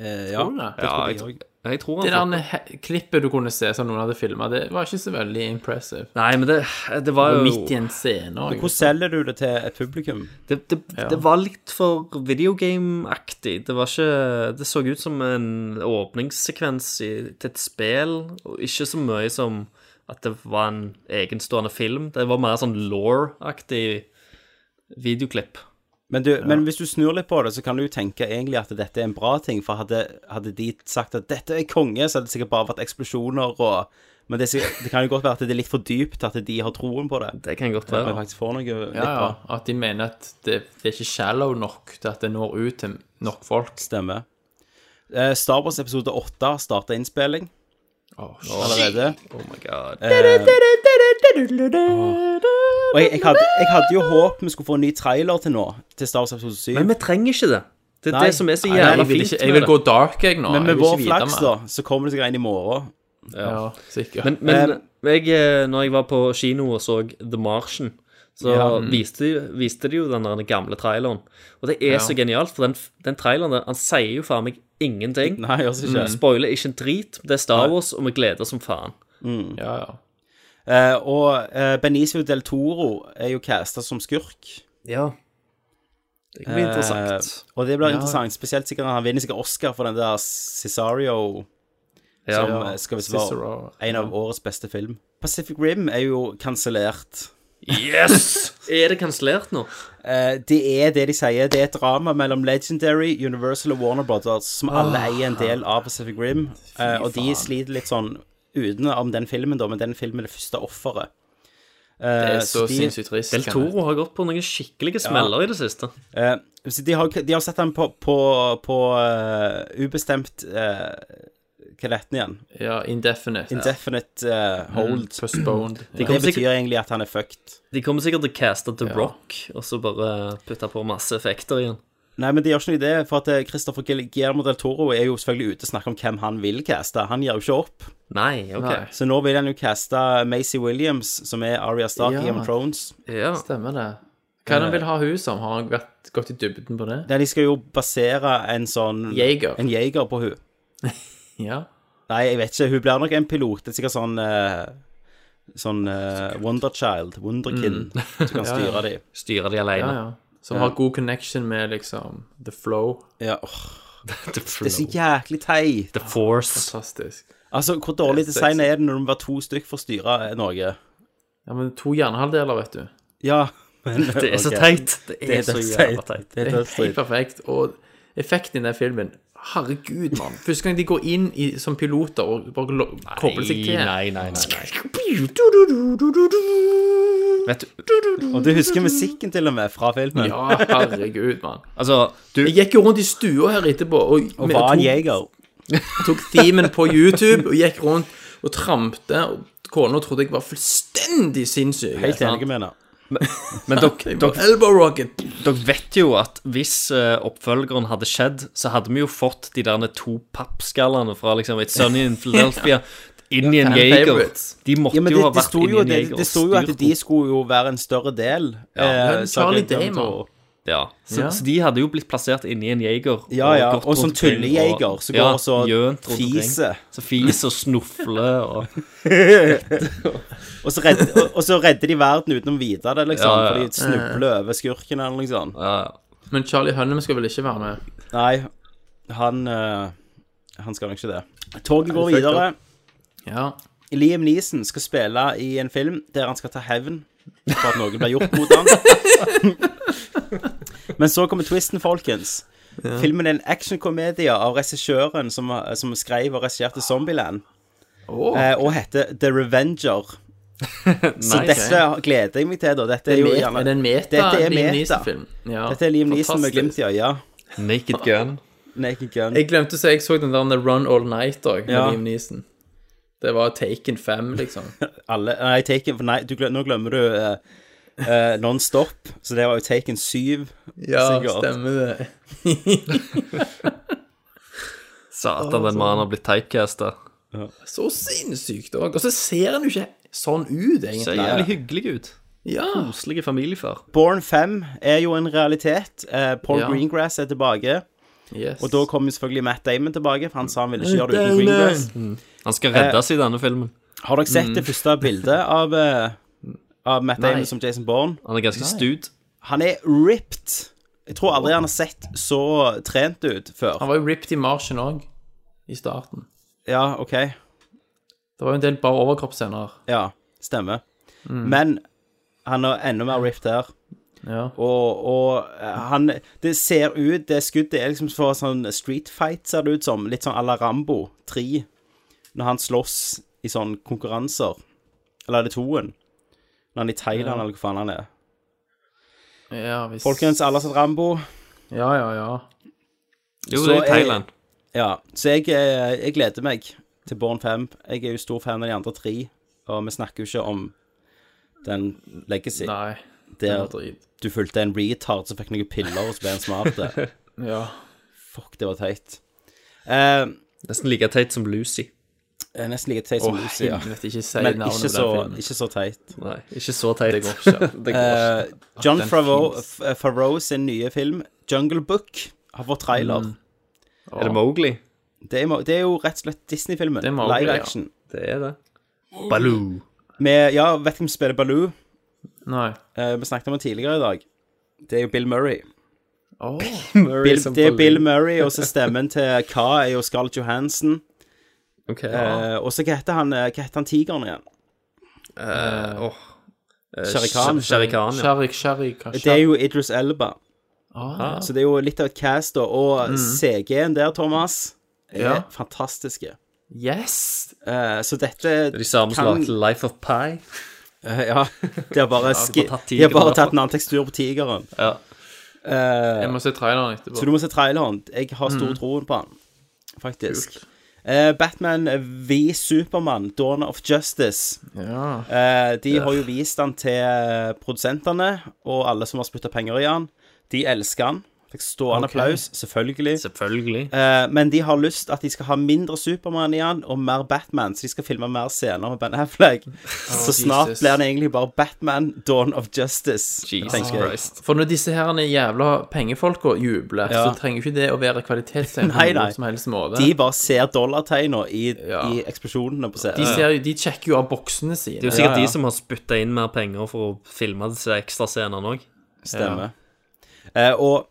S1: Eh, ja,
S9: Tror du det?
S1: det tror
S12: Ja, jeg,
S1: jeg
S12: tr- jeg tror
S9: Det
S12: han flopper.
S9: der he- klippet du kunne se som noen hadde filma, det var ikke så veldig impressive.
S12: Nei, men det, det var
S9: Og
S12: jo
S9: midt i en scene
S1: Men
S9: òg.
S1: Hvordan selger du det til et publikum?
S12: Det, det, det var litt for videogame-aktig. Det var ikke Det så ut som en åpningssekvens i, til et spill, og ikke så mye som at det var en egenstående film. Det var mer sånn law-aktig videoklipp.
S1: Men, du, men hvis du snur litt på det, så kan du jo tenke egentlig at dette er en bra ting. For hadde, hadde de sagt at dette er konge, så hadde det sikkert bare vært eksplosjoner og Men det, er sikkert, det kan jo godt være at det er litt for dypt at de har troen på det.
S12: Det kan godt
S1: At
S9: være.
S1: vi faktisk får noe litt
S9: Ja, ja.
S1: bra.
S9: At de mener at det, det er ikke shallow nok til at det når ut til nok folk.
S1: Stemmer. Eh, Star Wars episode 8 starta innspilling allerede.
S12: Oh my god.
S1: Eh, og jeg, jeg, hadde, jeg hadde jo håp vi skulle få en ny trailer til nå, til Star Wars episode 7.
S12: Men vi trenger ikke det. Det er
S1: Nei.
S12: det som er så
S1: Nei,
S12: jævla
S1: jeg vil
S12: fint.
S1: ikke-
S9: jeg vil gå dark, jeg, nå.
S1: Men
S9: Jeg
S1: med
S9: vil
S1: vår
S9: ikke vite
S1: flaks,
S9: mer.
S1: da, så kommer det seg inn i morgen.
S9: Ja, sikkert.
S12: Men, men
S1: Eh,
S12: jeg, eh, når jeg var på kino og så The Martian, så
S9: Ja. Mm.
S12: viste, de- viste de jo den der gamle traileren. Og det er
S9: Ja.
S12: så genialt, for den, den traileren der, han sier jo faen meg ingenting.
S1: Nei, jeg gjør ikke.
S12: Mm. Spoiler ikke en drit. Det er Star
S1: Nei.
S12: Wars, og vi gleder oss som faen.
S1: Mm.
S9: Ja, ja.
S1: Eh, og eh, Benicio del Toro er jo casta som skurk.
S12: Ja. Det kan bli interessant.
S1: Eh, og det blir
S12: Ja.
S1: interessant, spesielt sikkert når han vinner sikkert Oscar for den der Cesario,
S12: Ja.
S1: som eh, skal visst være
S9: Cicero,
S1: en av årets beste film. Pacific Rim er jo kansellert.
S12: Yes! er det kansellert nå?
S1: Eh, det er det de sier. Det er et drama mellom Legendary, Universal og Warner Brothers, som alle
S12: Ah.
S1: eier en del av Pacific Rim. Eh, og de
S9: faen.
S1: sliter litt sånn utenom den filmen, da, men den filmen er det første offeret.
S9: Det
S1: Eh,
S9: er så
S1: de-
S9: sinnssykt trist.
S12: Del Toro har gått på noen skikkelige smeller i det siste.
S1: Eh, så de, har, de har sett den på, på, på eh, ubestemt eh, Hva er dette igjen?
S9: Ja, indefinite.
S1: Indefinite eh, hold.
S9: Mm, postponed.
S1: Det,
S12: kommer
S1: betyr
S12: sikkert-
S1: egentlig at han er fucked.
S12: De kommer sikkert til å caste The Rock, og så bare putte på masse effekter igjen.
S1: Nei, men det gjør ikke noe i det, for at eh, Christopher Gil- Guillermo del Toro er jo selvfølgelig ute og snakker om hvem han vil caste. Han gir jo ikke opp.
S12: Nei, OK.
S9: Nei.
S1: Så nå vil han jo caste Macy Williams, som er Aria Stark
S9: Ja. Eh.
S1: i Game of Thrones.
S12: Ja.
S9: Stemmer det. Hva er det han vil ha hun som? Har han vært, gått i dybden på det?
S1: Der de skal jo basere en sånn
S9: Jaeger.
S1: En jeger på hun.
S9: Ja.
S1: Nei, jeg vet ikke. Hun blir nok en pilot. Det er sikkert sånn eh, Sånn eh, Wonderchild, Wonderkin, som kan
S9: Ja,
S1: styre
S9: ja.
S1: de.
S12: Styre de
S9: ja,
S12: alene.
S9: ja. Som
S1: Ja.
S9: har god connection med liksom the flow.
S1: Ja, åh,
S12: The
S1: det er så jæklig teit.
S12: The Force.
S9: Fantastisk.
S1: Altså, hvor dårlig
S9: Det er
S1: design
S9: sexy.
S1: er det når du må være to stykk for å styre noe?
S9: Ja, men to hjernehalvdeler, vet du.
S1: Ja, men
S12: Det er så
S1: ok.
S12: teit. Det er, så
S1: dødsteit.
S12: jævla teit.
S1: Det er
S9: Helt
S1: dødsteit.
S9: perfekt. Og effekten i den filmen Herregud, mann. Første gang de går inn i, som piloter og bare lo- kobler seg til.
S12: Nei, nei, nei, nei. Vet du
S1: Og du husker musikken til og med fra filmen?
S9: Ja, herregud, mann.
S12: Altså, du
S9: Jeg gikk jo rundt i stua her etterpå og,
S1: Og var en
S9: tok-
S1: jeger.
S9: tok themen på YouTube og gikk rundt og trampte. Og kona trodde jeg var fullstendig sinnssyk.
S1: Helt enig med henne.
S12: Men dere,
S9: Jeg var
S12: dere,
S9: Elbow rocket.
S12: dere vet jo at hvis eh, oppfølgeren hadde skjedd, så hadde vi jo fått de der to pappskallene fra liksom et Sunny in Philadelphia inn i en
S9: Fan
S12: Jager.
S9: favorites.
S12: De måtte
S1: Ja, men
S12: jo
S1: det,
S12: ha
S1: det,
S12: vært
S1: sto jo,
S12: inni en
S1: det,
S12: Jager.
S1: det sto jo at de skulle jo være en større del.
S9: men
S1: eh,
S9: Charlie
S1: Saga Guillermo
S9: Damon.
S1: Toro.
S12: Ja, så,
S9: Ja.
S12: så de hadde jo blitt plassert inni en jeger.
S1: Ja, ja, og sånn tullejeger som
S12: som
S1: går og så fiser.
S12: fiser. Så fiser og snufler og
S1: Og så, redder, og, og så redder de verden uten å vite det, liksom.
S12: Ja, ja.
S1: For de snubler over skurken eller noe sånt.
S12: ja,
S9: Men Charlie Hunnam skal vel ikke være med?
S1: Nei, han eh, Han skal nok ikke det. Toget går
S9: Nei, fuck
S1: videre.
S9: Ja.
S1: Liam Neeson skal spille i en film der han skal ta hevn for at noe ble gjort mot han. Men så kommer twisten, folkens. Filmen er en actionkomedie av regissøren som, som skrev og regisserte Zombieland,
S9: Åh.
S1: eh, og heter The Revenger. Så
S12: Nice.
S1: dette gleder jeg meg til, da. Dette er,
S9: Er
S1: jo
S9: det
S1: gjerne
S9: en meta?
S1: Dette er
S9: Liam
S1: meta.
S9: Neeson-film? Ja.
S1: Dette er Liam Neeson med
S9: Fantastisk.
S1: glimt i øya.
S12: Naked Gun.
S1: Naked Gun.
S9: Jeg glemte å si jeg så den der Run All Night òg, med
S1: Ja.
S9: Liam Neeson. Det var Taken 5, liksom.
S1: Alle, nei, Taken for Nei, du, glem- nå glemmer du eh, eh, Non-Stop. Så det var jo Taken 7.
S9: Ja,
S1: sikkert.
S9: stemmer det.
S12: Satan, den mannen har blitt typecasta.
S9: Så sinnssykt òg. Og så ser han jo ikke sånn ut,
S12: Ser
S9: egentlig.
S12: jævlig hyggelig ut.
S9: Ja.
S12: Koselig familiefar.
S1: Born 5 er jo en realitet. Eh, Paul
S9: Ja.
S1: Greengrass er tilbake.
S9: Yes.
S1: Og da kommer jo selvfølgelig Matt Damon tilbake, for han sa han ville ikke gjøre det uten Greengrass.
S12: Han
S1: Eh.
S12: skal reddes i denne filmen.
S1: Har dere sett det første bildet av, eh, av Matt
S9: Mm. Nei.
S1: Damon som Jason Bourne?
S12: Han er ganske stud.
S1: Han er ripped. Jeg tror aldri han har sett så trent ut før.
S9: Han var jo ripped i Martian òg, i starten.
S1: Ja, OK.
S9: Det var jo en del bare overkroppsscener. Mm.
S1: Ja, stemmer. Men han er enda mer ripped her. Og, og eh, han Det ser ut Det skuddet er liksom for sånn street fight, ser det ut som. Litt sånn à la Rambo 3. Når han slåss i sånne konkurranser. Eller er det toen? Når han er i Thailand,
S9: Ja.
S1: eller hva faen han er.
S9: Ja, hvis
S1: Folkens, alle har sett Rambo.
S9: Ja, ja, ja.
S1: Så jeg- Ja. Så jeg, eh, jeg gleder meg til Born 5. Jeg er jo stor fan av de andre tre, og vi snakker jo ikke om den legacy.
S9: Nei. den
S1: Der
S9: var drit.
S1: du fulgte en retard som fikk noen piller, og så ble han smart.
S9: Ja.
S1: Fuck, det var teit.
S12: nesten like teit som Lucy.
S1: Eh, Nesten like teit som
S12: Åh,
S1: Lucy, ja.
S12: helvete, ikke si
S1: Men
S12: navnet på
S1: ikke
S12: den
S1: så,
S12: filmen.
S1: ikke så teit.
S12: Nei, ikke så teit.
S1: Det
S12: Det går ikke. Det går ikke.
S1: Eh, John
S12: Den
S1: Favreau,
S12: finnes.
S1: F- eh, Favreau sin nye film, Jungle Book, har fått trailer.
S12: Mm. Er det Mowgli?
S1: Det er, Mo- det er jo rett og slett Disney-filmen.
S12: Det er Mowgli,
S1: Live
S12: ja.
S1: action.
S12: Det er det. Baloo.
S1: Med, ja, vet du hvem som spiller Baloo?
S9: Nei.
S1: Eh, vi snakket om det tidligere i dag. Det er jo Bill Murray.
S9: Murray
S1: Bill,
S9: som
S1: det er
S9: Baloo.
S1: Bill Murray, og så stemmen til Ka er jo Scarlett Johansen.
S12: Ok.
S1: Eh, og så hva heter han, eh, hva heter han tigeren igjen?
S12: Eh, åh. Eh,
S1: Shere Khan.
S12: Sh- Shere Khan, ja.
S9: Sharik, Sharik,
S1: Det er jo Idris Elba.
S9: Ah.
S1: Så det er jo litt av et cast, da. Og
S9: Mm.
S1: CG-en der, Thomas, er
S9: Ja.
S1: fantastiske.
S9: Yes!
S1: Eh, så dette
S12: De samme som
S1: kan-
S12: lagde Life of Pi.
S1: Eh, ja. De har bare,
S12: Ja,
S1: ski...
S12: de har tatt
S1: de har
S12: tigeren
S1: bare
S12: derfra.
S1: tatt en annen tekstur på tigeren.
S12: Ja.
S1: Eh,
S9: Jeg må se traileren etterpå.
S1: Så du må se traileren. Jeg har stor
S9: Mm.
S1: troen på han, faktisk. Eh, Batman v Supermann, Dawn of Justice.
S9: Ja.
S1: Eh, de
S9: Ja.
S1: har jo vist han til eh, produsentene og alle som har spytta penger i han. De elsker han. Fikk stående
S9: Ok.
S1: applaus, selvfølgelig.
S12: Selvfølgelig.
S1: Eh, men de har lyst at de skal ha mindre Supermann i han og mer Batman, så de skal filme mer scener med Ben Affleck. så snart
S9: Oh, Jesus.
S1: blir det egentlig bare Batman, Dawn of Justice. tenker jeg.
S9: For når disse herrene jævla pengefolka jubler,
S1: Ja.
S9: så trenger ikke det å være kvalitetstegn på
S1: Nei, nei.
S9: noen som helst måte.
S1: De bare ser dollartegna i, i eksplosjonene på
S9: De
S1: scenen.
S9: ser jo, de sjekker jo av boksene sine.
S12: Det er jo sikkert
S9: Ja, ja.
S12: de som har spytta inn mer penger for å filme disse ekstrascenene òg.
S1: Stemmer. Eh, og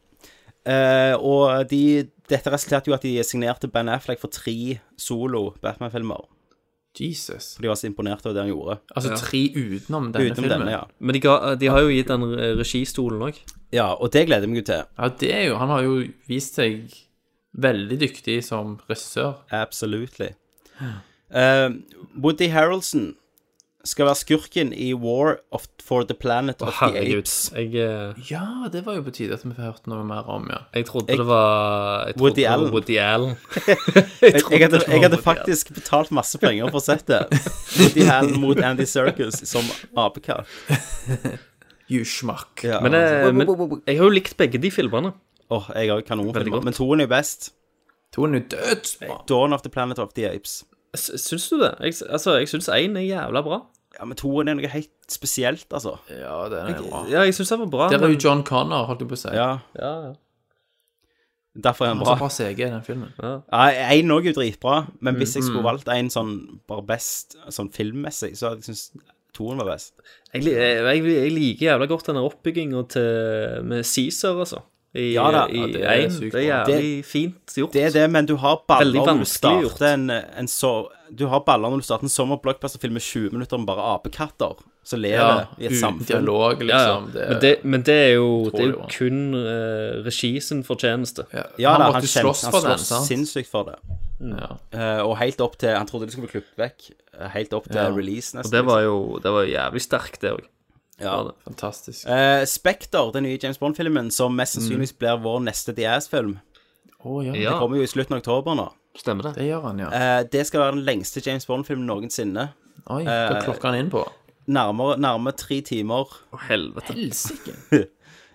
S1: eh, og de, dette resulterte jo at de signerte Ben Affleck for tre solo Batman-filmer.
S9: Jesus.
S1: For de var så imponert over det han gjorde.
S9: Altså, tre utenom denne
S1: Utenom
S9: filmen.
S1: denne, ja.
S12: Men de, ga, de har jo gitt den eh, registolen òg.
S1: Ja, og det gleder jeg meg jo til.
S9: Ja, det er jo Han har jo vist seg veldig dyktig som regissør.
S1: Absolutely. Eh, Woody Harrelson skal være skurken i War of, for the Planet of the
S12: herregud.
S1: Apes.
S12: Jeg, eh,
S9: Ja, det var jo på tide at vi får hørt noe mer om, ja.
S12: jeg trodde
S1: Jeg-
S12: det var jeg trodde
S1: Woody
S12: det var
S1: Allen.
S12: Woody Allen.
S1: Jeg,
S12: trodde
S1: jeg, hadde,
S12: det var
S1: jeg hadde
S12: Woody altså.
S1: faktisk betalt masse penger for å sett det. Woody Allen mot Andy Circus som apekatt.
S9: You schmuck.
S1: Ja.
S12: Men, eh, men jeg har jo likt begge de filmene.
S1: Åh, jeg har jo
S12: Veldig
S1: kanonfilmer.
S12: godt.
S1: Men toen er jo best.
S9: Toen er jo dødsbra.
S1: Dawn of the Planet of the Apes.
S12: S- Syns du det? Jeg, s- altså, jeg syns én er jævla bra.
S1: Ja, men toen er noe helt spesielt, altså.
S9: Ja, den er bra.
S12: Ja, jeg syns den var bra.
S9: Der var
S12: men-
S9: jo John Connor, holdt jeg på å si.
S1: Ja,
S12: ja, ja.
S1: derfor er
S9: Han
S1: den
S9: har så
S1: bra.
S9: bra CG i den filmen.
S1: Ja, Én òg er jo dritbra, men hvis jeg skulle
S9: Mm.
S12: Mm-hmm.
S1: valgt en sånn bare best sånn filmmessig, så hadde jeg syntes toen var best.
S12: Jeg, li- jeg, jeg liker jævla godt denne oppbygginga til- med Caesar, altså. I,
S1: Ja da,
S12: i,
S1: ja, det
S12: det,
S1: er
S12: er
S1: sykt
S12: det er
S1: bra.
S12: jævlig fint gjort.
S1: Det er det, men du har baller når
S12: Veldig
S1: du
S12: vanskelig gjort.
S1: starter en, en så, Du har baller når du starter en sommerblockbuster-film med 20 minutter med bare apekatter som lever i et
S9: uten
S1: samfunn.
S9: dialog,
S12: Ja, ja.
S9: liksom.
S12: men, det, men det er jo, det er jo
S9: utrolig
S12: kun uh, regi sin fortjeneste.
S1: Ja,
S9: Han
S1: da,
S9: måtte
S1: han,
S9: jo
S1: kjempe-
S9: slåss for
S1: han
S9: den,
S1: slåss
S9: sant?
S1: sinnssykt for det.
S9: Ja.
S1: Eh, og helt opp til Han trodde det skulle bli klippet vekk. eh, Helt opp til
S12: Ja.
S1: release nesten. liksom.
S12: Og det var jo, det var jo jævlig sterkt, det òg.
S1: Ja.
S9: Fantastisk.
S1: Eh, Spekter, den nye James Bond-filmen, som mest sannsynligvis blir vår neste Diaz-film.
S9: Å, ja.
S1: Det kommer jo i slutten av oktober nå.
S12: Stemmer
S9: Det gjør han, ja.
S1: Eh, det skal være den lengste James Bond-filmen noensinne.
S9: Oi, hva
S1: eh,
S9: klokka han inn på?
S1: Nærmere, nærmere tre timer
S12: Å, helvete.
S9: Helsike.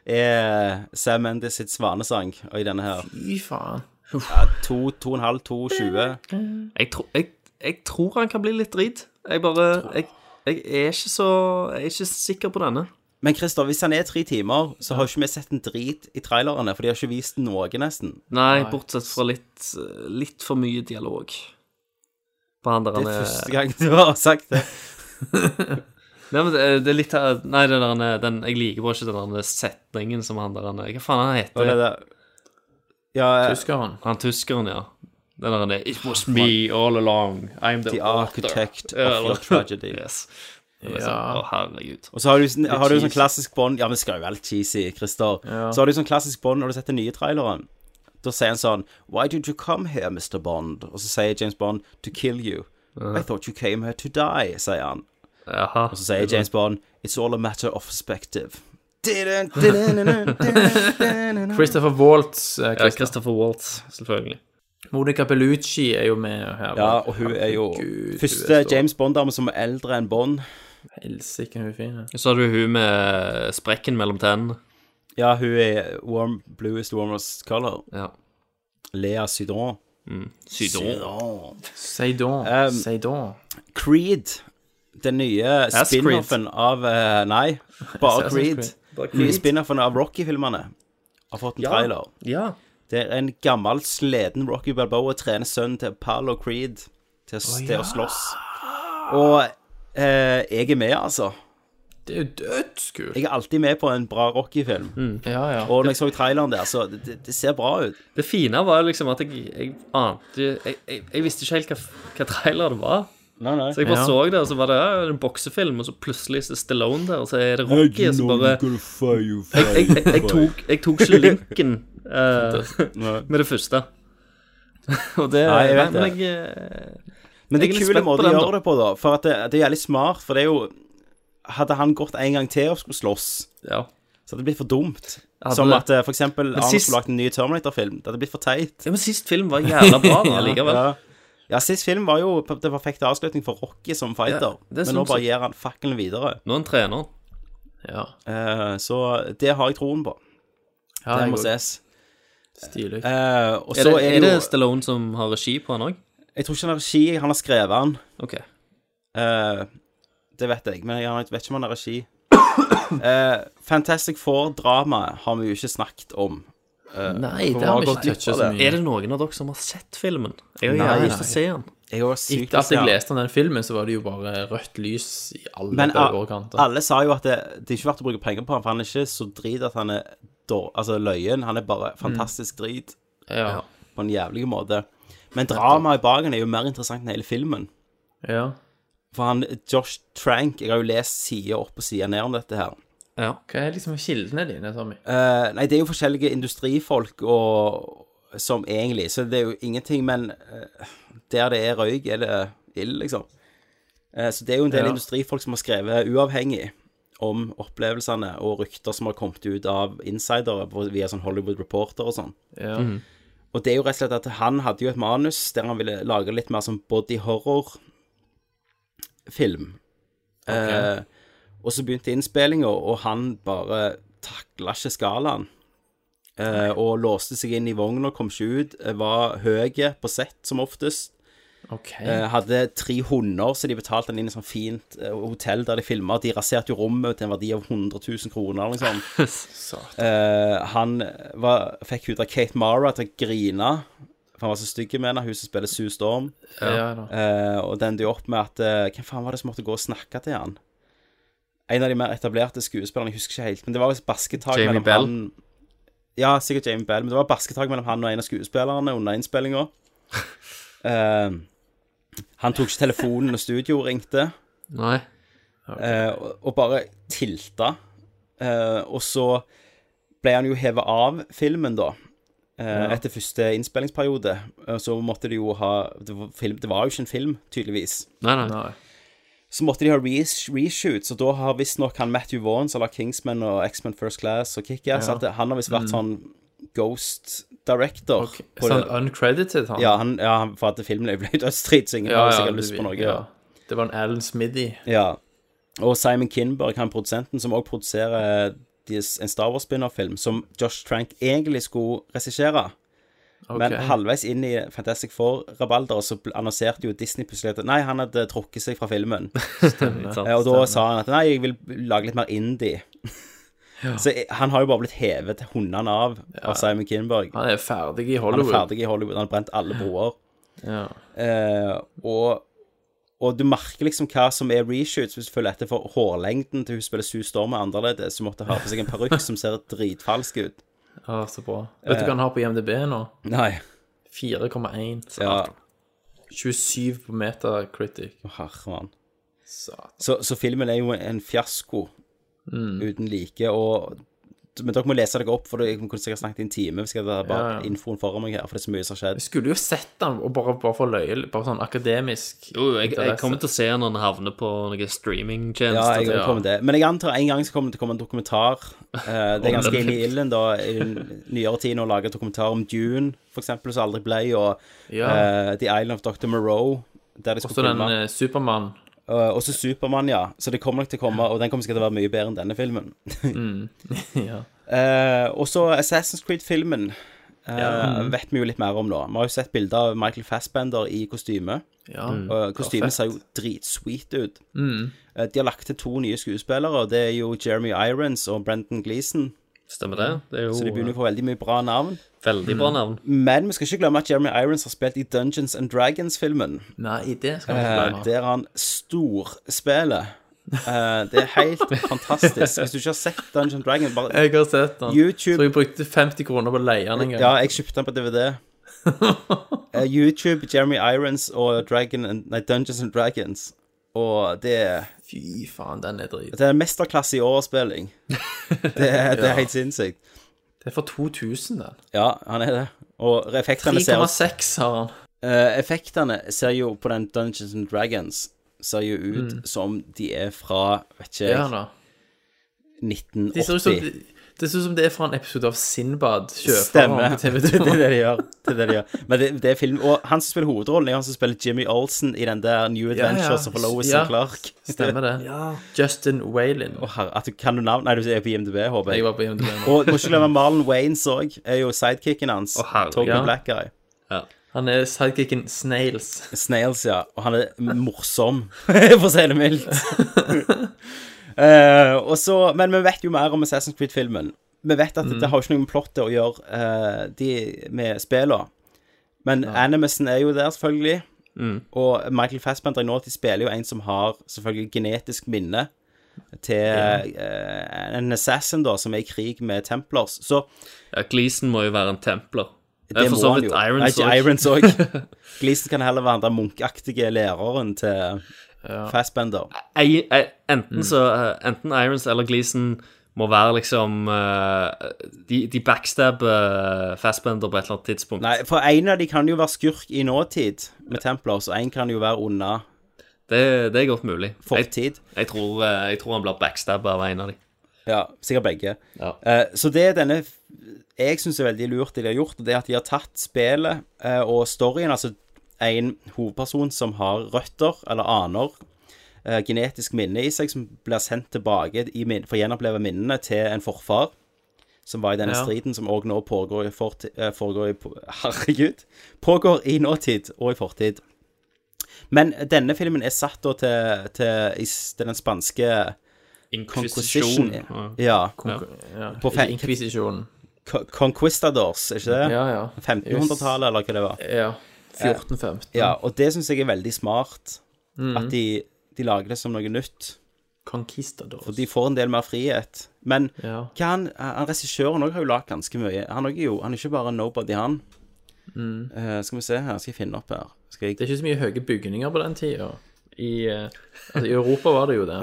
S1: er Sam Mendes sitt svanesang og i denne her.
S9: Fy faen.
S1: Ja, to, to og en halv, to, tjue.
S12: Jeg, tro, jeg, jeg tror han kan bli litt drit. Jeg bare jeg, jeg er ikke så Jeg er ikke sikker på denne.
S1: Men Christer, hvis han er tre timer, så har ikke vi sett en drit i trailerne, for de har ikke vist noe, nesten.
S12: Nei, bortsett fra litt, eh, litt for mye dialog. På han der
S1: Det
S12: han
S1: er
S12: er
S1: første gang du har sagt det.
S12: Nei, men det er- det er litt av- Nei, det der han er den, jeg liker bare ikke den der setningen som han der han er Hva faen han heter
S1: Og det der Ja, eh,
S9: Tyskeren.
S12: Han tyskeren, ja. Den der han er It was me all along. I'm the,
S1: The
S12: author."
S1: architect of
S12: Ja,
S1: your tragedy.
S12: Yes.
S1: Ja.
S12: Liksom. Å, herregud.
S1: Og så har du, sånn-
S12: Litt
S1: har du sånn
S12: cheesy.
S1: klassisk Bond Ja, vi skal jo være litt cheesy, Christer.
S12: Ja.
S1: Så har du sånn klassisk Bond når du setter nye traileren. Da sier han sånn Why did you come here, Mr. Bond? Og så sier James Bond To kill you. I thought you came here to die, sier han. Og så sier
S12: det er
S1: James Bond It's all a matter of perspective.
S9: Christopher Waltz. eh,
S12: Ja, Christopher Waltz, selvfølgelig.
S9: Monica Bellucci er jo med her.
S1: Ja, og hun er jo første James Bond-dame som er eldre enn Bond.
S9: Helsike, hun er fin. ja.
S12: Så hadde du hun med sprekken mellom tennene.
S1: Ja, hun er warm, blue is the warmest color. Lea Sydon.
S12: Sydon.
S9: Seidon.
S1: Um,
S9: Seidon.
S1: Creed. Den nye
S9: Ass Creed.
S1: spin-offen av eh, Nei, bare
S9: Assassin's
S1: Creed.
S9: Creed. Bare Creed.
S1: Nye spin-offen av Rocky-filmene har fått en
S9: Ja,
S1: trailer.
S10: Ja.
S1: Det er en gammel, sliten Rocky Balboa trener sønnen til Apollo Creed til, å-
S9: Å,
S1: til
S9: ja.
S1: å slåss. Og eh, jeg er med, altså.
S9: Det er jo dødskult.
S1: Jeg er alltid med på en bra Rocky-film.
S12: Mm.
S9: Ja, ja.
S1: Og når jeg så traileren der, så det, det- det ser bra ut.
S12: Det fine var jo liksom at jeg, jeg ante jeg, jeg, jeg visste ikke helt hva, hva trailer det var.
S1: Nei, nei.
S12: Så jeg bare
S1: Ja.
S12: så det, og så var det ja, en boksefilm, og så plutselig så er Stallone der, og så er det Rocky, og så bare Jeg, jeg, jeg, jeg, tok, jeg tok ikke linken eh, med det første. Og det
S1: Nei, jeg vet
S12: men
S1: det.
S12: jeg, eh,
S1: Men det
S12: jeg
S1: er
S12: litt
S1: kule
S12: spent på
S1: måter de
S12: den,
S1: gjør det på, da. For at det, det er jævlig smart, for det er jo Hadde han gått en gang til og skulle slåss, så hadde det blitt for dumt.
S12: Hadde
S1: Som
S12: det.
S1: at eh, for eksempel
S12: Men
S1: Arnold
S12: sist-
S1: skulle lagt en ny Terminator-film. Det hadde blitt for teit.
S12: Ja, Men sist film var jævla bra, da, likevel.
S1: ja. ja, sist film var jo p- det perfekte avslutning for Rocky som fighter.
S12: Ja, det er
S1: men nå
S12: sånn
S1: bare
S12: som-
S1: gir han fakkelen videre.
S12: Nå er han trener.
S9: Ja.
S1: Eh, så det har jeg troen på.
S12: Ja,
S1: det
S12: jeg
S1: må
S12: også.
S1: ses.
S9: Stilig.
S1: Eh, og
S12: Er
S1: så
S12: det,
S1: er,
S12: er
S1: jo
S12: det Stallone som har regi på han òg?
S1: Jeg tror ikke han har regi, han har skrevet den.
S12: Ok.
S1: Eh, det vet jeg, men jeg har- vet ikke om han har regi. Eh, Fantastic Four-dramaet har vi jo ikke snakket om. Eh,
S12: Nei,
S1: for
S12: det har vi
S1: gått
S12: ikke
S1: dypt
S12: touchet
S1: på
S12: så mye. Er det noen av dere som har sett filmen? Jeg har
S9: Nei,
S12: gjerne
S9: nei.
S12: lyst til å se den.
S1: Jeg var sykt
S9: Etter at
S1: lyst,
S9: jeg
S1: ja.
S9: leste om den filmen, så var det jo bare rødt lys i alle
S1: Men ah, a-
S9: overkanter.
S1: alle sa jo at det, det er ikke verdt å bruke penger på han, for han er ikke så drit at han er dår, altså løyen. Han er bare fantastisk drit.
S9: Ja.
S1: På en jævlig måte. Men dramaet i baken er jo mer interessant enn hele filmen.
S9: Ja.
S1: For han, Josh Trank Jeg har jo lest side opp og side ned om dette her.
S9: Hva er liksom kildene dine, Tommy?
S1: Eh, nei, det er jo forskjellige industrifolk og, som egentlig, så det er jo ingenting, men eh, der det er røyk, er det ild, liksom. Eh, så det er jo en del
S9: Ja.
S1: industrifolk som har skrevet uavhengig om opplevelsene og rykter som har kommet ut av insidere på- via sånn Hollywood Reporter og sånn.
S9: Ja. Mhm.
S1: Og det er jo rett og slett at han hadde jo et manus der han ville lage litt mer sånn body horror-film. Eh, og så begynte innspillinga, og han bare takla ikke skalaen. Eh, og låste seg inn i vogna, kom ikke ut. eh, Var høy på sett, som oftest.
S9: Ok.
S1: Eh, hadde tre hunder, så de betalte han inn i et sånt fint eh, hotell der de filma. De raserte jo rommet til en verdi av 100 000 kroner, liksom. Eh, han var, fikk hun der Kate Mara til å grine. For han var så stygg med henne, hun som spiller Sue Storm.
S9: Ja da.
S1: Eh, og det endte jo opp med at eh, Hvem faen var det som måtte gå og snakke til han? En av de mer etablerte skuespillerne, jeg husker ikke helt. Men det var visst basketak
S12: Jamie
S1: mellom
S12: Bell?
S1: han Ja, sikkert Jamie Bell, men det var basketak mellom han og en av skuespillerne under innspillinga. Eh, han tok ikke telefonen når studio ringte.
S12: Nei.
S1: Eh, og- og bare tilta. Eh, og så ble han jo hevet av filmen, da. Eh,
S9: Ja.
S1: Etter første innspillingsperiode. Eh, Så måtte de jo ha det var, film, det var jo ikke en film, tydeligvis.
S12: Nei, nei.
S1: Så måtte de ha res- reshoots, og da har visstnok han Matthew Vaughn, som har lagd Kingsman og X-Men First Class og Kick-Ass,
S9: Ja.
S1: at han har visst vært
S9: Mm.
S1: sånn ghost director. på
S9: Sånn
S1: det.
S9: uncredited, han.
S1: Ja, han, ja, for at filmen er jo blitt dødsdrit, så ingen
S9: Ja,
S1: har
S9: ja,
S1: sikkert
S9: du-
S1: lyst på noe.
S9: ja. Det var en Alan Smithy.
S1: Ja. Og Simon Kinberg, han produsenten som også produserer dis- en Star Wars spin-off-film, som Josh Trank egentlig skulle regissere.
S9: Ok.
S1: Men halvveis inn i Fantastic Four-rabalderet så bl- annonserte jo Disney plutselig at nei, han hadde trukket seg fra filmen.
S12: sant,
S1: Eh, Og da
S12: stemmer.
S1: sa han at nei, jeg vil lage litt mer indie.
S9: Ja.
S1: Så eh, han har jo bare blitt hevet til hundene av av Simon Kinberg.
S9: Han er ferdig
S1: Han
S9: i
S1: er
S9: Hollywood.
S1: ferdig i Hollywood, han har brent alle broer.
S9: Ja.
S1: Eh, og, og du merker liksom hva som er reshoots, hvis du følger etter for hårlengden til hun spiller Sue Storm er annerledes. Hun måtte ha på seg en parykk som ser dritfalsk ut.
S9: Ja, så bra. Vet du hva han har på IMDb nå?
S1: Nei.
S9: 4,1.
S1: Ja.
S9: 27 på Metacritic.
S1: Herre mann. Så, så filmen er jo en fiasko
S9: Mm.
S1: uten like. Og, men dere må lese dere opp, for det- jeg kunne sikkert snakket i en time hvis jeg hadde bare
S9: Ja, ja.
S1: infoen foran meg her, for det er så mye som har skjedd.
S9: Skulle jo sett den, og bare, bare for løye, bare sånn akademisk
S12: Jo, jo, jeg, jeg kommer til å se han når han havner på noen
S1: Ja, jeg
S12: streamingtjenester. til-
S1: kommer til det. Men jeg antar en gang så kommer det til å komme en dokumentar. Eh, det er
S12: Om
S1: ganske
S12: den.
S1: inn i ilden da, i nyere tid, å lage dokumentar om Dune, for eksempel, som aldri ble, og
S9: Ja.
S1: eh, The Island of Dr. Moreau, der de skulle
S9: Også den eh, Supermann.
S1: Eh, også Supermann, ja. Så det kommer nok til å komme, og den kommer sikkert til å være mye bedre enn denne filmen.
S9: Mm. ja.
S1: Eh, og så Assassin's Creed-filmen eh,
S9: Ja.
S1: vet vi jo litt mer om nå. Vi har jo sett bilder av Michael Fassbender i kostyme.
S9: Ja.
S1: Og
S12: Mm.
S9: Ja, fett.
S1: kostymet ser jo dritsweet ut.
S9: Mm.
S1: Eh, de har lagt til to nye skuespillere, og det er jo Jeremy Irons og Brendan Gleeson.
S12: Stemmer det. det er jo,
S9: Oh,
S1: Så de begynner å Mm. få veldig mye bra navn.
S12: Veldig bra navn.
S1: Men vi skal ikke glemme at Jeremy Irons har spilt i Dungeons and Dragons-filmen.
S9: Nei, det skal vi ikke
S1: Eh,
S9: glemme.
S1: der han storspiller. Eh, det er helt fantastisk. Hvis du ikke har sett Dungeon Dragon, bare
S9: Jeg har sett den.
S1: YouTube-
S9: Så jeg brukte 50 kroner på å leie den en gang.
S1: Ja, jeg kjøpte den på DVD. Eh, YouTube, Jeremy Irons og Dragon and, nei, Dungeons and Dragons. Og det er
S9: Fy faen, den er drit.
S1: Det er en mesterklasse i overspilling. Det er, det
S9: Ja.
S1: er helt sinnssykt.
S9: Det er fra 2000, den.
S1: Ja, han er det. Og effektene ser
S9: 3,6 har han.
S1: Eh, effektene ser jo på den Dungeons and Dragons ser jo ut
S9: Mm.
S1: som de er fra, vet ikke
S9: Ja, da.
S1: jeg,
S9: De ser ut som,
S1: 1980.
S9: det ser ut som det er fra en episode av Sinbad. Sjøfarer
S1: Stemmer.
S9: på
S1: Det er
S9: TV2.
S1: det de gjør. Det er det de gjør. Men det, det er film. Og han som spiller hovedrollen, er han som spiller Jimmy Olsen i den der New Adventures of Lois
S9: Ja,
S1: and Clark.
S9: Stemmer det. Justin Waylon.
S1: Å, herre, at du kan du navn? Nei, du er på IMDb, håper jeg.
S9: Jeg var på IMDb nå.
S1: Og må ikke glemme Marlon Waynes òg, er jo sidekicken hans.
S9: Å, herre,
S1: Toby
S9: ja.
S1: Black Guy.
S9: Han er sidekicken Snails.
S1: Snails, ja. Og han er morsom, for å si det mildt. Eh, og så, men vi vet jo mer om Assassin's Creed-filmen. Vi vet at
S9: Mm.
S1: det har jo ikke noe med plottet å gjøre eh, de, med spillene. Men Animusen er jo der, selvfølgelig.
S9: Mm.
S1: Og Michael Fassbender i nåtid spiller jo en som har selvfølgelig genetisk minne til eh, en assassin, da, som er i krig med Templars. Så
S12: Ja, Gleason må jo være en templer.
S1: det
S12: Eh, for
S1: må
S12: så
S1: han
S12: vidt
S1: jo. Nei,
S12: Irons
S1: ikke
S12: også.
S1: Irons òg. Gleason kan heller være den der munkaktige læreren til Fassbender.
S12: Ei- ei- Enten
S1: Mm.
S12: så eh, Enten Irons eller Gleason må være liksom eh, De, de backstabber Fastbender på et eller annet tidspunkt.
S1: Nei, for en av de kan jo være skurk i nåtid med Templars, og en kan jo være unna
S12: Det, det er godt mulig.
S1: Fortid.
S12: Jeg, jeg, tror, eh, jeg tror han blir backstabba av en av dem.
S1: Ja, sikkert begge. Eh, så det denne f- jeg syns er veldig lurt, det de har gjort, det er at de har tatt spillet eh, og storyen, altså en hovedperson som har røtter eller aner, eh, genetisk minne i seg, som blir sendt tilbake i min for å gjenoppleve minnene til en forfar. Som var i denne
S9: Ja.
S1: striden som òg nå pågår i fortid Foregår i på- Herregud. Pågår i nåtid og i fortid. Men denne filmen er satt da til, til, i s- til den spanske
S9: Inquisition.
S1: Conquisition.
S9: Ja.
S1: Ja.
S9: Konk- ja.
S1: På fe-
S9: Ikke Inkvisisjonen.
S1: Co- Conquistadors, er ikke det?
S9: Ja, ja.
S1: 1500-tallet, eller hva det var.
S9: Ja. 14-15.
S1: Eh, Ja, og det syns jeg er veldig smart.
S9: Mhm.
S1: At de, de lager det som noe nytt.
S9: Conquistadors.
S1: For de får en del mer frihet. Men
S9: Ja.
S1: hva han, han regissøren òg har jo lagd ganske mye. Han er jo han er ikke bare nobody, han.
S9: Mm.
S1: Eh, skal vi se her, skal jeg finne opp her. Skal jeg
S9: Det er ikke så mye høye bygninger på den tida. I, eh, altså, I Europa var det jo det.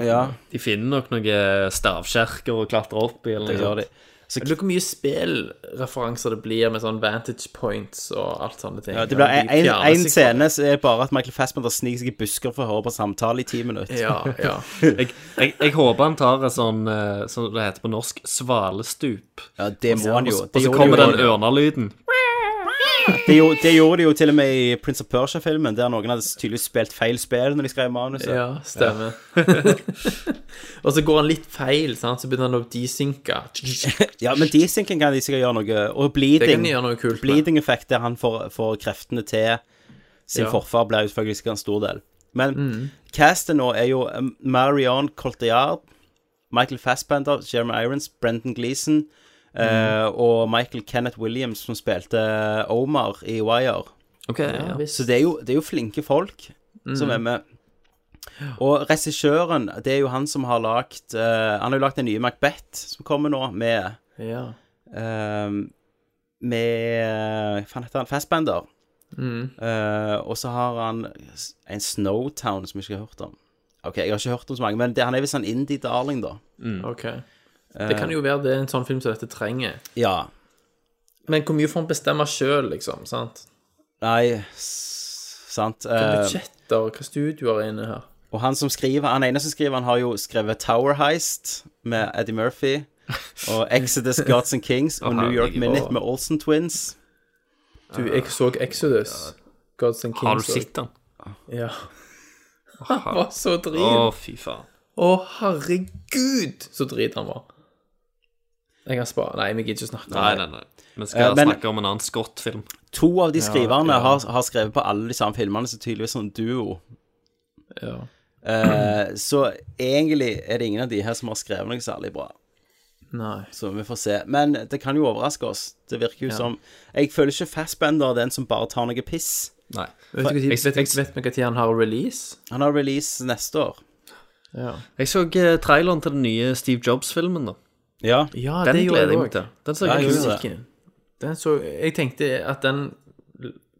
S12: De finner nok noen stavkjerker å klatre opp i. Eller
S9: Det
S12: noe
S9: gjør
S12: sånt.
S9: Jeg lurer hvor mye spillreferanser det blir med sånn vantage points og alt sånne ting.
S1: Ja, det blir
S9: De
S1: en,
S9: fjerner
S1: en
S9: seg fra-
S1: scene som er bare at Michael Fassbender sniker seg i busker for å høre på samtale i ti minutter.
S9: Ja, ja.
S12: jeg, jeg, jeg håper han tar et sånn, eh, som det heter på norsk, svalestup.
S1: Ja, det må han jo.
S12: Og
S1: Det
S12: så
S1: gjorde
S12: kommer
S1: de jo.
S12: den ørnelyden.
S1: Det, gjorde- det gjorde de jo til og med i Prince of Persia-filmen, der noen hadde tydeligvis spilt feil spill når de skrev manuset.
S9: Ja, stemmer. og så går han litt feil, sant? så begynner han å desynke.
S1: Ja, men desyncing kan de sikkert gjøre noe Og bleeding.
S9: Det kan de gjøre noe kult med.
S1: bleeding effekt der han får, får kreftene til sin
S9: Ja. Mm.
S1: forfar, blir jo selvfølgelig sikkert en stor del. Men castet nå er jo um, Marion Coltillard, Michael Fassbender, Jeremy Irons, Brendan Gleeson
S9: Mm.
S1: eh, og Michael Kenneth Williams, som spilte eh, Omar i Wire.
S9: Ok, ja, visst.
S1: Så det er, jo, det er jo flinke folk som
S9: Mhm.
S1: er med. Og regissøren, det er jo han som har lagt eh, Han har jo lagt den nye Macbeth som kommer nå, med
S9: Ja.
S1: Ehm, med Hva faen heter han? Fassbender.
S9: Mm.
S1: Eh, og så har han en Snowtown som jeg ikke har hørt om. Ok, jeg har ikke hørt om så mange, men det, han er visst sånn indie-darling, da.
S9: Ok. Det kan jo være det er en sånn film som dette trenger.
S1: Ja.
S9: Men hvor mye får han bestemme sjøl, liksom? sant?
S1: Nei, s- sant.
S9: Hva
S1: eh,
S9: budsjetter, hva studioer er inne her?
S1: Og han som skriver, han ene som skriver, han har jo skrevet Tower Heist med Eddie Murphy, og Exodus Gods and Kings, og
S9: Å,
S1: New York
S9: herregud.
S1: Minute med Olsen Twins.
S9: Du, jeg så Exodus. Gods and Kings.
S12: Har du sett den?
S9: Ja. Han var så drit.
S12: Å,
S9: Å,
S12: fy faen.
S9: herregud, så drit han var. Jeg kan spare Nei, vi gidder ikke snakke om
S12: Nei,
S9: det.
S12: nei, nei. Vi skal
S1: Eh, men-
S12: snakke om en annen skottfilm.
S1: To av de
S9: Ja,
S1: skriverne
S9: ja.
S1: Har, har skrevet på alle de samme filmene, så tydeligvis sånn duo.
S9: Ja.
S1: Eh, så egentlig er det ingen av de her som har skrevet noe særlig bra.
S9: Nei.
S1: Så vi får se. Men det kan jo overraske oss. Det virker jo
S9: Ja.
S1: som Jeg føler ikke Fassbender er den som bare tar noe piss.
S12: Nei.
S9: Vet du hva tid- vet- vet vi hva tid han har release?
S1: Han har release neste år.
S9: Ja.
S12: Jeg så eh, traileren til den nye Steve Jobs-filmen, da.
S1: Ja.
S9: Ja,
S12: Den
S9: det gjorde
S12: gleder
S9: jeg
S12: jeg
S9: òg.
S12: meg til. Den ser
S1: jeg
S12: kul
S1: gjorde
S12: ut.
S1: det.
S9: Den så Jeg tenkte at den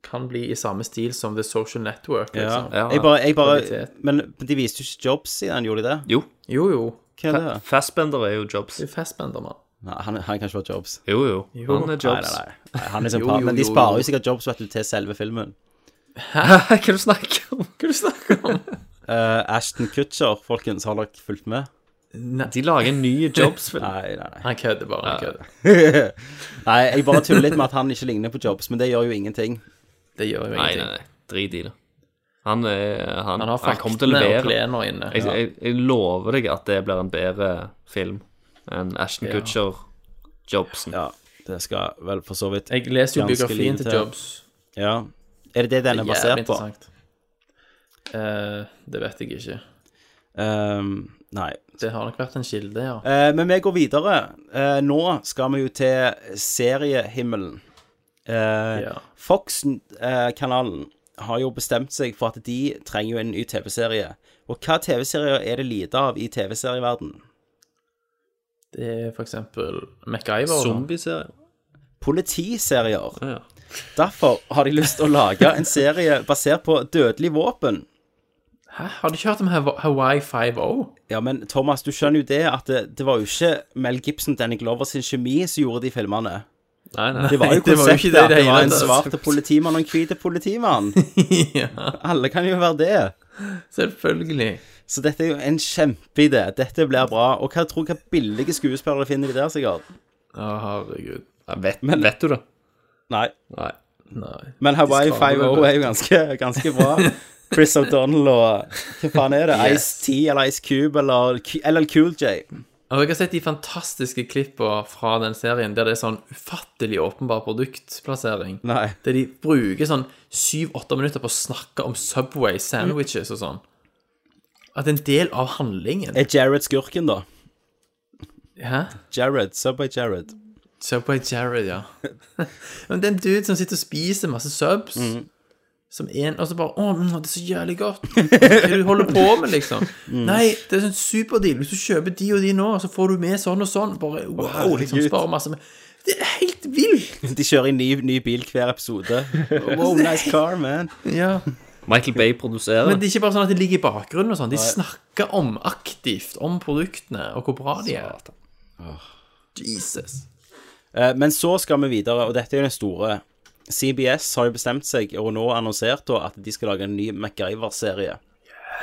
S9: kan bli i samme stil som The Social Network.
S1: Ja.
S9: Liksom.
S1: Jeg bare, jeg bare
S9: Kvalitet.
S1: Men de viste jo ikke Jobs i den, gjorde de det?
S12: Jo.
S9: Jo, jo.
S1: Hva er det?
S12: Fassbender er jo Jobs.
S9: Det er Fassbender, mann.
S1: Nei, han, han kan ikke være Jobs.
S12: Jo, jo. Han er Jobs.
S1: Nei, nei, nei. nei han er
S9: Jo,
S1: sympatisk.
S9: jo,
S1: men de
S9: jo,
S1: sparer
S9: jo.
S1: jo sikkert Jobs vet du, til selve filmen.
S12: Hva er det du snakker om?
S9: Hva er det du snakker om?
S1: Eh, Ashton Kutcher, folkens, har dere fulgt med?
S12: De lager en ny Jobs-film.
S1: Nei, nei, nei.
S9: Han kødder bare. han kødder.
S1: nei jeg bare tuller litt med at han ikke ligner på Jobs, men det gjør jo ingenting.
S9: Det gjør jo
S12: Nei, nei,
S9: ingenting.
S12: nei. Drit i det. Han, er, han,
S9: Han har
S12: kommer til å
S9: faktene og
S12: levere.
S9: plener inne.
S12: Jeg, jeg, jeg lover deg at det blir en bedre film enn Ashton
S9: Ja.
S12: Kutcher-jobsen.
S1: Ja, det skal vel for så vidt
S9: Jeg leser jo
S1: ganske
S9: biografien
S1: lite
S9: til Jobs.
S1: Ja. Er det det den er
S9: Jævlig
S1: basert på?
S9: interessant. Eh, det vet jeg ikke.
S1: Ehm, nei.
S9: Det har nok vært en kilde, ja.
S1: Eh, men vi går videre. Eh, nå skal vi jo til seriehimmelen. Eh,
S9: Ja.
S1: Fox-kanalen eh, har jo bestemt seg for at de trenger jo en ny TV-serie. Og hva TV-serier er det lite av i TV-serieverden?
S9: Det er for eksempel MacGyver. da.
S12: Zombieserie.
S1: Politiserier.
S12: Ja.
S1: Derfor har de lyst til å lage en serie basert på dødelig våpen.
S9: Hæ, har du ikke hørt om Hav- Hawaii oh? 5.0?
S1: Ja, men Thomas, du skjønner jo det at det, det var jo ikke Mel Gibson, Danny Glover sin kjemi som gjorde de filmene.
S12: Nei, nei.
S1: Det var jo
S9: det var jo ikke
S1: konseptet
S9: det i
S1: at det
S9: det
S1: var
S9: hele
S1: en
S9: tatt.
S1: svart politimann og en hvit politimann. Alle kan jo være det.
S9: Selvfølgelig.
S1: Så dette er jo en kjempeidé. Dette blir bra. Og hva tror du hva billige skuespillere finner de der, sikkert?
S9: Å, herregud.
S12: Ja, vet, vet du det?
S1: Nei.
S12: Nei.
S9: Nei.
S1: Men Hawaii
S9: De skal
S1: 5.0
S9: vel-
S1: er jo ganske, ganske bra. Chris O'Donnell og Hva faen er det? Ice-T eller Ice Cube eller Q- LL Cool J?
S9: Og Altså, jeg har sett de fantastiske klippene fra den serien der det er sånn ufattelig åpenbar produktplassering.
S1: Nei.
S9: Der de bruker sånn syv-åtte minutter på å snakke om Subway sandwiches og sånn. At det er en del av handlingen
S1: Er Jared skurken, da?
S9: Hæ?
S1: Jared. Subway Jared.
S9: Subway Jared, ja. Men det er en dude som sitter og spiser masse subs. Som en, og så bare 'Å, mm, det er så jævlig godt'. Hva er det du holder på med, liksom? Nei, det er sånn superdeal. Hvis du kjøper de og de nå, så får du med sånn og sånn. Bare wow, liksom
S1: herregud.
S9: sparer masse med. Det er helt vilt!
S1: De kjører i ny, ny bil hver episode. Wow, nice car, man.
S9: Ja.
S12: Michael Bay produserer.
S9: Men det er ikke bare sånn at de ligger i bakgrunnen og sånn. De snakker om aktivt om produktene og hvor bra de er. Jesus.
S1: Eh, Men så skal vi videre, og dette er jo den store. CBS har jo bestemt seg, og nå annonsert da, at de skal lage en ny MacGyver-serie.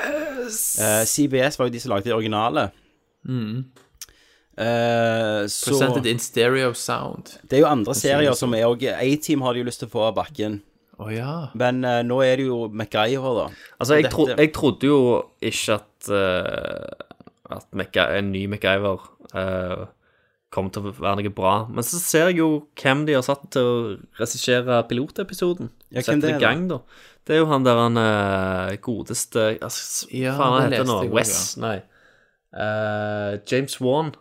S1: Eh, CBS var jo de som lagde det originale.
S12: Mm.
S1: Eh, så
S9: Presented in stereo sound.
S1: det er jo andre serier som er òg A-Team har de jo lyst til å få av bakken.
S9: Å ja.
S1: Men eh, nå er det jo MacGyver, da.
S12: Altså, jeg, tro,
S1: Dette-
S12: jeg trodde jo ikke at, eh, at Macga- en ny MacGyver eh, kom til å være noe bra. Men så ser jeg jo hvem de har satt til å regissere pilotepisoden.
S1: Ja, hvem
S12: Sette
S1: det
S12: det
S1: er
S12: i gang, da. Det er jo han der han eh, godeste altså,
S9: Ja,
S12: ja, Faen, han
S9: det
S12: heter nå
S9: leste jeg også,
S12: Wes, nei. Eh, James Wan.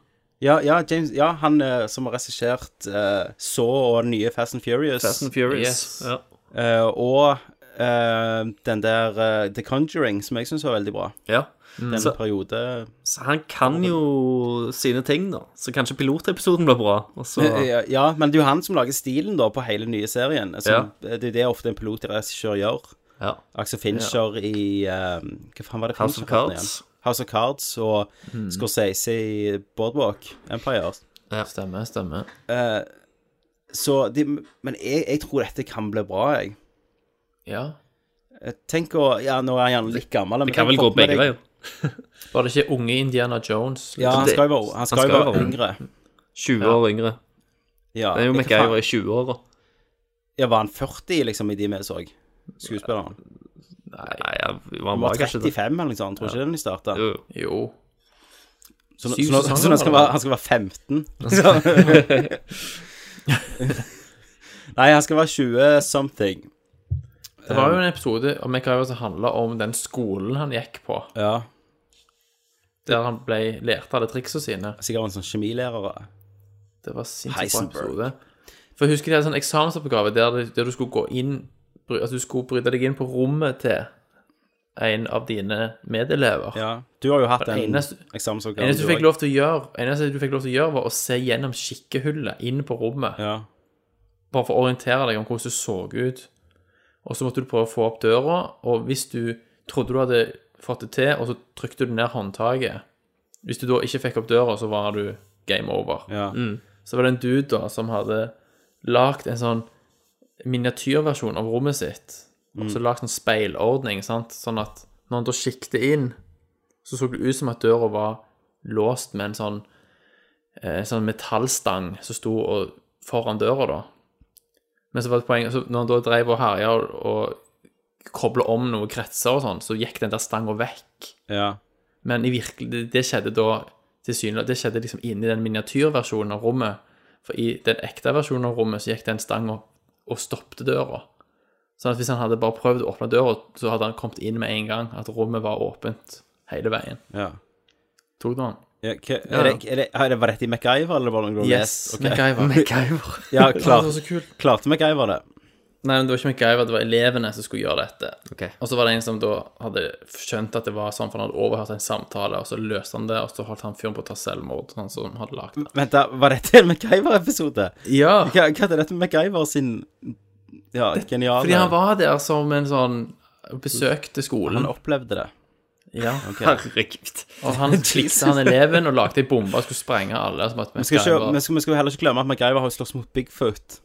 S1: Ja, ja, James, ja han eh, som har regissert eh, Så og den nye Fast and Furious.
S12: Fast and Furious.
S9: Yes.
S12: Ja.
S1: Eh, og eh, den der eh, The Conjuring, som jeg syns var veldig bra.
S12: ja.
S1: Den
S12: Så-
S1: periode
S12: Så han kan jo sine ting, da. Så kanskje pilotepisoden blir bra. Og så
S1: ja, ja, men det er jo han som lager stilen da på hele den nye serien. Som, Det er det ofte en pilotregissør gjør.
S12: ja.
S1: Axel Fincher i eh, Hva faen var det
S12: House of
S1: Fincher het igjen?
S12: Cards. Mm.
S1: House of Cards og Scorsese i Boardwalk Empire.
S9: Ja, stemmer, stemmer.
S1: Eh, så de, Men jeg, jeg tror dette kan bli bra, jeg.
S9: Ja.
S1: Eh, Tenk å Ja, nå er han gjerne litt gammel. men
S9: kan
S1: tenk
S9: vel gå
S1: fått med
S9: begge
S1: deg-
S9: Var det ikke unge Indiana Jones?
S1: Ja, han skal jo være, han skal jo være yngre.
S12: 20 år yngre.
S1: Ja,
S12: det er jo
S1: jeg-
S12: MacGyver i 20-åra.
S1: Ja, var han 40 liksom i de vi så? Skuespilleren?
S12: Nei, han var,
S1: Han
S12: han
S1: var
S12: bare kanskje det.
S1: 35 eller noe sånt, tror ikke det da de starta?
S12: Jo.
S9: jo.
S1: Så, nå-
S9: Syv
S1: så, nå-
S9: sesonger
S1: så nå skal
S9: var det.
S1: være, han skal være 15? liksom. Nei, han skal være 20 something.
S9: Det var jo en episode av MacGyver som handla om den skolen han gikk på.
S1: Ja.
S9: Der han ble lærte alle triksene sine.
S1: Sikkert en sånn kjemilærer.
S9: Det var sinnssykt bra
S1: Heisenberg.
S9: episode. For jeg husker de hadde sånn eksamensoppgave der, det- der du skulle gå inn bry- At du skulle bryte deg inn på rommet til en av dine medelever.
S1: Ja, du har jo hatt
S9: Den
S1: en
S9: eneste-
S1: eksamensoppgave,
S9: eneste du
S1: du
S9: fikk
S1: også.
S9: lov til å gjøre, eneste du fikk lov til å gjøre, var å se gjennom kikkehullet inn på rommet. Bare for å orientere deg om hvordan det så ut. Og så måtte du prøve å få opp døra, og hvis du trodde du hadde fått det til, og så trykte du ned håndtaket Hvis du da ikke fikk opp døra, så var du game over. Mm. Så var det en dude da som hadde lagd en sånn miniatyrversjon av rommet sitt. Og så
S1: Mm.
S9: lagd en speilordning, sant? sånn at når han da kikket inn, så så det ut som at døra var låst med en sånn, eh, sånn metallstang som sto og, foran døra, da. Men så var det et poeng, så når han da drev og herja og, og kobla om noen kretser og sånn, så gikk den der stanga vekk.
S1: Ja.
S9: Men i virkelig, det, det skjedde da tilsynelatende Det skjedde liksom inni den miniatyrversjonen av rommet. For i den ekte versjonen av rommet så gikk den stanga og stoppte døra. Sånn at hvis han hadde bare prøvd å åpne døra, så hadde han kommet inn med en gang. At rommet var åpent hele veien.
S1: Ja.
S9: Tok du han?
S1: Ja, hva- er det, er det, er det, var dette i MacGyver, eller var det noe du har
S9: Yes,
S1: lest? Oh, Ok.
S9: MacGyver. MacGyver.
S1: ja,
S9: Det
S1: klart,
S9: var så kult.
S1: klarte MacGyver det?
S9: Nei, men det var ikke MacGyver, det var elevene som skulle gjøre dette. Og så var det en som da hadde skjønt at det var sånn, for han hadde overhørt en samtale, og så løste han det, og så holdt han fyren på å ta selvmord, han som hadde lagd det.
S1: Vent, da, var dette en MacGyver-episode?
S9: Ja.
S1: Hva, hva er dette med MacGyver sin ja, geniale
S9: Fordi han var der som en sånn Besøkte skolen.
S1: Han opplevde det.
S9: Ja.
S1: Ok.
S9: Herregud. Og han
S1: Jesus.
S9: slikte han eleven og lagde ei bombe og skulle sprenge alle. Som at
S1: Vi skal, ikke,
S9: MacGyver-
S1: vi, skal, vi skal heller ikke glemme at MacGyver har jo slåss mot Bigfoot.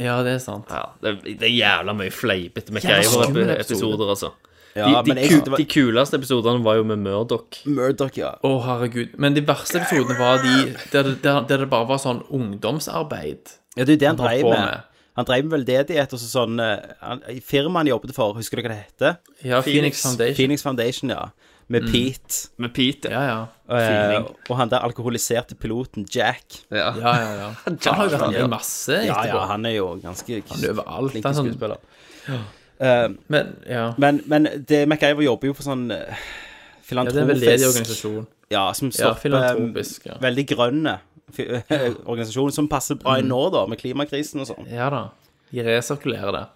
S9: Ja, det er sant.
S12: Det, det er jævla mye fleipete
S1: Jævla skummel episode.
S12: MacGyver-episoder, altså.
S1: Ja,
S12: de, de,
S1: men jeg-
S12: ku,
S1: det var-
S12: de kuleste episodene var jo med Murdoch.
S1: Murdoch, ja.
S9: Å, herregud. Men de verste episodene var de der, der, der det bare var sånn ungdomsarbeid.
S1: Ja, det er jo det han
S9: holdt
S1: drev
S9: på
S1: med. Han drev med veldedighet og så sånn eh, han, i Firmaet han jobbet for, husker du hva det heter?
S9: Ja, Phoenix Foundation.
S1: Phoenix Foundation, ja. Med
S9: Mm.
S1: Pete.
S12: Med Pete,
S9: ja. ja,
S1: Eh,
S9: Phoenix.
S1: og han der alkoholiserte piloten Jack.
S12: Ja,
S9: Ja, ja, ja. Han har jo vært med i masse
S1: Ja,
S9: etterpå.
S1: ja, han er jo ganske
S9: Han er overalt,
S1: flink
S9: han er sånn-
S1: skuespiller.
S9: Ja.
S1: Eh,
S9: Men, ja.
S1: men, men det, MacGyver jobber jo for sånn eh,
S9: det er en
S1: filantropisk
S9: veldedig organisasjon.
S1: Ja, som
S9: Ja,
S1: stopper
S9: filantropisk, ja.
S1: eh, veldig grønne fi- organisasjoner, som passer bra
S9: Mm.
S1: inn nå, da, med klimakrisen og sånn.
S9: Ja da. De resirkulerer det.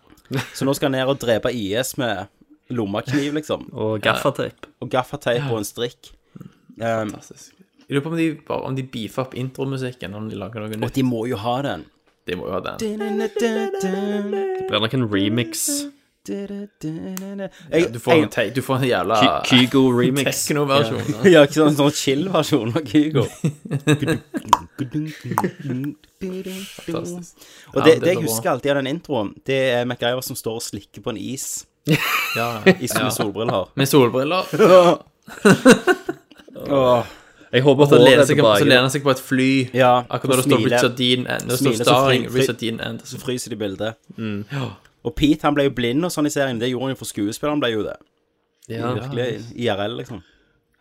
S1: Så nå skal han ned og drepe IS med lommekniv, liksom.
S12: Og gaffateip.
S1: Og gaffateip og en strikk. Um,
S9: Jeg lurer på om de, bare, om de beefer opp intromusikken om de lager noe nytt.
S1: Og de må jo ha den.
S9: De må jo ha den.
S1: Jeg,
S12: Det blir nok en remix.
S9: Ja, du, får en, te- du får en jævla
S12: Ky- Kygo-remix.
S9: Tekno-versjon. da.
S1: Ja, ikke sånn, sånn chill-versjon av Kygo.
S9: Fantastisk.
S1: Og det,
S9: Ja, men
S1: det jeg
S9: blir bra.
S1: husker alltid av den introen, det er MacGyver som står og slikker på en is.
S9: Ja, ja.
S1: Is med solbriller.
S9: Med solbriller.
S1: Åh.
S12: Jeg håper
S9: Og så lener
S12: håret
S9: han
S12: er
S9: seg, på- så lener
S12: tilbake.
S9: han seg på et fly.
S1: Ja,
S9: Akkurat da
S1: og
S9: det står
S1: smiler.
S9: Richard Dean End. Det står
S1: Smiler, så
S9: starring
S1: fry- fry-
S9: Richard Dean End.
S1: Så fryser de bildet.
S9: Ja.
S1: Og Pete han ble jo blind og sånn i serien. Det gjorde han jo for skuespilleren, ble jo det.
S9: Ja.
S1: Virkelig IRL, liksom.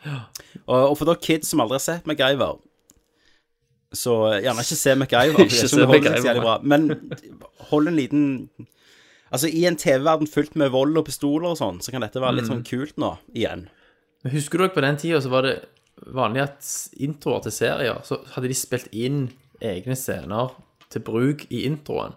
S1: Og, og for dere kids som aldri har sett MacGyver, så gjerne ikke se MacGyver.
S12: Ikke
S1: for jeg
S12: se
S1: tror det holder seg
S12: MacGyver.
S1: jævlig bra. Men hold en liten Altså, i en TV-verden fylt med vold og pistoler og sånn, så kan dette være litt
S9: Mm.
S1: sånn kult nå, igjen.
S9: Men husker du også på den tida så var det vanlig at introer til serier, så hadde de spilt inn egne scener til bruk i introen.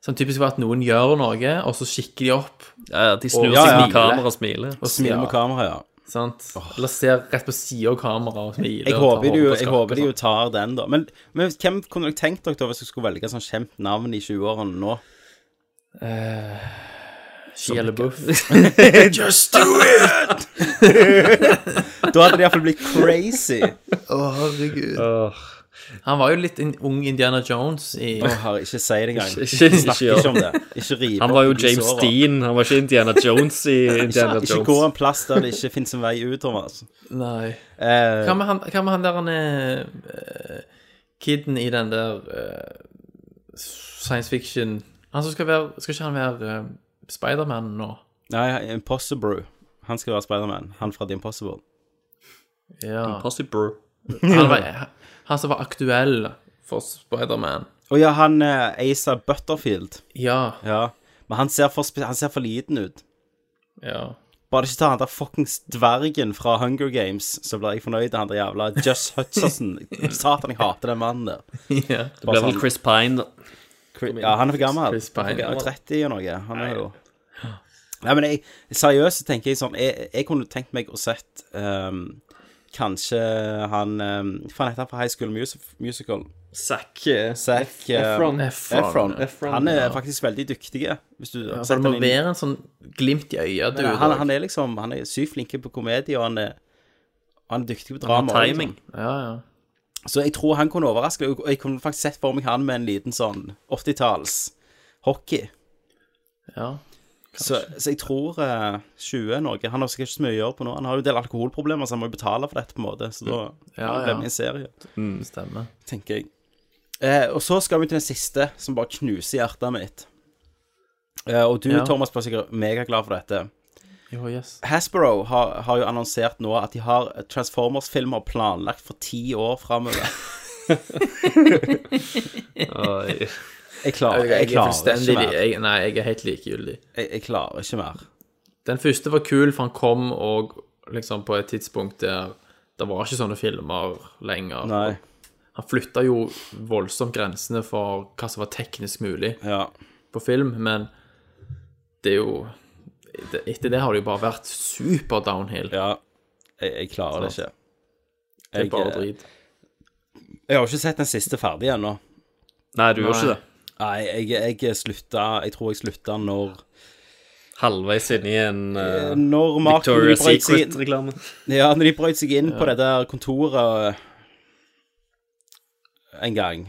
S9: Som typisk var at noen gjør noe, og så kikker de opp.
S12: Ja, ja, de
S9: og
S12: snur seg
S9: smiler.
S12: mot kamera og smiler.
S1: Og smiler mot kamera, ja.
S9: Sant? Eller ser rett på sida av kameraet og smiler.
S1: Jeg
S9: og tar
S1: håper, de jo,
S9: hodet på
S1: jeg
S9: skakk og sånn.
S1: håper de jo
S9: sånt.
S1: tar den, da. Men, men hvem kunne dere tenkt dere da hvis dere skulle velge et sånt kjent navn i 20-årene nå?
S9: Shia LaBeouf.
S1: Just do it! da hadde det iallfall blitt crazy.
S9: Å, herregud. Han var jo litt en ung Indiana Jones i
S1: Å, herre, ikke si det engang.
S10: Ikke- ikke-
S1: Snakk
S10: ikke gjør
S1: ikke om det.
S10: det.
S1: Ikke rive
S10: Han var jo
S1: opp i
S10: James
S1: såra.
S10: Dean, han var ikke Indiana Jones i Indiana
S1: ikke,
S10: Jones.
S1: Ikke gå en plass der det ikke finnes en vei ut, Thomas.
S9: Nei.
S1: Eh,
S9: Hva med han, hva med han der han er eh, Kidden i den der eh, science fiction Han som skal være Skal ikke han være uh, Spiderman nå?
S1: Nei, Impossible. Han skal være Spiderman. Han fra The Impossible.
S9: Ja.
S10: Impossible.
S9: Han, var, han som var aktuell for Spiderman.
S1: Å ja, han eh, Asa Butterfield.
S9: Ja.
S1: Men han ser, for, spe- han ser for liten ut.
S9: Ja.
S1: Bare ikke ta han der fuckings dvergen fra Hunger Games, så blir jeg fornøyd. Han der jævla Just Hutcherson. Satan, jeg hater den mannen der. sånn-
S9: Ja.
S10: Det ble vel Chris Pine, da.
S1: Chris, ja, han er for gammel.
S9: Chris Pine.
S1: Han er for gammel. 30 og noe. Han er jo Nei, men jeg, seriøst så tenker jeg sånn Jeg, jeg kunne tenkt meg å sett ehm, Kanskje han um, Faen, heter han fra High School Music, Musical?
S10: Zac
S1: Zac
S9: eh, Efron.
S1: ehm, Efron.
S9: Efron,
S1: Han er
S9: ja.
S1: faktisk veldig dyktig. Hvis du
S9: Ja,
S1: har
S9: så
S1: sett
S9: det må
S1: han inn-
S9: være en sånn glimt i øyet.
S1: Nei, nei, han, han er liksom Han er sykt flink på komedie, og han er, han er dyktig på drama.
S10: har
S1: også,
S10: timing.
S1: liksom.
S9: Ja, ja.
S1: Så jeg tror han kunne overraske. Og jeg kunne faktisk sett for meg han med en liten sånn 80-talls hockey.
S9: Ja.
S1: Så, så jeg tror eh, 20 er noe. Han har sikkert ikke så mye å gjøre på nå. Han har jo en del alkoholproblemer, så han må jo betale for dette, på en måte. Så da
S9: Mm. Ja,
S1: blir det
S9: ja.
S1: en serie,
S9: Stemmer.
S1: tenker jeg. Eh, og så skal vi til den siste, som bare knuser hjertet mitt. Eh, og du,
S9: Ja.
S1: Thomas, blir sikkert megaglad for dette.
S9: Jo, yes.
S1: Hasbro har, har jo annonsert nå at de har Transformers-filmer planlagt for ti år framover.
S10: Oi.
S1: Jeg klarer, jeg
S9: Jeg, er
S1: klarer ikke
S9: fullstendig
S1: mer.
S9: jeg, Nei, jeg er helt likegyldig.
S1: Jeg, jeg klarer ikke mer.
S9: Den første var kul, for han kom og liksom på et tidspunkt der det var ikke sånne filmer lenger.
S1: Nei.
S9: Han flytta jo voldsomt grensene for hva som var teknisk mulig
S1: Ja.
S9: på film, men det er jo det- Etter det har det jo bare vært super downhill.
S1: Ja, jeg, jeg klarer det
S9: Sant.
S1: ikke.
S9: Sånn. Det er bare
S1: Jeg, eh,
S9: drit.
S1: Jeg har jo ikke sett den siste ferdig ennå.
S10: Nei, du gjør ikke det.
S1: Nei, jeg, jeg slutta Jeg tror jeg slutta når
S10: Halvveis inn i en eh,
S1: Når Mark når de
S10: Victoria's
S1: brøt seg inn-
S10: Secret-reklame.
S1: Ja, når de brøt seg inn på det der kontoret eh, en gang.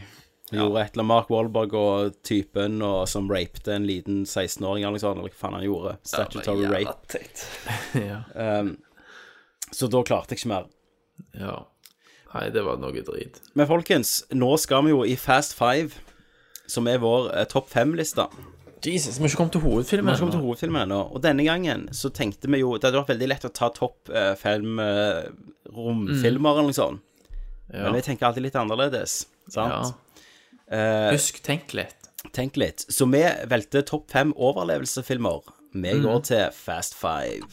S1: Gjorde et eller annet Mark Wahlberg og typen og, som rapte en liten 16-åring eller noe sånt, eller hva faen han gjorde. Statutory
S10: jævla
S1: rape.
S9: ja.
S1: Um, så da klarte jeg ikke mer.
S9: ja. Nei, det var noe drit.
S1: Men folkens, nå skal vi jo i Fast Five, som er vår eh, topp fem-liste.
S9: Jesus, vi har ikke kommet til hovedfilmen
S1: Vi har ikke kommet til hovedfilmen ennå. Og denne gangen så tenkte vi jo Det hadde vært veldig lett å ta topp eh, fem eh, romfilmer eller noe sånt.
S9: Ja.
S1: Men vi tenker alltid litt annerledes, sant?
S9: Ja.
S1: Eh,
S9: Husk, tenk litt.
S1: tenk litt. Så vi valgte topp fem overlevelsesfilmer. Vi
S9: Mm.
S1: går til Fast Five.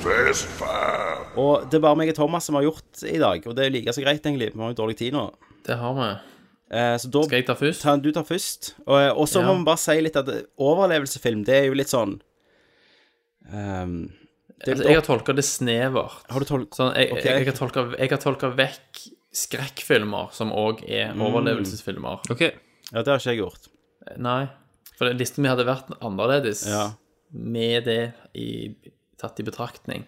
S17: Fast five.
S1: Og det er bare meg og Thomas som har gjort i dag, og det er like så greit, egentlig. Vi har jo dårlig tid nå.
S9: Det har vi.
S1: Eh, så da
S9: Skal jeg ta først?
S1: Ta, du tar først. Og, eh, og så
S9: Ja.
S1: må vi bare si litt at overlevelsesfilm, det er jo litt sånn ehm, det,
S9: Altså, jeg har tolka det snevert.
S1: Har du tolk-
S9: Sånn, jeg,
S1: Ok.
S9: jeg, jeg, har tolka, jeg har tolka vekk skrekkfilmer, som òg er
S1: Mm.
S9: overlevelsesfilmer.
S1: Ja, det har ikke jeg gjort.
S9: Nei. For den listen min hadde vært annerledes
S1: Ja.
S9: med det i, tatt i betraktning.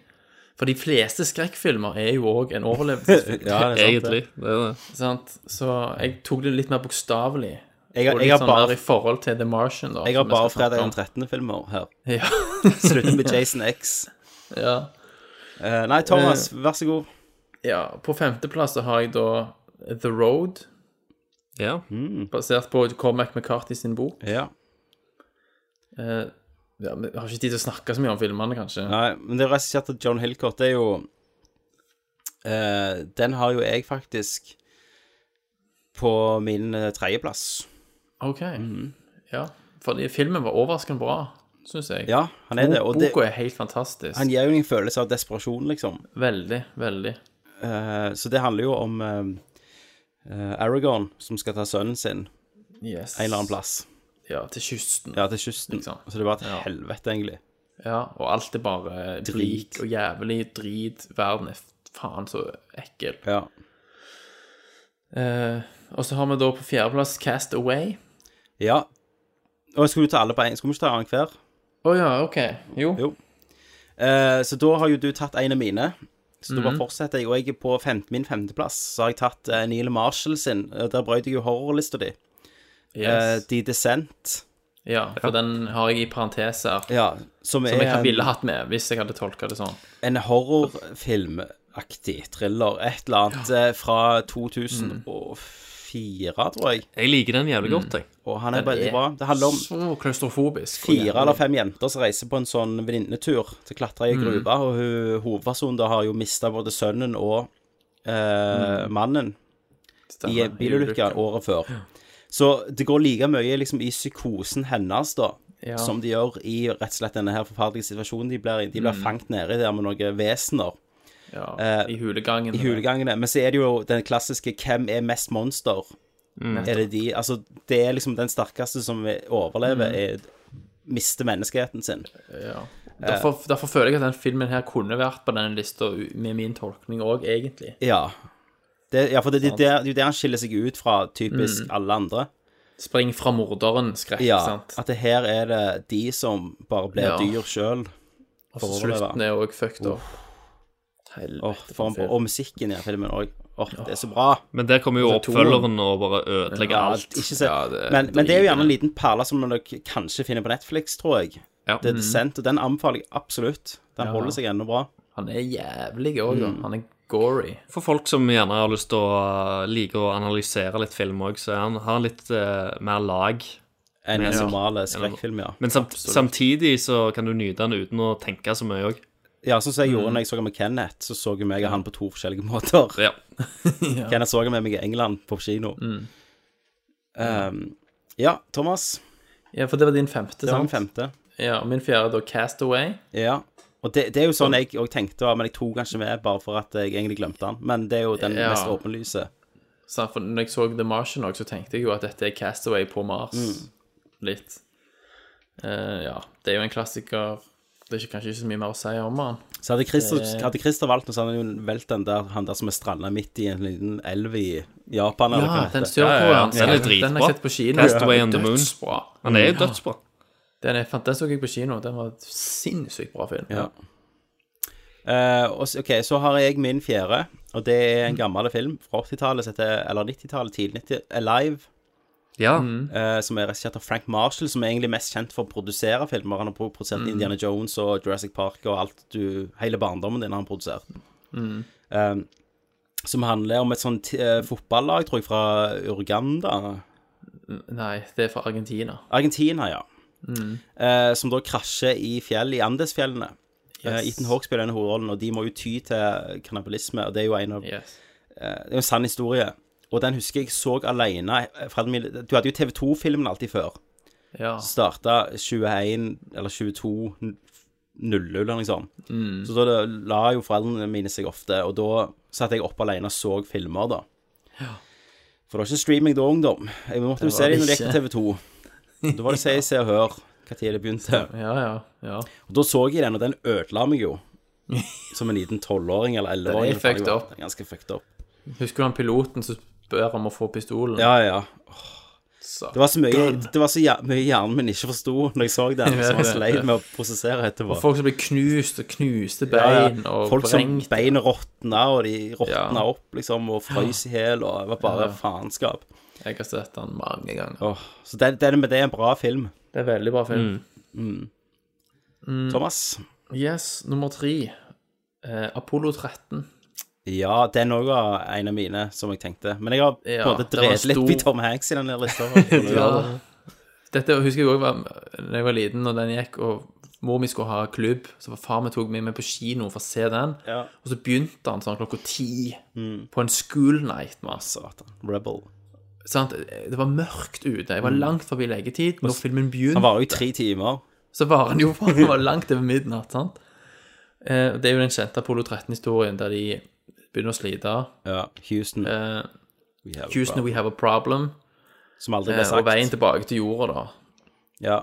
S9: For de fleste skrekkfilmer er jo òg en overlevelsesfilm.
S1: Ja, det er sant,
S10: Egentlig. Det er det.
S9: sant? Så jeg tok det litt mer bokstavelig.
S1: Jeg har-
S9: og
S1: jeg
S9: litt
S1: har
S9: sånn
S1: bare-
S9: mer i forhold til The Martian, da.
S1: Jeg har
S9: som vi
S1: bare
S9: skal snakke
S1: fredag
S9: om.
S1: den 13. filmer her.
S9: Ja.
S1: Slutter med Jason X.
S9: ja.
S1: Eh, nei, Thomas, vær så god.
S9: Ja, på femteplass så har jeg da The Road.
S10: Ja.
S1: Mm.
S9: Basert på Cormac McCarthy sin bok.
S1: Ja.
S9: Eh, ja, men jeg har ikke tid til å snakke så mye om filmene, kanskje.
S1: Nei, men det er regissert av John Hillcott. Det er jo eh, Den har jo jeg faktisk på min eh, tredjeplass.
S9: Ok.
S1: Mhm.
S9: Ja, fordi filmen var overraskende bra, syns jeg.
S1: Ja, han er det, og det-
S9: Boka er helt fantastisk.
S1: Han gir jo en følelse av desperasjon, liksom.
S9: Veldig, veldig.
S1: Eh, så det handler jo om eh, eh, Aragorn som skal ta sønnen sin
S9: Yes.
S1: en eller annen plass.
S9: Ja, til kysten.
S1: Ja, til kysten. Så det var til helvete, egentlig.
S9: Ja, og alt er bare drit og jævlig drit. Verden er faen så ekkel.
S1: Ja.
S9: Eh, og så har vi da på fjerdeplass Cast Away.
S1: Ja. Og skulle du ta alle på én? Skulle vi ikke ta annenhver?
S9: Å ja, OK. Jo.
S1: jo. Eh, så da har jo du tatt en av mine. Så da bare
S9: Mhm.
S1: fortsetter jeg. Og jeg er på fem, min femteplass. Så har jeg tatt eh, Neil Marshall sin. Eh, Der brøt jeg jo horrorlista di. Eh,
S9: Yes.
S1: The Descent.
S9: Ja, for den har jeg i parentes her.
S1: Ja, som,
S9: som
S1: er
S9: jeg
S1: en-
S9: ville hatt med hvis jeg hadde tolka det sånn.
S1: En horrorfilmaktig thriller. Et eller annet eh, fra 2004, tror jeg.
S12: Jeg liker den jævlig godt, jeg.
S1: Og han er
S12: Den
S1: veldig
S12: er
S1: bra. Det handler om
S9: Så klaustrofobisk. og jævlig.
S1: Fire eller fem jenter som reiser på en sånn venninnetur til å klatre i ei
S9: Mm.
S1: gruve, og hun, hovedpersonen da har jo mista både sønnen og eh, mannen i
S9: Stemmer,
S1: en bilulykke
S9: Mm. i ulykken.
S1: året før. Så det går like mye liksom, i psykosen hennes da,
S9: Ja.
S1: som de gjør i rett og slett denne her forferdelige situasjonen. De blir, de blir
S9: Mm.
S1: fangt nede der med noen vesener.
S9: Ja,
S1: Eh,
S9: I hulegangen.
S1: I hulegangene. Men så er det jo den klassiske 'Hvem er mest monster?'
S9: Mm.
S1: Er det de Altså, det er liksom den sterkeste som overlever,
S9: Mm.
S1: er, mister menneskeheten sin.
S9: Ja. Derfor, derfor føler jeg at den filmen her kunne vært på den lista u- med min tolkning òg, egentlig.
S1: Ja. Det, ja, for det, det,
S9: Sant.
S1: det er jo der han skiller seg ut fra typisk
S9: Mm.
S1: alle andre.
S9: Spring fra morderen-skrekk,
S1: Ja,
S9: sant.
S1: at det her er det de som bare blir
S9: Ja.
S1: dyr sjøl.
S9: Og så slutten er òg fucked up. Helvete.
S1: for en-
S9: for en
S1: og musikken i den filmen òg. Åh, det er så bra.
S12: Men der kommer jo
S1: Og så toeren.
S12: oppfølgeren og bare ødelegger
S1: Ja,
S12: alt.
S1: Ikke se. men, men det er jo gjerne en liten perle som dere kanskje finner på Netflix, tror jeg.
S12: Ja.
S1: Det er Descent, og den anbefaler jeg absolutt. Den
S9: Ja.
S1: holder seg ennå bra.
S9: Han er jævlig òg, da.
S1: Mm.
S9: Han er gory.
S12: For folk som gjerne har lyst til å uh, like å analysere litt film òg, så er han, har han litt eh, mer lag.
S1: En
S12: Med-
S1: normal skrekkfilm, ja.
S12: Men samt,
S1: Absolutt.
S12: samtidig så kan du nyte den uten å tenke så mye òg.
S1: Ja, sånn som jeg gjorde
S12: Mm.
S1: når jeg så den med Kenneth, så så jeg meg og han på to forskjellige måter.
S12: Ja.
S1: Kenneth så den med meg i England, på kino. Um, ja, Thomas.
S9: Ja, for det var din femte,
S1: Det var min
S9: sant?
S1: femte.
S9: Ja, og min fjerde, da, Castaway.
S1: Ja. Og det, det er jo sånn jeg òg tenkte, men jeg tok den ikke med bare for at jeg egentlig glemte den. Men det er jo den
S9: Ja.
S1: mest åpenlyse.
S9: Sant, for når jeg så The Martian òg, så tenkte jeg jo at dette er Castaway på Mars.
S1: Mm.
S9: Litt. Eh, ja. Det er jo en klassiker. Det er ikke, kanskje ikke så mye mer å si om han.
S1: Så hadde Christer,
S9: Det-
S1: hadde Christer valgt noe, så hadde han jo velt den der, han der som er stranda midt i en liten elv i Japan. eller hva
S9: Ja,
S1: det
S9: den
S1: heter.
S9: sørkoreanske.
S1: Ja, ja, ja.
S9: Den har jeg sett på kino.
S12: Castaway on the Moon.
S9: Dødsbra.
S12: Han er jo
S9: Ja.
S12: dødsbra.
S9: Mm. Den, er, fant- den så jeg på kino. Den var et sinnssykt bra film.
S1: Ja. Eh, og s- ok, så har jeg min fjerde, og det er en gammel film fra 80-tallet, som heter- eller 90-tallet, tidlig eh, 90 Alive.
S12: Ja.
S1: Eh, som er regissert av Frank Marshall, som er egentlig mest kjent for å produsere filmer. Han har pro- produsert
S9: Mm.
S1: Indiana Jones og Jurassic Park og alt du Hele barndommen din har han produsert.
S9: Mm.
S1: Eh, som handler om et sånt eh, fotballag, tror jeg, fra Urganda.
S9: Nei, det er fra Argentina.
S1: Argentina, ja.
S9: Mm.
S1: eh, som da krasjer i fjell i Andesfjellene.
S9: Yes.
S1: Eh, Ethan Hawke spiller denne hovedrollen, og de må jo ty til kannibalisme, og det er jo en av eh, Det er jo en sann historie. Og den husker jeg så alene eh, fra den mil- Du hadde jo TV2-filmen alltid før.
S9: Ja.
S1: Starta 21 eller 22 n- 00 eller noe sånt.
S9: Mm.
S1: Så da det- la jo foreldrene mine seg ofte, og da satt jeg oppe alene og så filmer, da. For det var ikke streaming da, ungdom. Jeg måtte jo
S9: Det
S1: se
S9: var
S1: dem
S9: det
S1: når de gikk på
S9: ikke.
S1: TV2. Da var det Se, Se og Hør, hva tid det begynte.
S9: Ja, ja. ja.
S1: Og da så jeg den, og den ødela meg jo. Som en liten tolvåring eller elleveåring.
S9: Den er fucked up.
S1: Den er Ganske fucked up.
S9: Husker du han piloten som spør om å få pistolen?
S1: Ja, ja.
S9: Så.
S1: Det var så mye, det var så ja, mye hjernen min ikke forsto når jeg så den,
S9: Jeg
S1: som jeg
S9: vet
S1: sleit
S9: det.
S1: med å prosessere etterpå.
S9: Og folk som blir knust og knuste bein
S1: Ja, ja.
S9: og
S1: Folk som
S9: vrengt.
S1: bein råtna, og de råtna
S9: Ja.
S1: opp, liksom, og frøs i hjel, og det var bare
S9: Ja.
S1: faenskap.
S9: Jeg har sett den mange ganger.
S1: Åh, så det, det, men det er en bra film.
S9: Det er en veldig bra film.
S1: Mm.
S9: Mm.
S1: Thomas?
S9: Yes, nummer tre. Eh, Apollo 13.
S1: Ja, den òg var en av mine, som jeg tenkte. Men jeg har på en
S9: Ja,
S1: måte
S9: det var
S1: drevet litt
S9: stor-
S1: i Tom Hanks i den der lista.
S9: Ja. Dette husker jeg òg da jeg var liten, og den gikk, og mor mi skulle ha klubb, så far min tok meg med på kino for å se den.
S1: Ja.
S9: Og så begynte han sånn klokka ti
S1: Mm.
S9: på en school night med oss.
S1: Rebel.
S9: Sant? Det var mørkt ute. Jeg var
S1: Mm.
S9: langt forbi legetid når filmen begynte.
S1: Han varer jo i tre timer.
S9: Så var han jo han var langt over midnatt, sant? Eh, Det er jo den kjente Apollo 13-historien der de begynner å slite.
S1: Ja, Houston.
S9: Eh,
S1: We have a
S9: Houston,
S1: problem.
S9: we have a problem.
S1: Som aldri ble
S9: Eh,
S1: sagt.
S9: Og veien tilbake til jorda,
S1: da. Ja.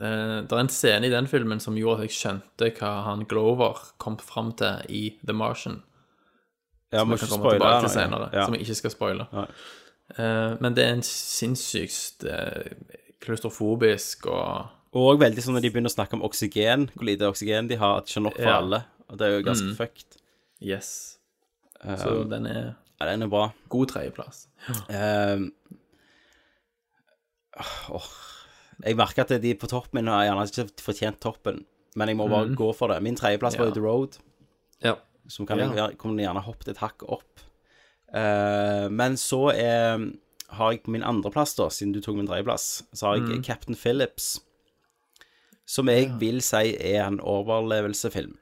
S9: Eh, Det er en scene i den filmen som gjorde at jeg skjønte hva han Glover kom fram til i The Martian.
S1: Ja,
S9: som
S1: må
S9: jeg kan
S1: ikke
S9: komme tilbake
S1: spoile,
S9: til
S1: nei.
S9: senere,
S1: Ja.
S9: som jeg ikke skal spoile.
S1: Nei.
S9: Eh, men det er en sinnssykt eh, klaustrofobisk og
S1: Og veldig sånn når de begynner å snakke om oksygen, hvor lite oksygen de har, at det ikke er nok for
S9: Ja.
S1: alle. Og det er jo ganske
S9: Mm.
S1: fucked.
S9: Yes. Så
S1: Um,
S9: den er
S1: Ja, den er bra.
S9: god tredjeplass.
S1: Ehm, åh, jeg merker at de på toppen min har gjerne ikke fortjent toppen, men jeg må bare
S9: Mm.
S1: gå for det. Min tredjeplass var
S9: Ja.
S1: jo The Road,
S9: Ja.
S1: som kan
S9: Ja.
S1: jeg- kunne gjerne hoppet et hakk opp. Eh, men så er, har jeg på min andreplass, da, siden du tok min tredjeplass, så har jeg
S9: Mm.
S1: Captain Phillips, som jeg vil si er en overlevelsefilm.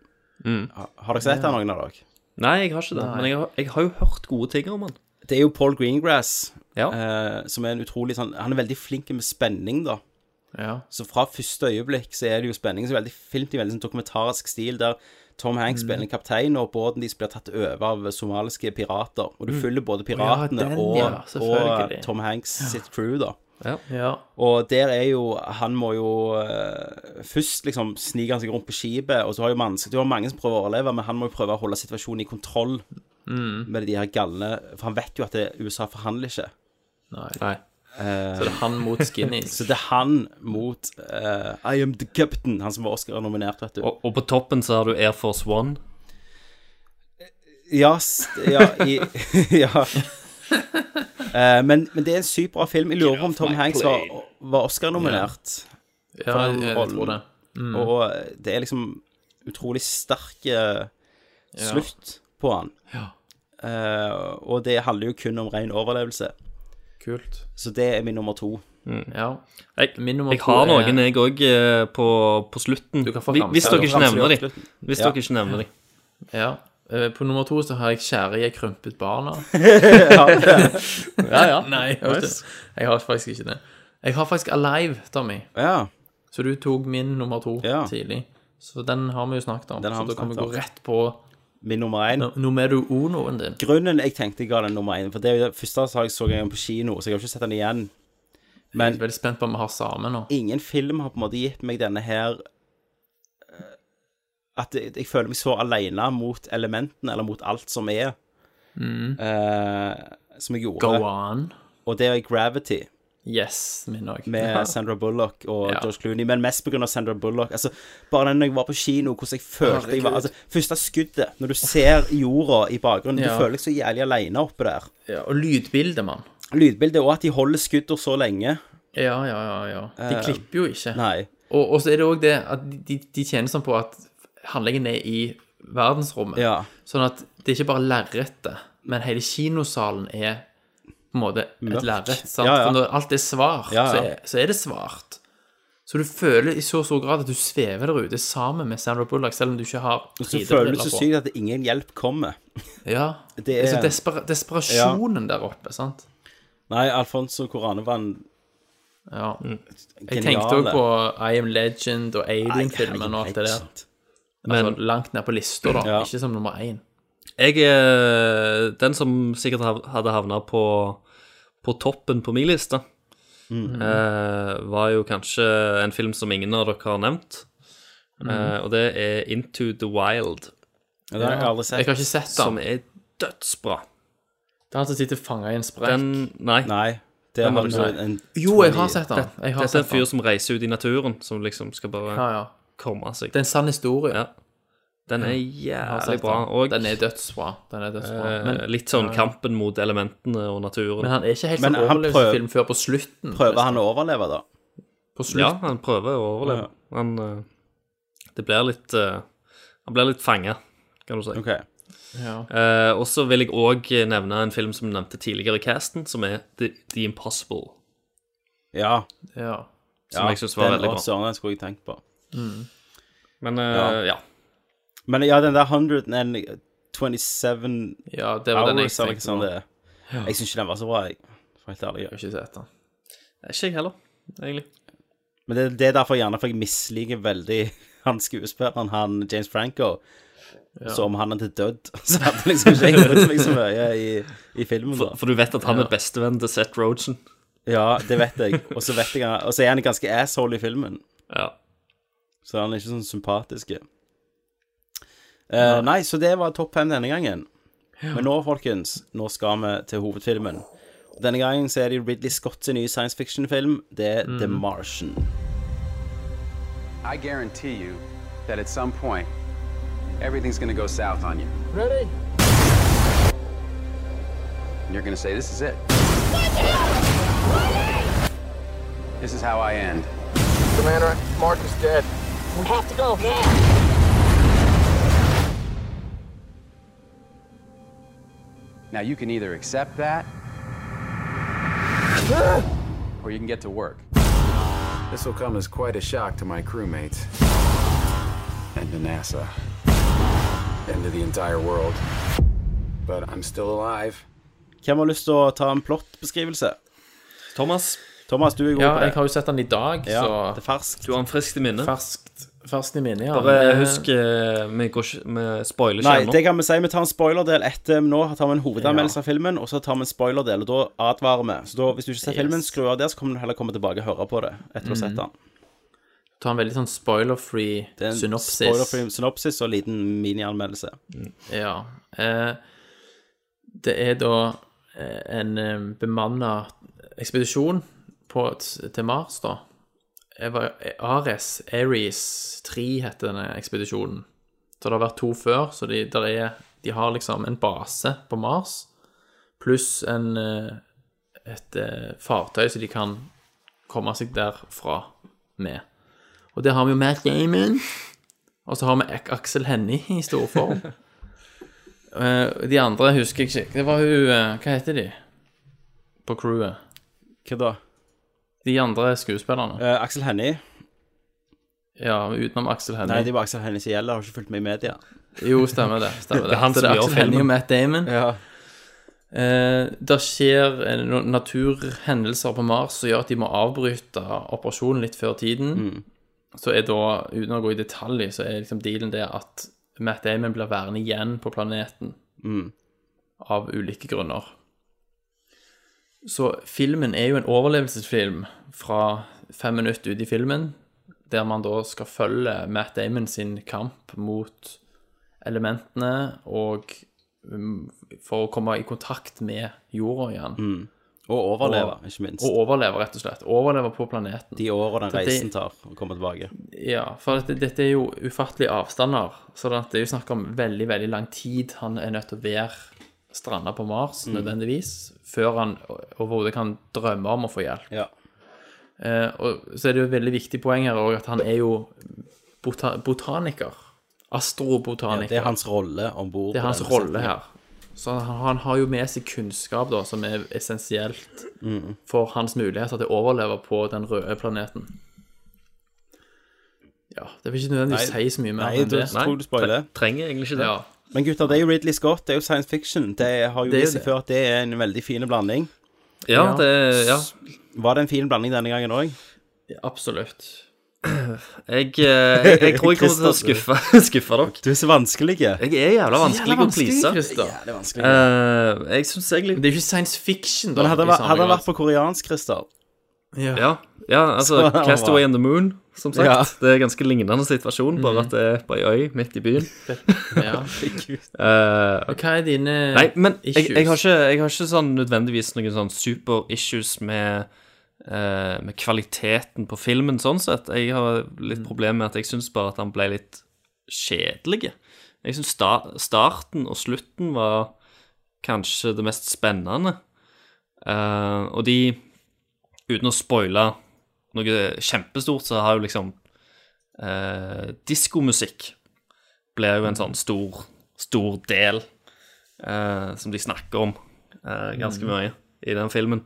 S12: Mm.
S1: Har, har dere sett den, noen av dere?
S12: Nei, jeg har ikke det.
S1: Nei.
S12: Men jeg har, jeg har jo hørt gode ting om han.
S1: Det er jo Paul Greengrass, eh, som er en utrolig sånn Han er veldig flink med spenning, da.
S9: Ja.
S1: Så fra første øyeblikk så er det jo spenning. Så er det veldig filmt i veldig sånn dokumentarisk stil, der Tom Hanks
S9: Mm.
S1: spiller en kaptein, og båten deres blir tatt over av somaliske pirater. Og du
S9: Mm.
S1: følger både
S9: Å ja,
S1: piratene
S9: den,
S1: og,
S9: ja,
S1: og eh,
S9: selvfølgelig.
S1: Tom Hanks sitt crew, da.
S9: Ja.
S1: Og der er jo Han må jo eh, Først liksom sniker han seg rundt på skipet, og så har jo man, du har mange som prøver å overleve, men han må jo prøve å holde situasjonen i kontroll
S9: Mm.
S1: med de her gallene For han vet jo at det, USA forhandler ikke.
S9: Nei.
S1: Eh,
S9: Så det er han mot Skinnies.
S1: så det er han mot eh, I am the captain, han som var Oscar-nominert, vet du.
S12: Og, og på toppen så har du Air Force One.
S1: Ja, s- ja, i, ja. Eh, men, men det er en sykt bra film. Jeg lurer på om Tom
S9: my
S1: Hanks var,
S9: plane.
S1: var Oscar-nominert.
S9: Ja,
S1: for den
S9: jeg- jeg
S1: rollen.
S9: tror det. Mm.
S1: Og det er liksom utrolig sterk eh, slutt på han. Eh, og det handler jo kun om ren overlevelse.
S9: Kult.
S1: Så det er min nummer to.
S9: Ja.
S12: Jeg,
S9: Min nummer
S12: jeg
S9: to
S12: har
S9: er-
S12: noen, jeg òg, på, på slutten. Hvis
S9: ramse-
S12: hvis
S9: du
S12: dere
S9: kan
S12: ikke
S9: ramse det
S12: nevner dem.
S9: opp slutten.
S12: Hvis
S9: Ja.
S12: dere ikke nevner dem.
S9: Ja. Eh, På nummer to så har jeg 'Kjære, jeg krympet barna'.
S12: Ja, det-
S9: ja, ja. Nei, jeg har,
S12: Nice.
S9: ikke, jeg har faktisk ikke det. Jeg har faktisk 'Alive', Tommy.
S1: Ja.
S9: Så du tok min nummer to
S1: Ja.
S9: tidlig. Så den har vi jo snakket om.
S1: Den har
S9: Så
S1: vi
S9: da kan vi
S1: snakket
S9: gå
S1: om.
S9: rett på
S1: Min nummer én.
S9: numero unoen din.
S1: Grunnen jeg tenkte jeg ga den nummer én, for det er jo det første så jeg så den på kino, så jeg har ikke sett den igjen. Men
S9: jeg er veldig spent på om vi har sammen nå.
S1: Ingen film har på en måte gitt meg denne her eh, At jeg, jeg føler meg så alene mot elementene, eller mot alt som er,
S9: Mm.
S1: eh, som jeg gjorde.
S9: Go on.
S1: Og det er Gravity.
S9: Yes, min òg.
S1: Med Sandra Bullock og
S9: Ja.
S1: George Clooney, men mest pga. Sandra Bullock. Altså, bare den når jeg var på kino, hvordan jeg følte jeg var
S9: Herregud.
S1: altså, Første skuddet, når du ser jorda i bakgrunnen,
S9: Ja.
S1: du føler deg så jævlig alene oppe der.
S9: Ja, og lydbildet, mann.
S1: Lydbildet, og at de holder skuddene så lenge.
S9: Ja, ja, ja. ja. De
S1: Eh,
S9: klipper jo ikke.
S1: Nei.
S9: Og, og så er det òg det at de, de tjener sånn på at handlingen er i verdensrommet.
S1: Ja.
S9: Sånn at det er ikke bare lerretet, men hele kinosalen er på en måte
S1: Mørkt.
S9: et lerret. sant?
S1: Ja, ja.
S9: For når alt er svart,
S1: Ja, ja.
S9: Så, er, så er det svart. Så du føler i så stor grad at du svever der ute sammen med Sandra Bullock, selv om du ikke har
S1: Og så
S9: 3D-briller
S1: føler du så
S9: på.
S1: sykt at ingen hjelp kommer.
S9: Ja.
S1: Det er-
S9: Så desper desperasjonen der oppe, sant?
S1: Nei, Alfonso Coranevann
S9: Ja.
S1: Mm.
S9: Jeg
S1: Geniale.
S9: tenkte òg på I Am Legend og Alien-filmen og alt det der. Altså,
S12: Men-
S9: langt ned på lista, da.
S12: Ja.
S9: Ikke som nummer én.
S12: Jeg er den som sikkert hav- hadde havna på, på toppen på min liste.
S9: Mhm.
S12: Eh, var jo kanskje en film som ingen av dere har nevnt.
S9: Mhm.
S12: Eh, og det er Into the Wild.
S9: Ja, den har jeg aldri sett. Jeg har ikke sett den.
S12: Som er dødsbra.
S9: Det er han som sitter fanga i en sprekk.
S12: Den Nei.
S1: det
S12: Den
S1: har
S12: du
S1: du
S12: ikke.
S1: en-
S9: Jo, jeg har sett den.
S12: Det-
S9: Jeg har
S12: Dette er en
S9: sett den.
S12: fyr som reiser ut i naturen, som liksom skal bare
S9: Ja, ja.
S12: komme seg.
S9: Det er en sann historie.
S12: Ja. Den er
S9: Jeg har
S12: jævlig
S9: sett
S12: bra.
S9: den.
S12: Og
S9: Den er dødsbra. Den er dødsbra.
S12: eh,
S9: Men-
S12: litt sånn
S9: Ja, ja.
S12: kampen mot elementene og naturen.
S9: Men han er ikke helt sånn overlevelsesfilm før på slutten.
S1: Prøver han å overleve, da?
S9: På
S12: Ja,
S9: slutten.
S12: han prøver å overleve.
S1: Ja.
S12: Han eh, Det blir litt eh, Han blir litt fanga, kan du si.
S1: Ok.
S9: Ja.
S12: Eh, og så vil jeg òg nevne en film som du nevnte tidligere i casten, som er The, The Impossible.
S1: Ja.
S9: ja.
S12: Som jeg synes var veldig bra.
S1: Den og Søren, den skulle jeg tenkt på.
S9: Mm.
S12: Men eh, ja.
S1: Men ja, den der 127
S9: Ja, det var den jeg
S1: hours, eller
S9: tenkte
S1: hva sånn
S9: på.
S1: det er.
S9: Ja.
S1: Jeg syns ikke den var så bra, jeg. For helt ærlig.
S9: Jeg har ikke sett den.
S12: Ikke jeg heller, egentlig.
S1: Men det, det er derfor gjerne for jeg misliker veldig han skuespilleren, han James Franco.
S12: Ja.
S1: Så om han er til død, så hadde liksom ikke jeg brydd meg så mye i, i filmen.
S12: For, for du vet at han er bestevenn til Seth Rogen.
S1: Ja, det vet jeg. Og så vet jeg han- Og så er han ganske asshole i filmen.
S12: Ja.
S1: Så han er ikke sånn sympatisk. Eh, nei, så det var topp fem denne gangen. Men nå, folkens, nå skal vi til hovedfilmen. Denne gangen så er det Ridley Scott sin nye science fiction-film. Det er The
S21: Mm.
S1: Martian.
S21: I guarantee you that at some point, everything's gonna go south on you.
S22: Ready?
S21: And you're gonna say, This is it. This is how I end.
S22: Commander, Mark is dead. We have to go now.
S21: Now you can either accept that, or you can get to work.
S15: This will come as quite a shock to my crewmates. And to NASA. And to the entire world. But I'm still alive.
S1: Hvem har lyst til å ta en plottbeskrivelse?
S12: Thomas.
S1: Thomas, du er god
S9: Ja,
S1: på det.
S9: jeg har jo sett den i dag,
S1: Ja,
S9: så
S1: det er ferskt.
S12: Du har den friskt i minne.
S9: Ferskt, ferskt i minnet, ja.
S12: Bare
S9: Men-
S12: husk, eh, vi, går ikke, vi spoiler ikke
S1: Nei, det
S12: ennå.
S1: kan vi si. Vi tar en spoilerdel etter men nå. tar vi en hovedanmeldelse av filmen, og så tar vi en spoilerdel, og da advarer vi. Så da, hvis du ikke ser
S9: Yes.
S1: filmen, skru av der, så kommer du heller komme tilbake og høre på det etter å ha
S9: Mm.
S1: sett den.
S9: Ta en veldig sånn spoiler-free
S1: En
S9: synopsis.
S1: Spoilerfree synopsis og liten minianmeldelse.
S9: Ja. Eh, det er da eh, en bemanna ekspedisjon på, til Mars, da. Eva, Ares, Ares 3 heter denne ekspedisjonen. Så det har vært to før, så de, der er, de har liksom en base på Mars, pluss en, eh, et eh, fartøy så de kan komme seg derfra med. Og det har vi jo Matt Damon, og så har vi Ak- Aksel Hennie i stor form. Eh, de andre husker jeg ikke. Det var hun eh, Hva heter de på crewet?
S1: Hva da?
S9: De andre skuespillerne.
S1: Eh, Aksel Hennie.
S9: Ja, utenom Aksel Hennie.
S1: Nei, det var Aksel Hennie som gjelder, har ikke fulgt med i media.
S9: Jo, stemmer det. Stemmer
S1: Det
S9: det.
S1: er han
S9: Så
S1: som
S9: det er
S1: gjør
S9: Aksel Hennie og
S1: filmen.
S9: Matt Damon.
S1: Ja.
S9: Eh, der skjer eh, noen naturhendelser på Mars som gjør at de må avbryte operasjonen litt før tiden. Så er da, uten å gå i detalj, så er liksom dealen det at Matt Damon blir værende igjen på planeten.
S1: Mm.
S9: Av ulike grunner. Så filmen er jo en overlevelsesfilm fra fem minutter ut i filmen, der man da skal følge Matt Damon sin kamp mot elementene og um, for å komme i kontakt med jorda igjen.
S1: Mm. Og overleve, ikke minst.
S9: Og overleve, rett og slett. Overleve på planeten.
S1: De åra den
S9: Så det-
S1: reisen tar å komme tilbake.
S9: ja, for dette, dette er jo ufattelige avstander. Så det er jo snakk om veldig, veldig lang tid han er nødt til å være stranda på Mars,
S1: Mm.
S9: nødvendigvis, før han overhodet kan drømme om å få hjelp. Eh, og så er det jo et veldig viktig poeng her òg at han er jo bota botaniker.
S1: Ja,
S9: Astrobotaniker.
S1: det er hans rolle om bord.
S9: Det er hans rolle her. Så han, han har jo med seg kunnskap da, som er essensielt
S1: Mm.
S9: for hans muligheter til å overleve på den røde planeten. Ja, det vil ikke nødvendig
S1: Nei,
S9: si så mye mer
S1: nei,
S9: enn
S1: du-
S9: det.
S1: jeg tror du spoiler.
S9: tre- trenger egentlig ikke det. Ja.
S1: Men gutter, det er jo Ridley Scott, det er jo science fiction. Det har jo
S9: Det er jo
S1: vist seg
S9: det.
S1: før at det er en veldig fin blanding.
S12: Ja, det- ja.
S1: S- Var det en fin blanding denne gangen òg?
S9: absolutt.
S12: Jeg, eh, jeg, jeg tror jeg kommer til å skuffe, skuffe dere.
S1: Du er så vanskelig. Jeg
S12: er jævla
S9: Så
S12: vanskelig
S9: jævla
S12: å please.
S9: Christer.
S12: Eh, jeg syns egentlig
S9: Men det er jo ikke science fiction, da.
S1: Men hadde
S9: i
S1: det vært-
S9: samme
S1: hadde det
S9: grad.
S12: altså.
S1: vært på koreansk, Christer
S9: Ja.
S12: Ja, ja altså
S1: Så bra.
S12: Castaway on the Moon, som sagt.
S1: Ja.
S12: Det er en ganske lignende situasjon, bare
S9: Mhm.
S12: at det er på ei øy midt i byen.
S9: Ja.
S12: Eh,
S9: Og hva er dine
S12: Nei, men jeg,
S9: issues?
S12: jeg, har ikke, jeg har ikke sånn nødvendigvis noen sånn super issues med, eh, med kvaliteten på filmen, sånn sett. Jeg har litt problemer med at jeg syns bare at han ble litt kjedelig. Jeg syns sta starten og slutten var kanskje det mest spennende. Eh, og de, uten å spoile noe kjempestort, så har jo liksom uh, Diskomusikk blir jo en sånn stor, stor del eh, som de snakker om eh, ganske
S9: Mm.
S12: mye i den filmen.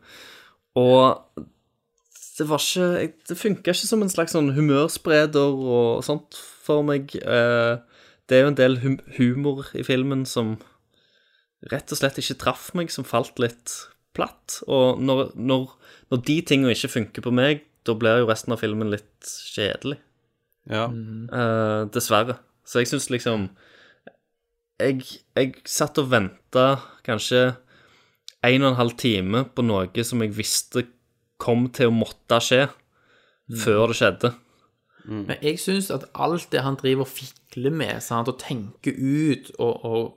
S12: Og det var ikke jeg- Det funka ikke som en slags sånn humørspreder og sånt for meg. Eh, det er jo en del hum humor i filmen som rett og slett ikke traff meg, som falt litt platt. Og når, når, når de tingene ikke funker på meg, da blir jo resten av filmen litt kjedelig.
S1: Ja.
S12: Eh, dessverre. Så jeg syns liksom jeg, jeg satt og venta kanskje en og en halv time på noe som jeg visste kom til å måtte skje, før det skjedde.
S9: Men jeg syns at alt det han driver og fikler med sant, og tenker ut og, og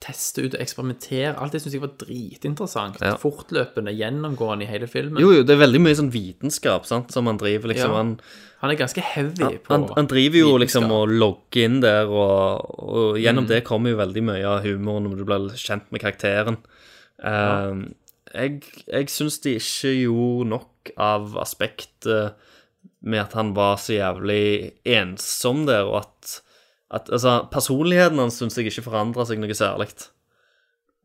S9: teste ut og eksperimentere. Alt det syns jeg var dritinteressant. Ja. Fortløpende, gjennomgående i hele filmen.
S12: Jo, jo, det er veldig mye sånn vitenskap sant, som han driver, liksom. Ja. Han,
S9: han, er ganske heavy
S12: han,
S9: på
S12: Han, han driver jo vitenskap. liksom og logger inn der, og, og gjennom mm. det kommer jo veldig mye av humoren når du blir kjent med karakteren. Ja. Uh, jeg jeg syns de ikke gjorde nok av aspektet med at han var så jævlig ensom der, og at at, altså, personligheten hans syns jeg ikke forandra seg noe særlig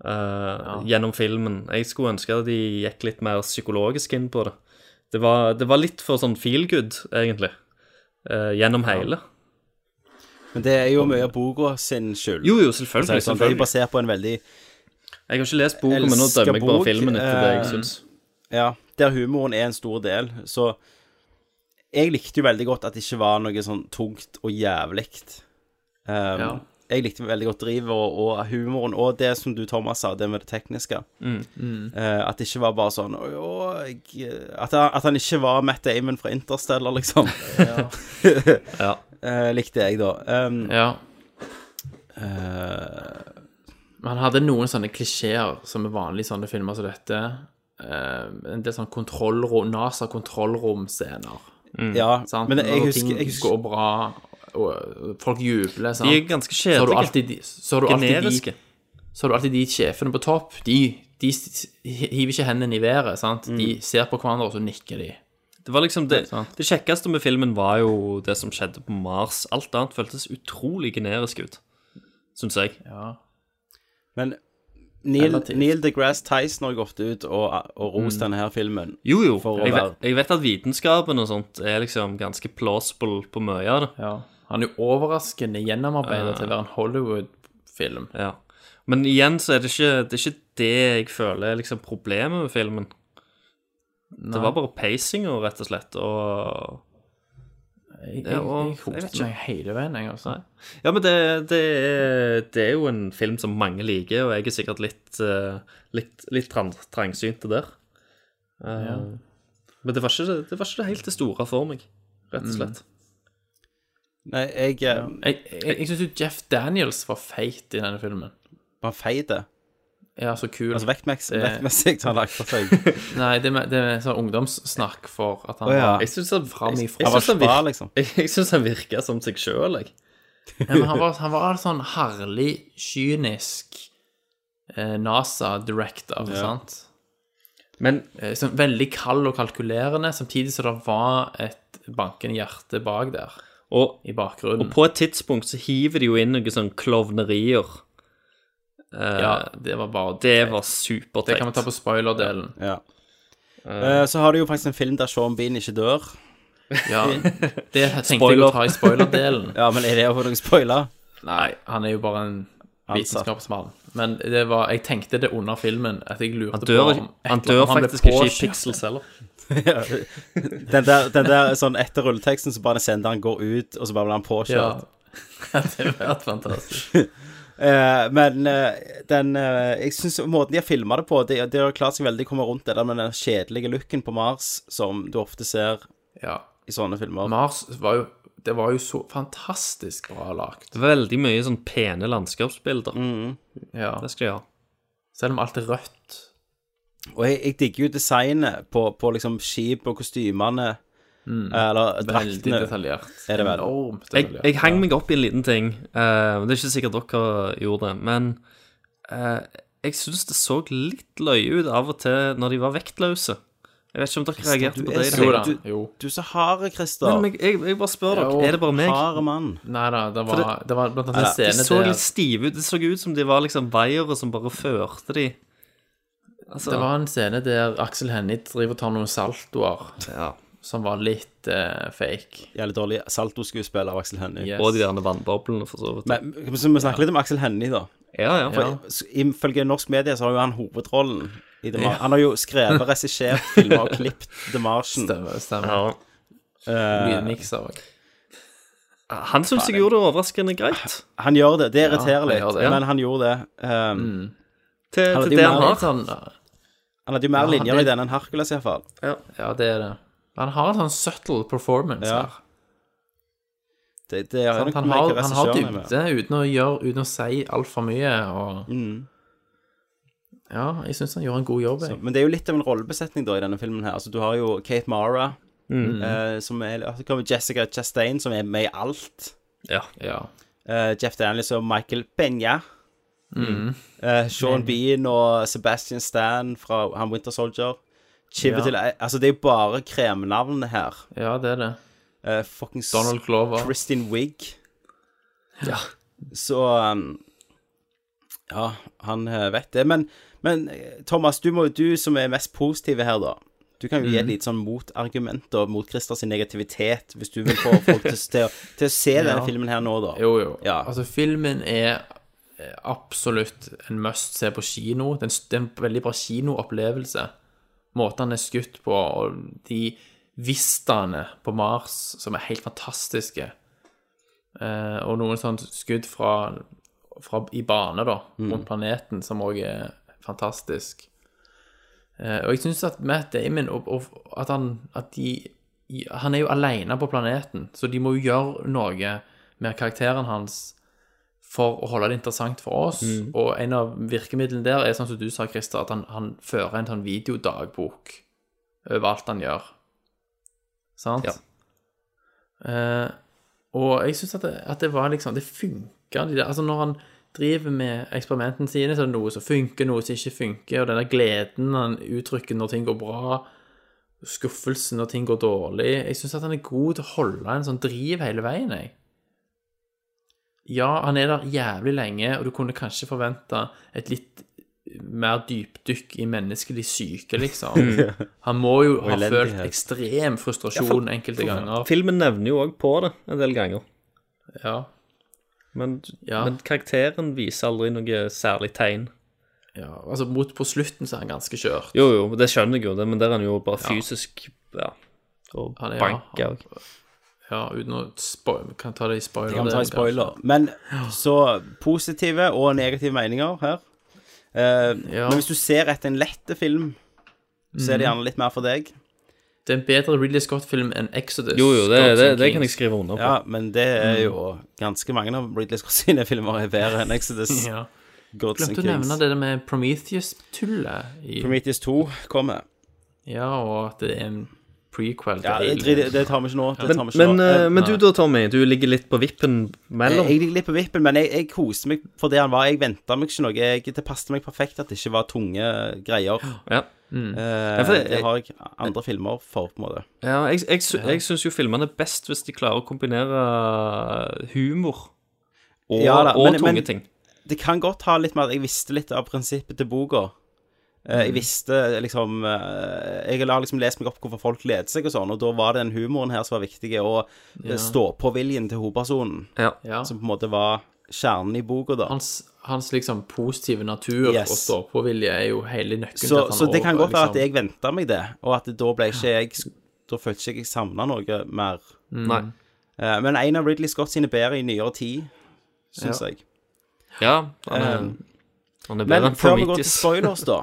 S12: uh, ja. gjennom filmen. Jeg skulle ønske at de gikk litt mer psykologisk inn på det. Det var, det var litt for sånn feel good, egentlig, uh, gjennom hele.
S1: Men det er jo mye av boka sin skyld.
S12: Jo, jo, selvfølgelig. Altså,
S1: selvfølgelig. Det er sånn, basert på en veldig
S12: Jeg har ikke lest boka, men nå dømmer jeg bare filmen etter det jeg
S9: eh,
S12: syns.
S1: Ja, der humoren er en stor del, så Jeg likte jo veldig godt at det ikke var noe sånn tungt og jævlig. Um, ja. Jeg likte veldig godt drivet og, og, humoren, og det som du, Thomas, sa, det med det tekniske. Mm, mm. Uh, at det ikke var bare sånn å, jeg, at, han, at, han, ikke var Matt Damon fra Interstellar, liksom. ja. ja. Uh, likte jeg, da. Um, eh,
S9: ja. Uh, han hadde noen sånne klisjeer som er vanlige i sånne filmer som dette. en del sånn kontrollrom, NASA-kontrollromscener.
S1: Mm. Ja, sant? men jeg husker, jeg husker
S9: går bra, og folk jubler. Sant?
S12: De er ganske
S9: Så
S12: kjedelige.
S9: har du alltid, har du alltid de, så har du alltid de sjefene på topp. De, de hiver ikke hendene i været. Mm. De ser på hverandre, og så nikker de.
S12: Det var liksom det, det, kjekkeste med filmen var jo det som skjedde på Mars. Alt annet føltes utrolig generisk ut, syns jeg.
S1: Ja. Men Neil, Neil deGrasse Tyson har gått ut og, og rost mm. denne her filmen.
S12: Jo, jo. Jeg vet, jeg, vet, at vitenskapen og sånt er liksom ganske plausible på mye av det.
S9: Ja. Han er jo overraskende gjennomarbeidet uh, til å være en Hollywood-film.
S12: Ja. Men igjen så er det, ikke, det er ikke det, jeg føler er liksom problemet med filmen. Nei. Det var bare pacinga, rett og slett, og
S9: jeg, jeg, jeg, jeg vet ikke hele veien, jeg, altså.
S12: Ja, men det, det, er, det, er, jo en film som mange liker, og jeg er sikkert litt, eh, litt, litt trangsynt til der. Ja. Men det var, ikke, det var, ikke, det helt det store for meg, rett og slett. Mm.
S1: Nei, jeg eh, ja.
S9: Jeg, jeg, syns jo Jeff Daniels var feit i denne filmen.
S1: Var feit?
S9: Ja, så kul.
S1: Altså vektmessig har han lagt på seg.
S9: Nei, det, med, det er sånn ungdomssnakk for at han oh,
S12: ja. var Jeg syns han,
S9: fram
S12: ifra. Jeg, jeg, jeg, liksom. jeg syns han virka som seg sjøl, jeg.
S9: ja, men han var, han var sånn herlig kynisk eh, NASA-director, ja. sant? Men eh, sånn, Veldig kald og kalkulerende, samtidig som det var et bankende hjerte bak der.
S12: Og,
S9: I bakgrunnen.
S12: Og på et tidspunkt så hiver de jo inn noen sånne klovnerier. Eh,
S9: Uh, ja, det var bare
S12: Det var superteit.
S9: Det kan vi ta på spoiler-delen.
S1: Ja. Uh, uh, så har du jo faktisk en film der Sean Bean ikke dør.
S9: Ja, det tenkte spoiler. jeg å ta i spoiler-delen.
S1: ja, men er det for noen spoiler?
S9: Nei, han er jo bare en vitenskapsmann. Men det var, jeg tenkte det under filmen. At jeg lurte
S12: han dør,
S9: på om
S12: Han dør om han faktisk ikke i Pixels heller.
S1: den, der, den der sånn etter rulleteksten så bare sender han går ut, og så bare blir han påkjørt.
S9: Ja. det hadde vært fantastisk.
S1: Uh, men uh, den uh, Jeg syns måten de har filma det på Det de har klart seg veldig å komme rundt det der med den kjedelige looken på Mars som du ofte ser
S9: ja.
S1: i sånne filmer.
S9: Mars var jo Det var jo så fantastisk bra lagt.
S12: Veldig mye sånn pene landskapsbilder.
S1: Mm.
S9: Ja.
S12: Det skal de ha.
S9: Selv om alt er rødt.
S1: Og jeg, jeg digger jo designet på, på liksom skip og kostymene. Mm. Eller draktene.
S9: Veldig detaljert.
S1: Er det vel?
S9: Enormt
S12: detaljert. Jeg, jeg hang meg opp i en liten ting. Uh, det er ikke sikkert dere gjorde det, men uh, jeg syns det så litt løye ut av og til når de var vektløse. Jeg vet ikke om dere Christa, reagerte på det.
S1: Så, jo, da. Du, du er så hard, Christer.
S12: Nei, men jeg, jeg, jeg, bare spør dere. Er det bare meg?
S1: Harde mann.
S9: Nei da, det var, det, det var blant annet en scene
S12: der Det så litt stive ut. Det så ut som de var liksom veiere som bare førte de
S9: altså, Det var en scene der Aksel Hennie driver og tar noen saltoer.
S12: Ja
S9: som var litt uh, fake.
S1: Jævlig dårlig saltoskuespill av Aksel Hennie.
S12: Yes. Og de der vannboblene, for så vidt.
S1: Men vi snakker litt om Aksel Hennie, da.
S12: Ja, ja.
S1: For, ja. Ifølge norsk medie så har jo han hovedrollen. I The Mar ja. Han har jo skrevet, regissert, filma og klippet The Martian.
S9: Stemmer. stemmer. Ja. Uh,
S12: han syns jeg gjorde det overraskende greit.
S1: Han gjør det. Det irriterer ja, litt, men han gjorde det. Um, mm.
S12: Til, til det han har.
S9: sånn,
S12: Han,
S1: han hadde jo mer linjer det... i den enn Hercules, iallfall.
S9: Ja. ja, det er det. Han har en sånn subtle performance ja. her.
S1: Det, det er
S9: sant?
S1: nok
S9: han
S1: noe
S9: har,
S1: hva
S9: han har
S1: regissøren er med.
S9: dybde uten å, gjøre, uten å si altfor mye. Og... Ja, jeg syns han gjorde en god jobb.
S1: Mm. Så,
S9: Jeg.
S1: men det er jo litt av en rollebesetning da i denne filmen her. Altså, du har jo Kate Mara,
S9: Mm.
S1: eh, som er altså, kommer Jessica Chastain, som er med i alt.
S9: Ja. ja.
S1: Eh, Jeff Daniels og Michael Benja.
S9: Mm.
S1: Eh, Sean Bean og Sebastian Stan fra han Winter Soldier. Chivet
S9: Ja.
S1: til Altså, det er jo bare kremnavnene her.
S9: ja, det er det.
S1: Uh, Fuckings
S9: Donald Glover.
S1: Kristin Wiig.
S9: Ja.
S1: Så um, Ja, han eh, vet det. Men, men eh, Thomas, du, må, du som er mest positiv her, da. Du kan jo gi et
S9: Mhm.
S1: lite sånn motargument da, mot Christers negativitet, hvis du vil få folk til, til, å- til å se denne
S9: Ja.
S1: filmen her nå, da.
S9: Jo, jo. Altså, filmen er eh, absolutt en must se på kino. Det er en, s- det er en veldig bra kinoopplevelse. Måten han er skutt på, og de vistaene på Mars som er helt fantastiske. Eh, og noen sånne skudd fra, fra i bane, da,
S1: Mm.
S9: rundt planeten, som òg er fantastisk. Eh, og jeg syns at Matt Damon og, og at han at de i- Han er jo aleine på planeten, så de må jo gjøre noe med karakteren hans for å holde det interessant for oss.
S23: Mm.
S9: Og en av virkemidlene der er sånn som du sa, Christer, at han, han fører en sånn videodagbok over alt han gjør. Sant?
S23: Ja.
S9: Eh, og jeg syns at, det- at det var liksom Det funka, de der. Altså, når han driver med eksperimentene sine, så er det noe som funker, noe som ikke funker, og den der gleden han uttrykker når ting går bra, skuffelsen når ting går dårlig Jeg syns at han er god til å holde en sånn driv hele veien, jeg. Ja, han er der jævlig lenge, og du kunne kanskje forventa et litt mer dypdykk i menneskelig syke, liksom. Han må jo
S1: Og
S9: ha følt
S1: elendighet.
S9: ekstrem frustrasjon
S12: Ja, for-
S9: enkelte
S12: for-
S9: ganger.
S12: Filmen nevner jo òg på det en del ganger.
S9: Ja.
S12: Men,
S9: Ja.
S12: men karakteren viser aldri noe særlig tegn.
S9: ja. Altså, mot på slutten så er han ganske kjørt.
S12: Jo, jo, det skjønner jeg jo, det, men der er han jo bare
S9: Ja.
S12: fysisk ja. Og
S9: Han er-
S12: banker òg.
S9: Ja, uten å spoil... Kan ta det i spoiler.
S1: Jeg kan ta en
S9: delen,
S1: spoiler. Men så positive og negative meninger her. Eh, Men hvis du ser etter en lett film, så er det
S9: Mhm.
S1: gjerne litt mer for deg.
S9: kanskje. Det er en bedre Ridley Scott-film enn Exodus.
S12: Jo, jo, det,
S9: Dogs
S12: det,
S9: and
S12: det kan jeg
S9: Kings.
S12: skrive under på.
S1: Ja, men det er jo ganske mange av Ridley Scott sine filmer er bedre enn Exodus.
S9: Ja.
S1: Gods and
S9: Glemte å nevne
S1: Kings.
S9: det der med Prometheus-tullet. i-
S1: Prometheus 2 kommer.
S9: Ja, og at det er en prequel.
S1: Ja, det,
S9: Alien.
S1: det, det tar vi ikke nå. Det tar
S12: Men,
S1: vi ikke
S12: men,
S1: nå. Eh,
S12: eh, men du da, Tommy, du ligger litt på vippen
S1: Jeg,
S12: mellom.
S1: jeg ligger litt på vippen, men jeg, jeg koste meg for det han var. Jeg venta meg ikke noe. Jeg, det passet meg perfekt at det ikke var tunge greier.
S12: Ja.
S9: Mm.
S1: Eh,
S12: Ja, for jeg-
S1: det har jeg andre filmer for, på en måte.
S12: Ja, jeg, jeg, sy- jeg syns jo filmene er best hvis de klarer å kombinere humor og,
S1: Ja da,
S12: og
S1: men-
S12: tunge
S1: men-
S12: ting.
S1: Det kan godt ha litt med at jeg visste litt av prinsippet til boka. Eh, Jeg visste liksom eh, Jeg har liksom lest meg opp hvorfor folk gleder seg og sånn, og da var det den humoren her som var viktig, eh, og
S9: Ja.
S1: ja. stå-på-viljen til hovedpersonen,
S12: Ja.
S9: Ja.
S1: som på en måte var kjernen i boka, da.
S9: Hans, hans liksom positive natur
S1: Yes.
S9: og stå-på-vilje er jo hele nøkkelen til at
S1: Så,
S9: han
S1: så det kan
S9: overgår,
S1: godt være at
S9: liksom.
S1: jeg venta meg det, og at da ble ikke jeg Da følte ikke jeg jeg savna noe mer.
S12: Nei.
S1: Eh, Men en av Ridley Scott sine bedre i nyere tid, syns
S9: Ja.
S1: jeg.
S12: Ja, han er,
S1: Um,
S12: han er bedre
S1: Men
S12: enn
S1: før vi går til
S12: Prometheus.
S1: spoilers, da,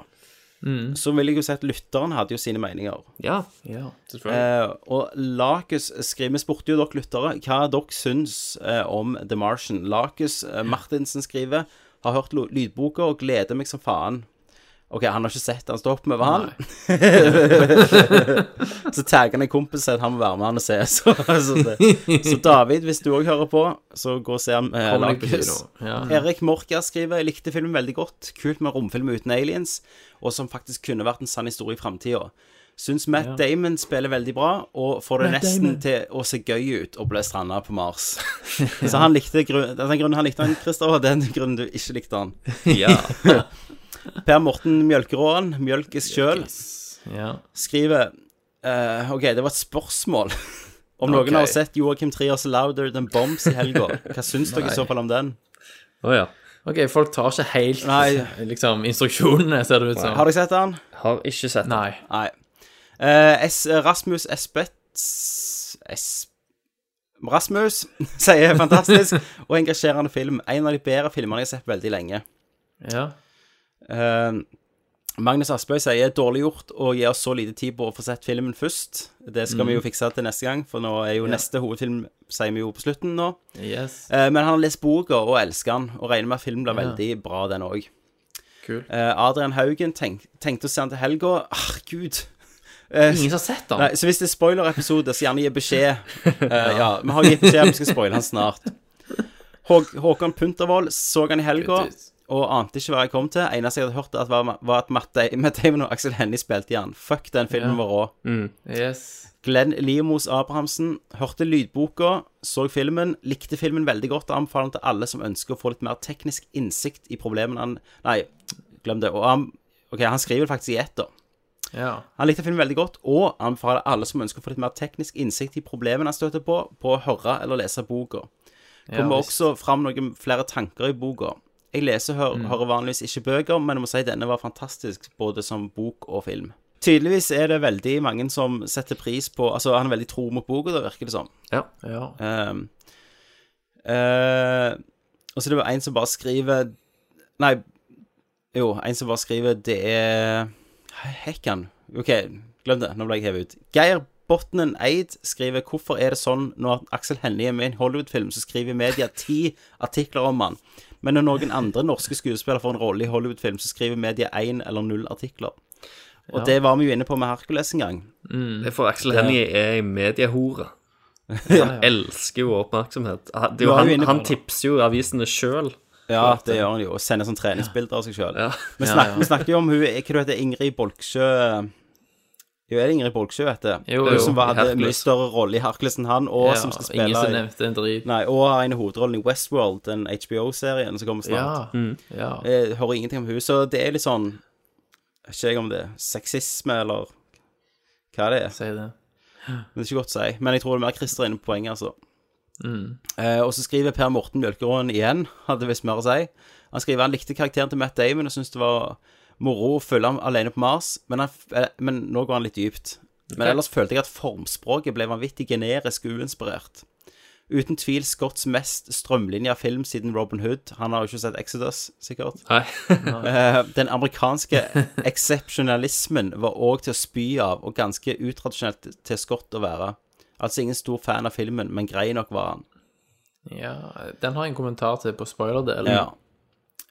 S1: så vil jeg jo si at lytteren hadde jo sine meninger.
S12: Ja.
S9: Ja, selvfølgelig.
S1: Eh, og Lakus skriver Vi spurte jo dere lyttere hva dere syns eh, om The Martian. Lakus eh, Martinsen skriver har hørt lo- lydboka og gleder meg som faen. OK, han har ikke sett den, stå opp med han. så tagger han en kompis og sier at han må være med han og se. Så, så, det. så David, hvis du òg hører på, så gå og se han, eh,
S9: Kom deg på
S1: Lakus.
S9: kino. Ja.
S1: Erik Morker skriver Jeg likte filmen veldig godt. Kult med romfilm uten aliens, og som faktisk kunne vært en sann historie i framtida. Syns Matt Damon spiller veldig bra, og får det
S9: Matt
S1: nesten
S9: Damon.
S1: til å se gøy ut å bli stranda på Mars. Så han likte grunn, den grunnen han likte han, Christer, og den grunnen du ikke likte han.
S12: Ja.
S1: Per Morten Mjølkeråen, Mjølkes sjøl,
S9: Ja.
S1: skriver eh, OK, det var et spørsmål. Om
S9: Ok.
S1: noen har sett Joakim Triers 'Louder Than Bombs' i helga, hva syns dere
S9: Nei.
S1: i så fall om den?
S12: Å ja.
S9: Ok, folk tar ikke helt
S1: Nei.
S9: liksom, instruksjonene, ser det ut som.
S1: Har dere sett den?
S12: Har ikke sett det.
S9: Nei.
S1: Nei. Eh, S Rasmus Espets es Rasmus sier fantastisk og engasjerende film. En av de bedre filmene jeg har sett veldig lenge.
S9: Ja.
S1: Eh, Magnus Aspøy sier dårlig gjort å gi oss så lite tid på å få sett filmen først. Det skal
S24: Mm.
S1: vi jo fikse til neste gang, for nå er jo
S24: Ja.
S1: neste hovedfilm sier vi jo på slutten nå.
S24: Yes.
S1: Eh, men han har lest boka og elsker den, og regner med at filmen blir
S24: Ja.
S1: veldig bra, den òg.
S24: Kul.
S1: Adrian Haugen tenk, tenkte å se den til helga. Ah, gud. Eh,
S24: Ingen som har sett den.
S1: Nei, så hvis det er spoiler-episode, så gjerne gi beskjed. Eh, ja, vi har gitt beskjed om vi skal spoile han snart. Hå Håkon Puntervold så han i helga og ante ikke hva jeg kom til. Eneste jeg hadde hørt, at var, var at Matt, Da Matt Damon og Axel Hennie spilte i han. Fuck, den filmen
S24: Ja.
S1: var rå.
S24: Mm. Yes.
S1: Glenn Liemos Abrahamsen hørte lydboka, så filmen, likte filmen veldig godt og anbefaler den til alle som ønsker å få litt mer teknisk innsikt i problemene han Nei, glem det. Og han, ok, han skriver det faktisk i ett, da.
S24: Ja.
S1: Han likte filmen veldig godt, og anbefaler alle som ønsker å få litt mer teknisk innsikt i problemene han støter på, på å høre eller lese boka.
S24: Ja,
S1: Kommer
S24: visst.
S1: også fram noen flere tanker i boka. Jeg leser og hø
S24: Mm.
S1: hører vanligvis ikke bøker, men jeg må si denne var fantastisk, både som bok og film. Tydeligvis er det veldig mange som setter pris på Altså, han er veldig tro mot boka, da, virker det som.
S24: Ja. ja.
S1: Um, eh, og så er det jo en som bare skriver Nei, jo, en som bare skriver Det er Hekkan. OK, glem det. Nå ble jeg hevet ut. Geir Botnen Eid skriver hvorfor er det sånn når Aksel Hennie er med i en Hollywood-film, så skriver media ti artikler om han, men når noen andre norske skuespillere får en rolle i Hollywood-film, så skriver media én eller null artikler. Og
S12: Ja.
S1: det var vi jo inne på med Hercules en gang.
S12: Det er for Axel
S1: Det-
S12: Hennie er en mediehore. Han elsker jo oppmerksomhet. Han, det er
S1: Du
S12: jo
S1: var jo
S12: han,
S1: inne på
S12: han
S1: det.
S12: tipser jo avisene sjøl.
S1: Ja, det gjør han jo. Og sender sånn treningsbilder av seg sjøl. Vi
S12: Ja,
S1: snakker,
S12: ja.
S1: vi snakker jo om hun Hva heter hun, Ingrid Bolksjø Jo, er det Ingrid Bolksjø, vet du?
S24: Jo,
S1: hun
S24: jo,
S1: som var,
S24: i
S1: hadde
S24: Hercules.
S1: mye større rolle i Hercules enn han, og
S24: Ja,
S1: som skal spille
S24: ingen som
S1: i-
S24: nevnte en drit.
S1: Nei, og har en i hovedrollen i Westworld, den HBO-serien som kommer snart.
S24: Ja, mm, ja.
S1: Jeg hører ingenting om hun, så det er litt sånn jeg vet Ikke jeg om det er sexisme, eller hva det er.
S24: Si det.
S1: Det er ikke godt å si. Men jeg tror det er mer Christer inne på poenget, altså.
S24: Mm.
S1: Eh, og så skriver Per Morten Mjølkeråen igjen, hadde visst mer å si. Han skriver han likte karakteren til Matt Damon og syntes det var moro å følge ham alene på Mars, men, han, f- eh, men nå går han litt dypt. Men
S24: Ok.
S1: ellers følte jeg at formspråket ble vanvittig generisk og uinspirert. Uten tvil Scotts mest strømlinja film siden Robin Hood. Han har jo ikke sett Exodus, sikkert.
S12: Nei.
S1: Eh, Den amerikanske eksepsjonalismen var òg til å spy av, og ganske utradisjonelt til Scott å være. Altså ingen stor fan av filmen, men grei nok var han.
S24: Ja, den har jeg en kommentar til på spoilerdelen.
S1: Ja.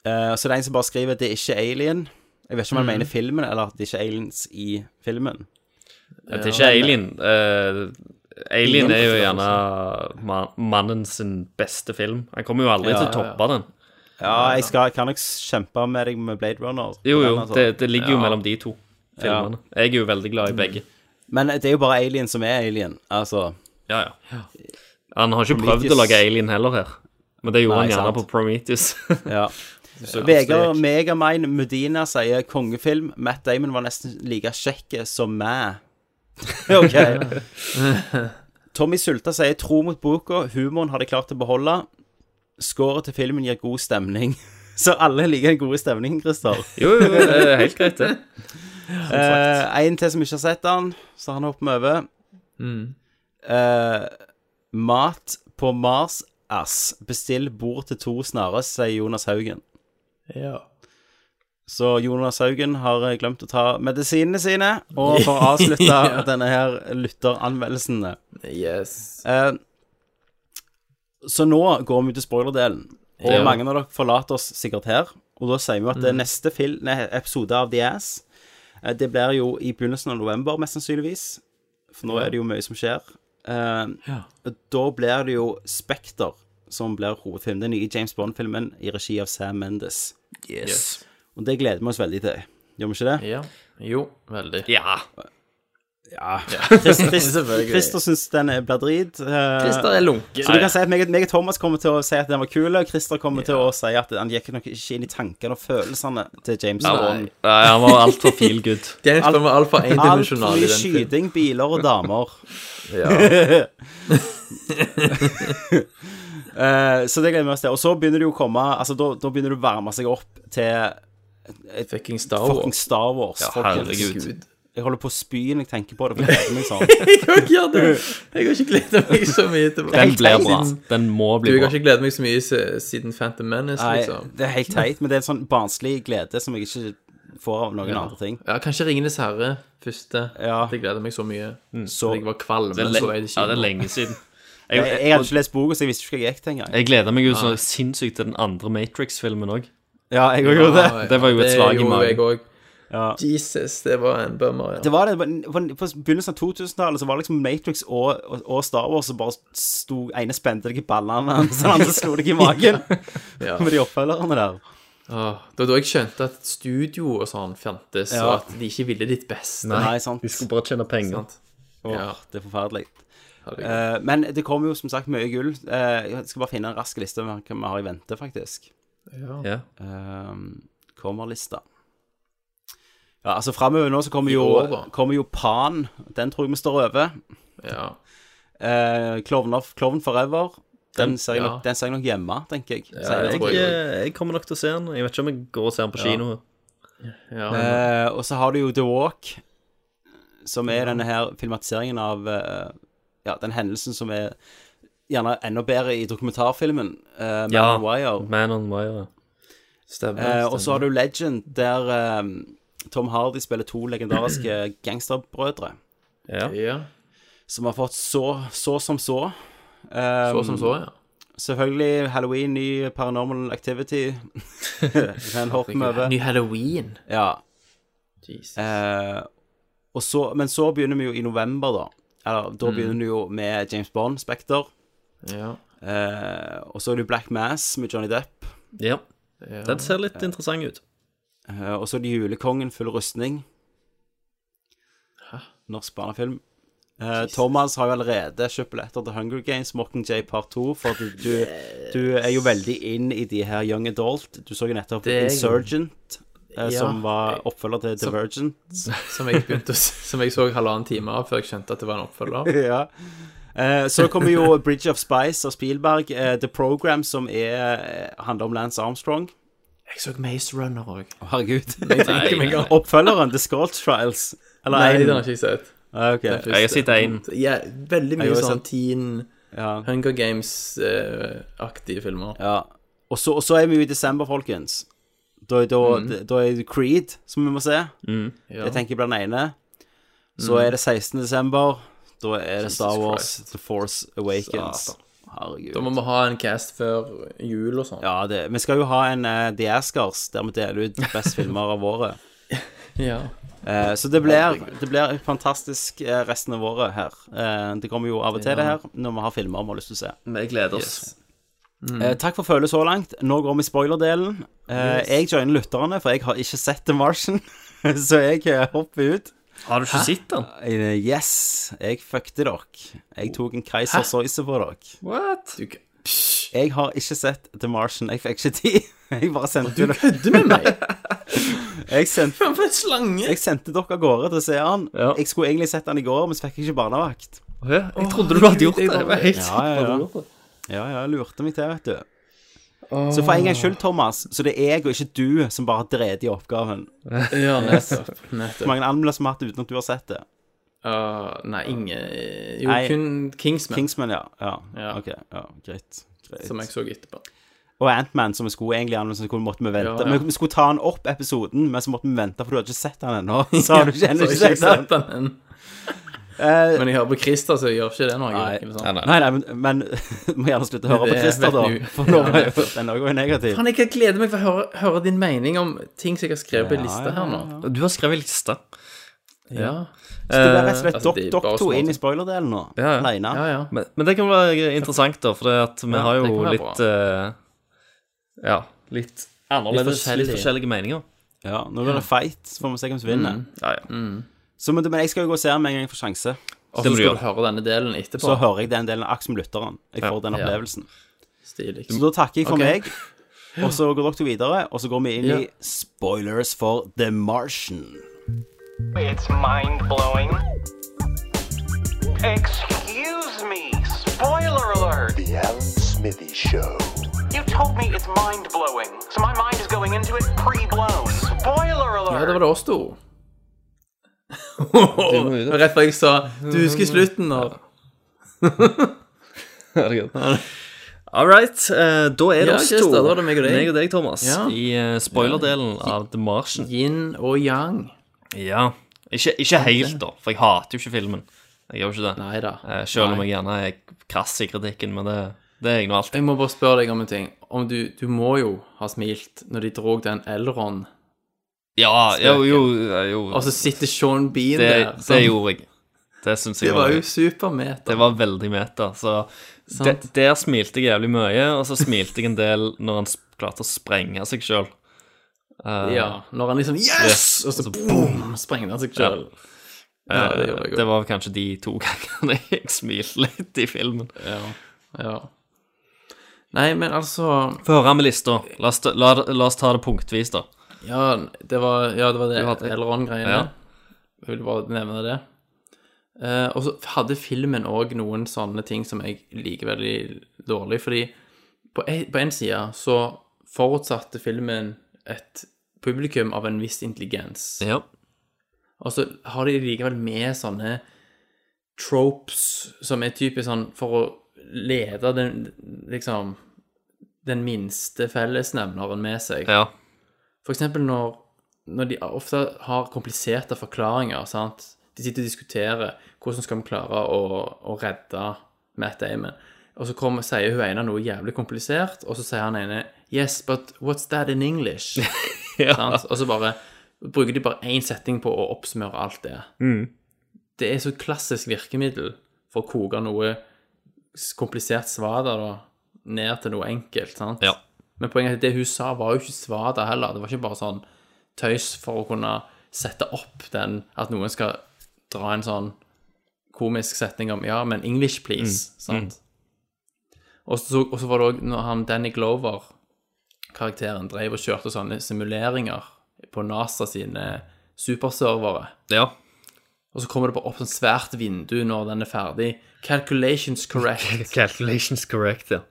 S1: Eh, så det er en som bare skriver det er ikke Alien. Jeg vet ikke om han
S24: Mhm.
S1: mener filmen, eller at det ikke er aliens i filmen.
S12: Det er ikke Alien. Eh, Alien
S1: Ingen
S12: er jo
S1: forstår
S12: gjerne ma- mannen sin beste film. Han kommer jo aldri
S1: Ja.
S12: til å toppe den.
S1: Ja, jeg skal, jeg kan nok kjempe med deg med Blade Runner.
S12: Jo,
S1: Den,
S12: jo,
S1: altså.
S12: det, det ligger jo
S1: Ja. Mm.
S12: mellom de to filmene. Jeg er jo veldig glad i begge.
S1: Men det er jo bare Alien som er Alien, altså.
S12: Ja, ja. Han har ikke prøvd å
S1: Prometheus.
S12: lage Alien heller her, men det gjorde
S1: Nei,
S12: han gjerne
S1: sant.
S12: på Prometheus.
S1: Ja.
S12: Så
S1: Vegard Megamind Mudina sier kongefilm. Matt Damon var nesten like kjekk som meg. OK. Tommy Sulta sier tro mot boka, humoren har de klart å beholde. Skåret til filmen gir god stemning. Så alle liker den gode stemningen, Christer.
S12: Jo, jo, det er helt greit, det. Som sagt.
S1: Eh, en til som ikke har sett den, så han hopper vi over.
S24: Mm.
S1: Eh, mat på Mars, ass. Bestill bord til to snarest, sier Jonas Haugen.
S24: Ja.
S1: Så Jonas Haugen har eh, glemt å ta medisinene sine. Og for å avslutte
S24: Ja.
S1: denne her lytteranmeldelsen
S24: Yes.
S1: eh, Så nå går vi til spoilerdelen. Og
S24: Ja.
S1: mange av dere forlater oss sikkert her. Og da sier vi at eh,
S24: Mm.
S1: neste fil nei, episode av The Ass eh, Det blir jo i begynnelsen av november, mest sannsynligvis. For nå
S24: Ja.
S1: er det jo mye som skjer. Eh,
S24: Ja.
S1: Da blir det jo Spekter som blir hovedfilmen. Den nye James Bond-filmen i regi av Sam Mendes.
S24: Yes.
S1: Og det gleder vi oss veldig til. Gjør vi ikke det?
S24: Ja. Jo, veldig.
S12: Ja.
S1: Ja. Chris, Chris, Christer syns den er- blir drit. eh,
S24: Christer er lunken.
S1: Så du kan si at meg, meg og Thomas kommer til å si at den var kul, og Christer kommer til å si at han gikk nok ikke inn i tankene og følelsene til James
S12: Ja,
S1: Bond.
S12: Nei, han var altfor feel good.
S24: James Bond var altfor endimensjonal i
S1: Alt
S24: den
S1: for mye
S24: filmen.
S1: skyting, biler og damer.
S24: Ja.
S1: Eh, så det gleder vi oss til. Og så begynner det jo å komme Altså, da, da begynner det å varme seg opp til et
S24: Fucking Star Wars.
S1: fucking Star Wars,
S24: Ja,
S1: folkens.
S24: herregud.
S1: Jeg holder på å spy når jeg tenker på det. For jeg gleder meg sånn.
S24: Jeg gjør det. Jeg har ikke gleda meg så mye til
S1: Den blir bra.
S12: Den må
S1: bli
S24: du, Jeg
S1: bra.
S24: har ikke gleda meg så mye se- siden Phantom Menace,
S1: Nei,
S24: liksom.
S1: det er helt teit, men det er en sånn barnslig glede som jeg ikke får av noen
S9: Ja.
S1: andre ting.
S9: Ja, kanskje 'Ringenes herre' første. Det gleder meg så mye.
S1: Mm.
S9: Så jeg var kvalm.
S12: Det er le-
S9: så jeg
S12: ja, det er lenge siden.
S1: Jeg, jeg, hadde
S12: og-
S1: ikke lest boka, så jeg visste ikke hva jeg gikk til engang.
S12: Jeg gleder meg jo så
S1: Nei.
S12: sinnssykt til den andre Matrix-filmen òg.
S1: Ja, jeg også gjorde det.
S12: Det var jo et slag i
S1: gjorde jeg
S12: magen.
S1: også.
S9: Jesus, det var en bummer, ja.
S1: Det var det, på, på- på begynnelsen av 2000-tallet så var det liksom Matrix og, og, og Star Wars som bare sto ene spente deg i ballene, mens den andre slo deg i magen.
S9: Ja.
S1: Med de oppfølgerne der.
S9: Åh, det var da jeg skjønte at studio og sånn fantes,
S1: Ja.
S9: og at de ikke ville ditt beste.
S1: Nei, sant.
S12: Du skulle bare tjene penger.
S9: Sant.
S1: Åh,
S9: Ja.
S1: Det er forferdelig. Eh, men det kommer jo som sagt mye gull. Eh, jeg skal bare finne en rask liste over hva vi har i vente, faktisk.
S9: Ja.
S12: Ja.
S1: Ehm, kommer lista. Ja, altså framover nå så kommer
S9: I
S1: jo,
S9: år, da.
S1: kommer jo Pan. Den tror jeg vi står over.
S9: Ja.
S1: Eh, Klovn of- Klovn Forever. Den
S12: Den-
S1: ser, jeg
S12: ja.
S1: nok, den ser jeg nok hjemme, tenker jeg. Sier jeg.
S12: jeg, eh, jeg kommer nok til å se den. Jeg vet ikke om jeg går og ser den på
S1: Ja.
S12: kino.
S1: Eh, og så har du jo The Walk, som er denne her filmatiseringen av eh, ja, den hendelsen som er gjerne enda bedre i dokumentarfilmen, eh, Man
S12: Ja,
S1: on Wire.
S12: Man on Wire.
S1: Eh, og så har du Legend, der eh, Tom Hardy spiller to legendariske gangsterbrødre.
S12: Ja.
S1: Som har fått så, så som så. Eh,
S9: Så som så, ja.
S1: Selvfølgelig Halloween, ny Paranormal Activity. Den hopper vi over.
S9: Ny Halloween.
S1: Ja. Eh, og så, men så begynner vi jo i november, da. Eller, da
S9: Mm.
S1: begynner du jo med James Bond, Spekter.
S9: Ja.
S1: Eh, og så er det jo Black Mass med Johnny Depp.
S12: Ja.
S9: Ja.
S12: Den ser litt interessant ut.
S1: Eh, og så er det Julekongen, full rustning. Norsk barnefilm. Eh, Thomas har jo allerede kjøpt billetter til Hunger Games, Mockingjay part 2, for du, du, du er jo veldig inn i de her Young Adult. Du så jo nettopp
S9: Det er jeg.
S1: Insurgent, eh,
S9: Ja.
S1: som var oppfølger til
S9: Som-
S1: Divergent.
S9: Som jeg begynte å s- Som jeg så halvannen time av før jeg skjønte at det var en oppfølger.
S1: ja. Eh, så kommer jo Bridge of Spice av Spielberg. eh, The Program, som er, eh, handler om Lance Armstrong.
S9: Jeg så Maze Runner òg.
S1: Herregud.
S9: tenker meg om.
S1: Oppfølgeren, The Scorch Trials. Eller
S9: Nei,
S1: en-
S9: den har jeg ikke sett.
S1: Ah, ok.
S9: Den første.
S12: Jeg har sett en.
S9: Ja, veldig
S1: Jeg
S9: mye
S1: har
S9: sånn teen
S1: Ja.
S9: Hunger Games-aktige filmer.
S1: Ja. Og så, og så er vi jo i desember, folkens. Da, da,
S9: Mm.
S1: da er det Creed, som vi må se.
S12: Mm.
S1: Jeg tenker blant den ene. Så
S9: Mm.
S1: er det 16. desember. Da er det Star
S9: Jesus
S1: Wars The Force Awakens.
S9: Satan.
S1: Herregud.
S9: Da må vi ha en cast før jul og sånn.
S1: Ja, det, vi skal jo ha en eh, The Ascars, der vi deler ut best filmer av året.
S9: Ja.
S1: Eh, så det blir, det blir fantastisk eh, resten av året her. Eh, det kommer jo av og til, det her, når vi har filmer vi har lyst til å se.
S12: Vi gleder oss.
S1: Eh, takk for følget så langt. Nå går vi i spoilerdelen. Eh,
S12: Yes.
S1: Jeg joiner lytterne, for jeg har ikke sett The Martian, så jeg eh, hopper ut.
S12: Har du ikke sett den?
S1: Eh, Yes, jeg fuckte dere. Jeg tok en Kaiser Soyce på dere.
S12: What?
S9: Du,
S1: Jeg har ikke sett The Martian. Jeg fikk ikke tid. Jeg bare sendte Du
S9: kødder med meg?
S1: jeg sendte
S9: Faen, for en slange!
S1: Jeg sendte dere av gårde til å se han. Jeg skulle egentlig sett han i går, men så fikk jeg ikke barnevakt.
S12: Jeg trodde du hadde gjort det. Jeg var helt
S1: Ja, ja, ja. Ja, ja, jeg lurte meg til, vet du. Så for en gangs skyld, Thomas, så det er jeg og ikke du som bare har drevet i oppgaven.
S9: Ja, nettopp.
S1: Hvor
S9: nettopp.
S1: mange anmeldelser vi har hatt uten at du har sett det?
S9: Ah, nei, ingen eh, Jo,
S1: Nei.
S9: kun Kingsman,
S1: Kingsman, ja. ja.
S9: Ja.
S1: Ok, ja, greit. greit.
S9: som jeg så etterpå.
S1: Og Antman, som vi skulle egentlig anmelde, så måtte vi vente.
S9: Ja, ja.
S1: Vi skulle ta han opp episoden, men så måtte vi vente, for du hadde ikke sett han ennå. Så har du ikke ennå
S9: Så
S1: ikke sett
S9: jeg har ikke
S1: han.
S9: sett den ennå.
S1: Eh,
S9: Men jeg hører på Christer, så jeg gjør ikke liksom. det noe. Nei,
S1: Nei, nei, men, men du må gjerne slutte å høre
S9: Det
S1: på Christer,
S9: vet
S1: da.
S9: du.
S1: For nå
S9: Ja,
S1: var jo
S9: nettopp.
S1: den òg negativ.
S9: Faen, jeg kan glede meg for å høre, høre din mening om ting som jeg har skrevet på
S1: Ja,
S9: en liste
S1: ja,
S9: her nå.
S12: Du har skrevet liste.
S9: Ja.
S1: Så det ble rett og slett
S9: Eh, altså, det er
S1: dere
S9: bare
S1: to
S9: små
S1: inn
S9: ting.
S1: i spoilerdelen nå,
S12: Ja, ja.
S1: alene.
S9: Ja, ja.
S12: Men, men det kan være interessant, da, for det at vi
S9: Ja,
S12: har
S9: det
S12: jo
S9: kan være
S12: litt eh, Ja, litt annerledes, litt forskjellige,
S1: forskjellige.
S12: meninger.
S1: Ja, nå blir det fight, så får vi se hvem som vinner.
S9: Mm.
S12: Ja, ja.
S1: Så, men, men jeg skal jo gå og se den med en gang jeg får sjanse.
S9: Og så
S12: Mm. Det må du
S9: skal
S12: gjøre.
S9: du høre denne delen etterpå.
S1: Så hører jeg den delen akkurat som lytteren. Jeg får den
S9: Ja.
S1: opplevelsen.
S9: Stilig.
S1: Så da takker jeg for
S9: Ok.
S1: meg, og så går dere to videre, og så går vi inn
S9: Ja.
S1: i spoilers for The Martian.
S3: It's mind blowing. Excuse me. Spoiler alert.
S25: The Alan Smithy Show.
S3: You told me it's mind blowing, so my mind is going into it pre blown. Spoiler alert.
S9: Ja, det var det oss to. Det var Rett før jeg sa Du husker slutten, og
S12: Herregud. All right. eh, da er det
S9: Ja,
S12: oss
S9: Christer,
S12: to.
S9: da var det meg og deg.
S12: Thomas.
S9: Ja.
S12: I eh, spoilerdelen av The Martian.
S9: Yin og yang.
S12: Ja. Ikke, ikke helt, da, for jeg hater jo ikke filmen. Jeg gjør jo ikke det. Eh, Selv om
S9: Nei.
S12: jeg gjerne er krass i kritikken, men det, det er jeg nå alltid.
S9: Jeg må bare spørre deg om en ting. Om du, du må jo ha smilt når de drog den Elron.
S12: Ja, jo, jo, jo.
S9: Og så sitter Sean Bean
S12: det,
S9: der.
S12: Det
S9: sånn.
S12: gjorde jeg. Det syns jeg
S9: Det var
S12: gøy.
S9: jo supermeta.
S12: Det var veldig meta. Så de,
S9: Sant.
S12: der smilte jeg jævlig mye, og så smilte jeg en del når han s- klarte å sprenge seg sjøl.
S9: Ja, når han liksom Yes! Og så boom! Sprengte han seg selv. Ja, det gjorde jeg også.
S12: Eh, det var kanskje de to gangene jeg smilte litt i filmen.
S9: Ja, ja. Nei, men altså
S12: Få høre med lista. La oss, ta- la, la oss ta det punktvis, da.
S9: Ja, det var, ja, det, var det
S12: Du hadde-
S9: Elron-greiene.
S12: Ja.
S9: Jeg ville bare nevne det. Eh, og så hadde filmen òg noen sånne ting som jeg liker veldig dårlig, fordi på en- på én side så forutsatte filmen et publikum av en viss intelligens.
S12: Ja.
S9: Og så har de likevel med sånne tropes som er typisk sånn for å lede den liksom den minste fellesnevneren med seg.
S12: Ja.
S9: For eksempel når, når de ofte har kompliserte forklaringer, sant? De sitter og diskuterer hvordan skal vi klare å, å redde Matt Damon. Og så kommer, sier hun ene noe jævlig komplisert, og så sier han ene Yes, but what's that in English? Sant? Og så bare bruker de bare én setning på å oppsummere alt det.
S12: Mm.
S9: Det er så klassisk virkemiddel for å koke noe s- komplisert svader da, ned til noe enkelt, sant?
S12: Ja.
S9: Men poenget er at det hun sa var jo ikke svader heller. Det var ikke bare sånn tøys for å kunne sette opp den at noen skal dra en sånn komisk setning om ja, men English please,
S12: Mm.
S9: sant? Og så og så var det òg når han Danny Glover-karakteren drev og kjørte sånne simuleringer på NASA sine superservere.
S12: Ja.
S9: Og så kommer det bare opp sånn svært vindu når den er ferdig. Calculations correct.
S12: Calculations correct, ja.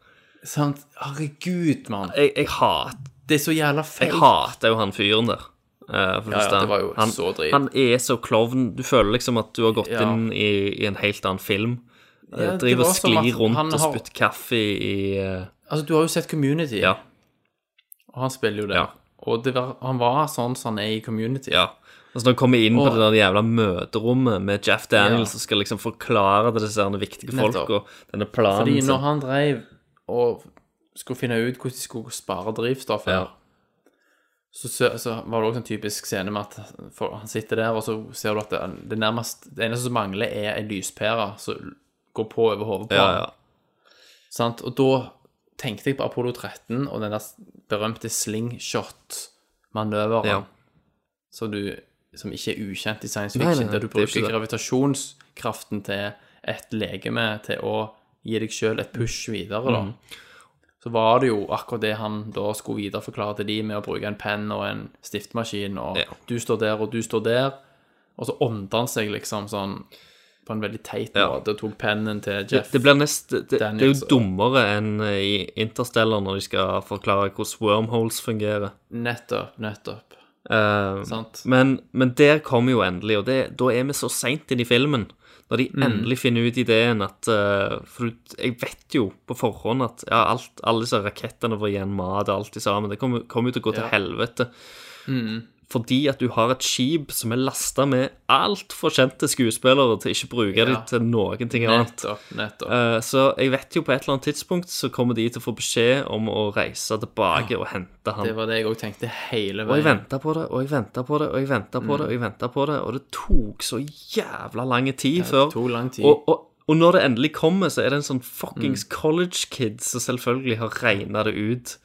S9: Sant? Herregud, mann.
S12: Jeg, jeg hat-
S9: Det er så jævla feil.
S12: Jeg hater jo han fyren der. eh, for
S9: Ja, ja,
S12: første.
S9: det var jo
S12: han,
S9: så drit.
S12: han er så klovn. Du føler liksom at du har gått
S9: Ja.
S12: inn i, i en helt annen film. Eh,
S9: Ja, det
S12: driver
S9: var
S12: og
S9: som
S12: sklir
S9: at
S12: rundt
S9: han
S12: og
S9: har-
S12: spytter kaffe i, i eh,
S9: Altså, du har jo sett Community.
S12: Ja.
S9: Og han spiller jo det.
S12: Ja.
S9: Og det var, han var sånn som han er i Community.
S12: Ja. Altså Når han kommer inn
S9: Og-
S12: på det der jævla møterommet med Jeff Daniels
S9: Ja.
S12: og skal liksom forklare til disse her viktige folk
S9: Nettopp.
S12: og denne planen
S9: Fordi
S12: sin.
S9: når han drev og skulle finne ut hvordan de skulle spare drivstoff her, så, sø- så var det også en typisk scene med at for, han sitter der, og så ser du at det, det nærmest Det eneste som mangler, er en lyspære som går på over hodet på
S12: Ja,
S9: ham. Sant? Og da tenkte jeg på Apollo 13 og den der berømte slingshot-manøveren
S12: Ja.
S9: som, du- som ikke er ukjent i science
S12: Nei, nei,
S9: fiction,
S12: nei,
S9: der du
S12: det er ikke
S9: bruker
S12: det.
S9: gravitasjonskraften til et legeme til å gi deg sjøl et push videre, da.
S12: Mhm.
S9: Så var det jo akkurat det han da skulle videreforklare til de med å bruke en penn og en stiftemaskin, og du står der, og du står der. Og så åndet han seg liksom sånn på en veldig teit
S12: Ja.
S9: måte og tok pennen til
S12: Det,
S9: Jeff.
S12: det, blir nest, det, det er
S9: Daniels
S12: jo
S9: og-
S12: dummere enn eh, i Interstellar når de skal forklare hvordan wormholes fungerer.
S9: Nettopp, nettopp.
S12: Eh,
S9: Sant.
S12: men, men der kommer jo endelig, og det, da er vi så seint inn i filmen. Når de
S9: Mm.
S12: endelig finner ut ideen at eh, For du- jeg vet jo på forhånd at ja, alt, alle disse rakettene får igjen mat og alt i sammen. Det kommer kommer jo til å gå til
S9: Ja.
S12: helvete.
S9: Mm.
S12: Fordi at du har et skip som er lasta med altfor kjente skuespillere til ikke å bruke dem til noen ting annet.
S9: Nettopp, nettopp.
S12: Eh, så jeg vet jo på et eller annet tidspunkt så kommer de til å få beskjed om å reise tilbake og hente han.
S9: Det var det jeg òg tenkte hele
S12: Og jeg
S9: veien.
S12: venta på det, og jeg venta på det, og jeg venta på
S9: Mm.
S12: det, og jeg ventet på det, og det tok så jævla lang tid
S9: det
S12: før.
S9: tok lang tid. Mm.
S12: Og, og, og når det endelig kommer, så er det en sånn fuckings college kid som selvfølgelig har regna det ut,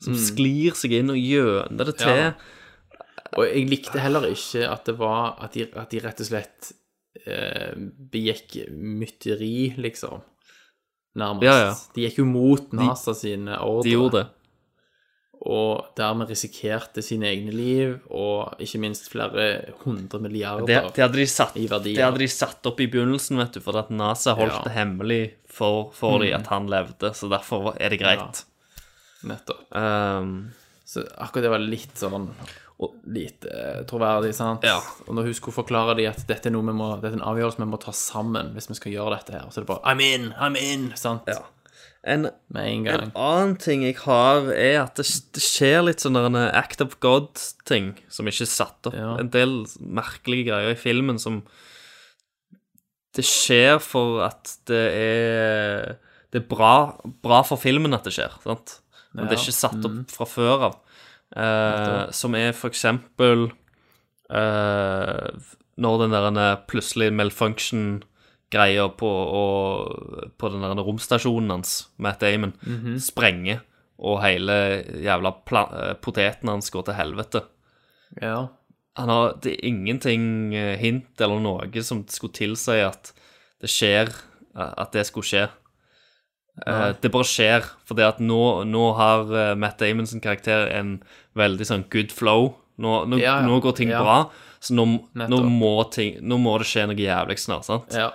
S12: som
S9: Mm.
S12: sklir seg inn og gjøner det til.
S9: Ja. Og jeg likte heller ikke at det var at de, at de rett og slett eh, begikk mytteri, liksom. Nærmest.
S12: Ja, ja.
S9: De gikk jo mot
S12: De-
S9: NASA sine ordre.
S12: De gjorde det.
S9: Og dermed risikerte sine egne liv, og ikke minst flere hundre milliarder
S12: Det, det, hadde de satt,
S9: i verdier.
S12: det hadde de satt opp i begynnelsen, vet du, for at NASA holdt
S9: Ja.
S12: det hemmelig for, for de
S9: Mm.
S12: at han levde, så derfor er det greit.
S9: Nettopp.
S12: Ehm,
S9: Så akkurat det var litt sånn lite eh, troverdig, sant? Og når hun skulle forklare dem at dette er, noe vi må, dette er en avgjørelse vi må ta sammen hvis vi skal gjøre dette her, så er det bare I'm in, I'm in, sant?
S12: En,
S9: en,
S12: en, annen ting jeg har, er at det, det skjer litt sånne act of god-ting som ikke er satt opp. Ja. En del merkelige greier i filmen som Det skjer for at det er Det er bra, bra for filmen at det skjer, sant? Men ja. det er ikke satt opp mm. fra før av. Eh, som er for eksempel eh, når den der plutselig malfunction greier på, og, på den der romstasjonen hans, Matt Damon, mm -hmm. sprenger, og hele jævla eh, poteten hans går til helvete.
S9: Ja.
S12: Han har, det er ingenting eh, hint eller noe som skulle tilsi at det skjer, eh, at det skulle skje. Nei. Det bare skjer, for det at nå, nå har eh, Matt Damon sin karakter en veldig sånn good flow. Nå, nå, ja, ja. nå går ting ja. bra, så nå, nå, må ting, nå, må det skje noe jævlig snart, sant?
S9: Ja.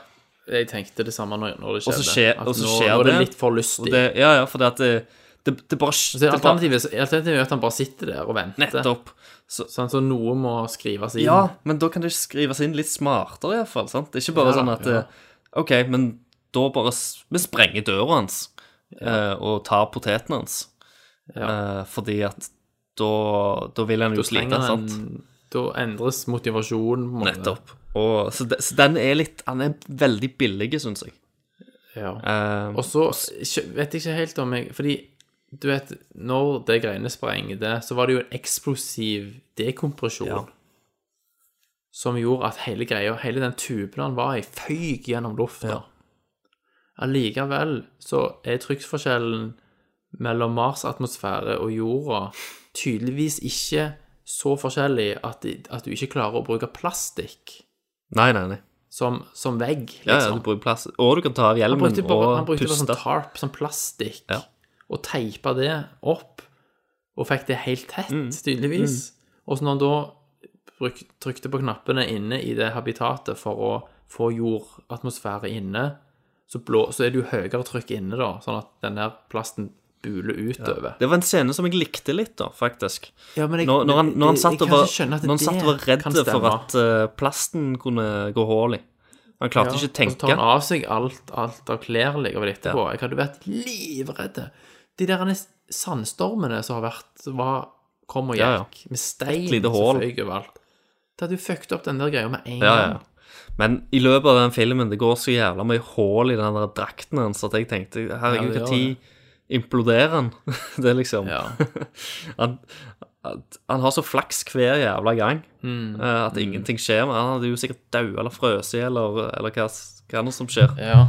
S9: Jeg tenkte det samme når, når det skjedde. Altså,
S12: Og så skjer, og så skjer
S9: det. det litt for lystig.
S12: Det, ja, ja, for det at det, det, det bare
S9: Alternativet alternativ er at han bare sitter der og venter.
S12: Nettopp.
S9: Så, sånn, så noe må skrives inn.
S12: Ja, men da kan det skrives inn litt smartere, iallfall. Det er ikke bare ja, sånn at ja. OK, men da bare Vi sprenger døra hans ja. og tar poteten hans. Eh, fordi at da, da vil han jo slite, sant?
S9: Da endres motivasjonen. på en
S12: måte. Nettopp. Og, så, de, så, den er litt Han er veldig billig, syns jeg. Eh,
S9: Ja. Um, og så vet jeg ikke helt om jeg Fordi du vet, når det greiene sprengte, så var det jo en eksplosiv dekompresjon ja. som gjorde at hele greia, hele den tuben han var i, føyk gjennom lufta. Allikevel ja. så er trykkforskjellen mellom Mars' atmosfære og jorda tydeligvis ikke så forskjellig at, at, du ikke klarer å bruke plastikk
S12: Nei, nei, nei.
S9: Som, som vegg. Liksom.
S12: Ja, ja, du bruker plast. Og du kan ta av hjelmen
S9: han brukte bare,
S12: og
S9: han brukte puste. Bare sånn tarp, sånn plastikk, ja. og teipa det opp, og fikk det helt tett, tydeligvis. Mm. Mm. Og så når han da bruk, trykte på knappene inne i det habitatet for å få jordatmosfære inne, så, blå, så er det jo høyere trykk inne, da, sånn at den der plasten bule utover. Ja.
S12: Det var en scene som jeg likte litt, da, faktisk.
S9: Ja, jeg,
S12: når, når, han, når han satt og var, var redd for at uh, plasten kunne gå hull i. Han klarte ja, ikke å tenke.
S9: Og så tar han av seg alt, alt av klær ligger ved etterpå. Jeg hadde vært livredd. De der sandstormene som har vært, var, kom og gikk, med stein som føyk overalt. Da hadde du fucket opp den der greia med en gang.
S12: Men i løpet av den filmen, det går så jævla mye hull i den der drakten hans at jeg tenkte herregud, når ja, imploderer han. det er liksom ja. han, han, har så flaks hver jævla gang mm. at ingenting skjer. Men han hadde jo sikkert daua eller frøst i eller, eller hva, hva annet som skjer.
S9: Ja.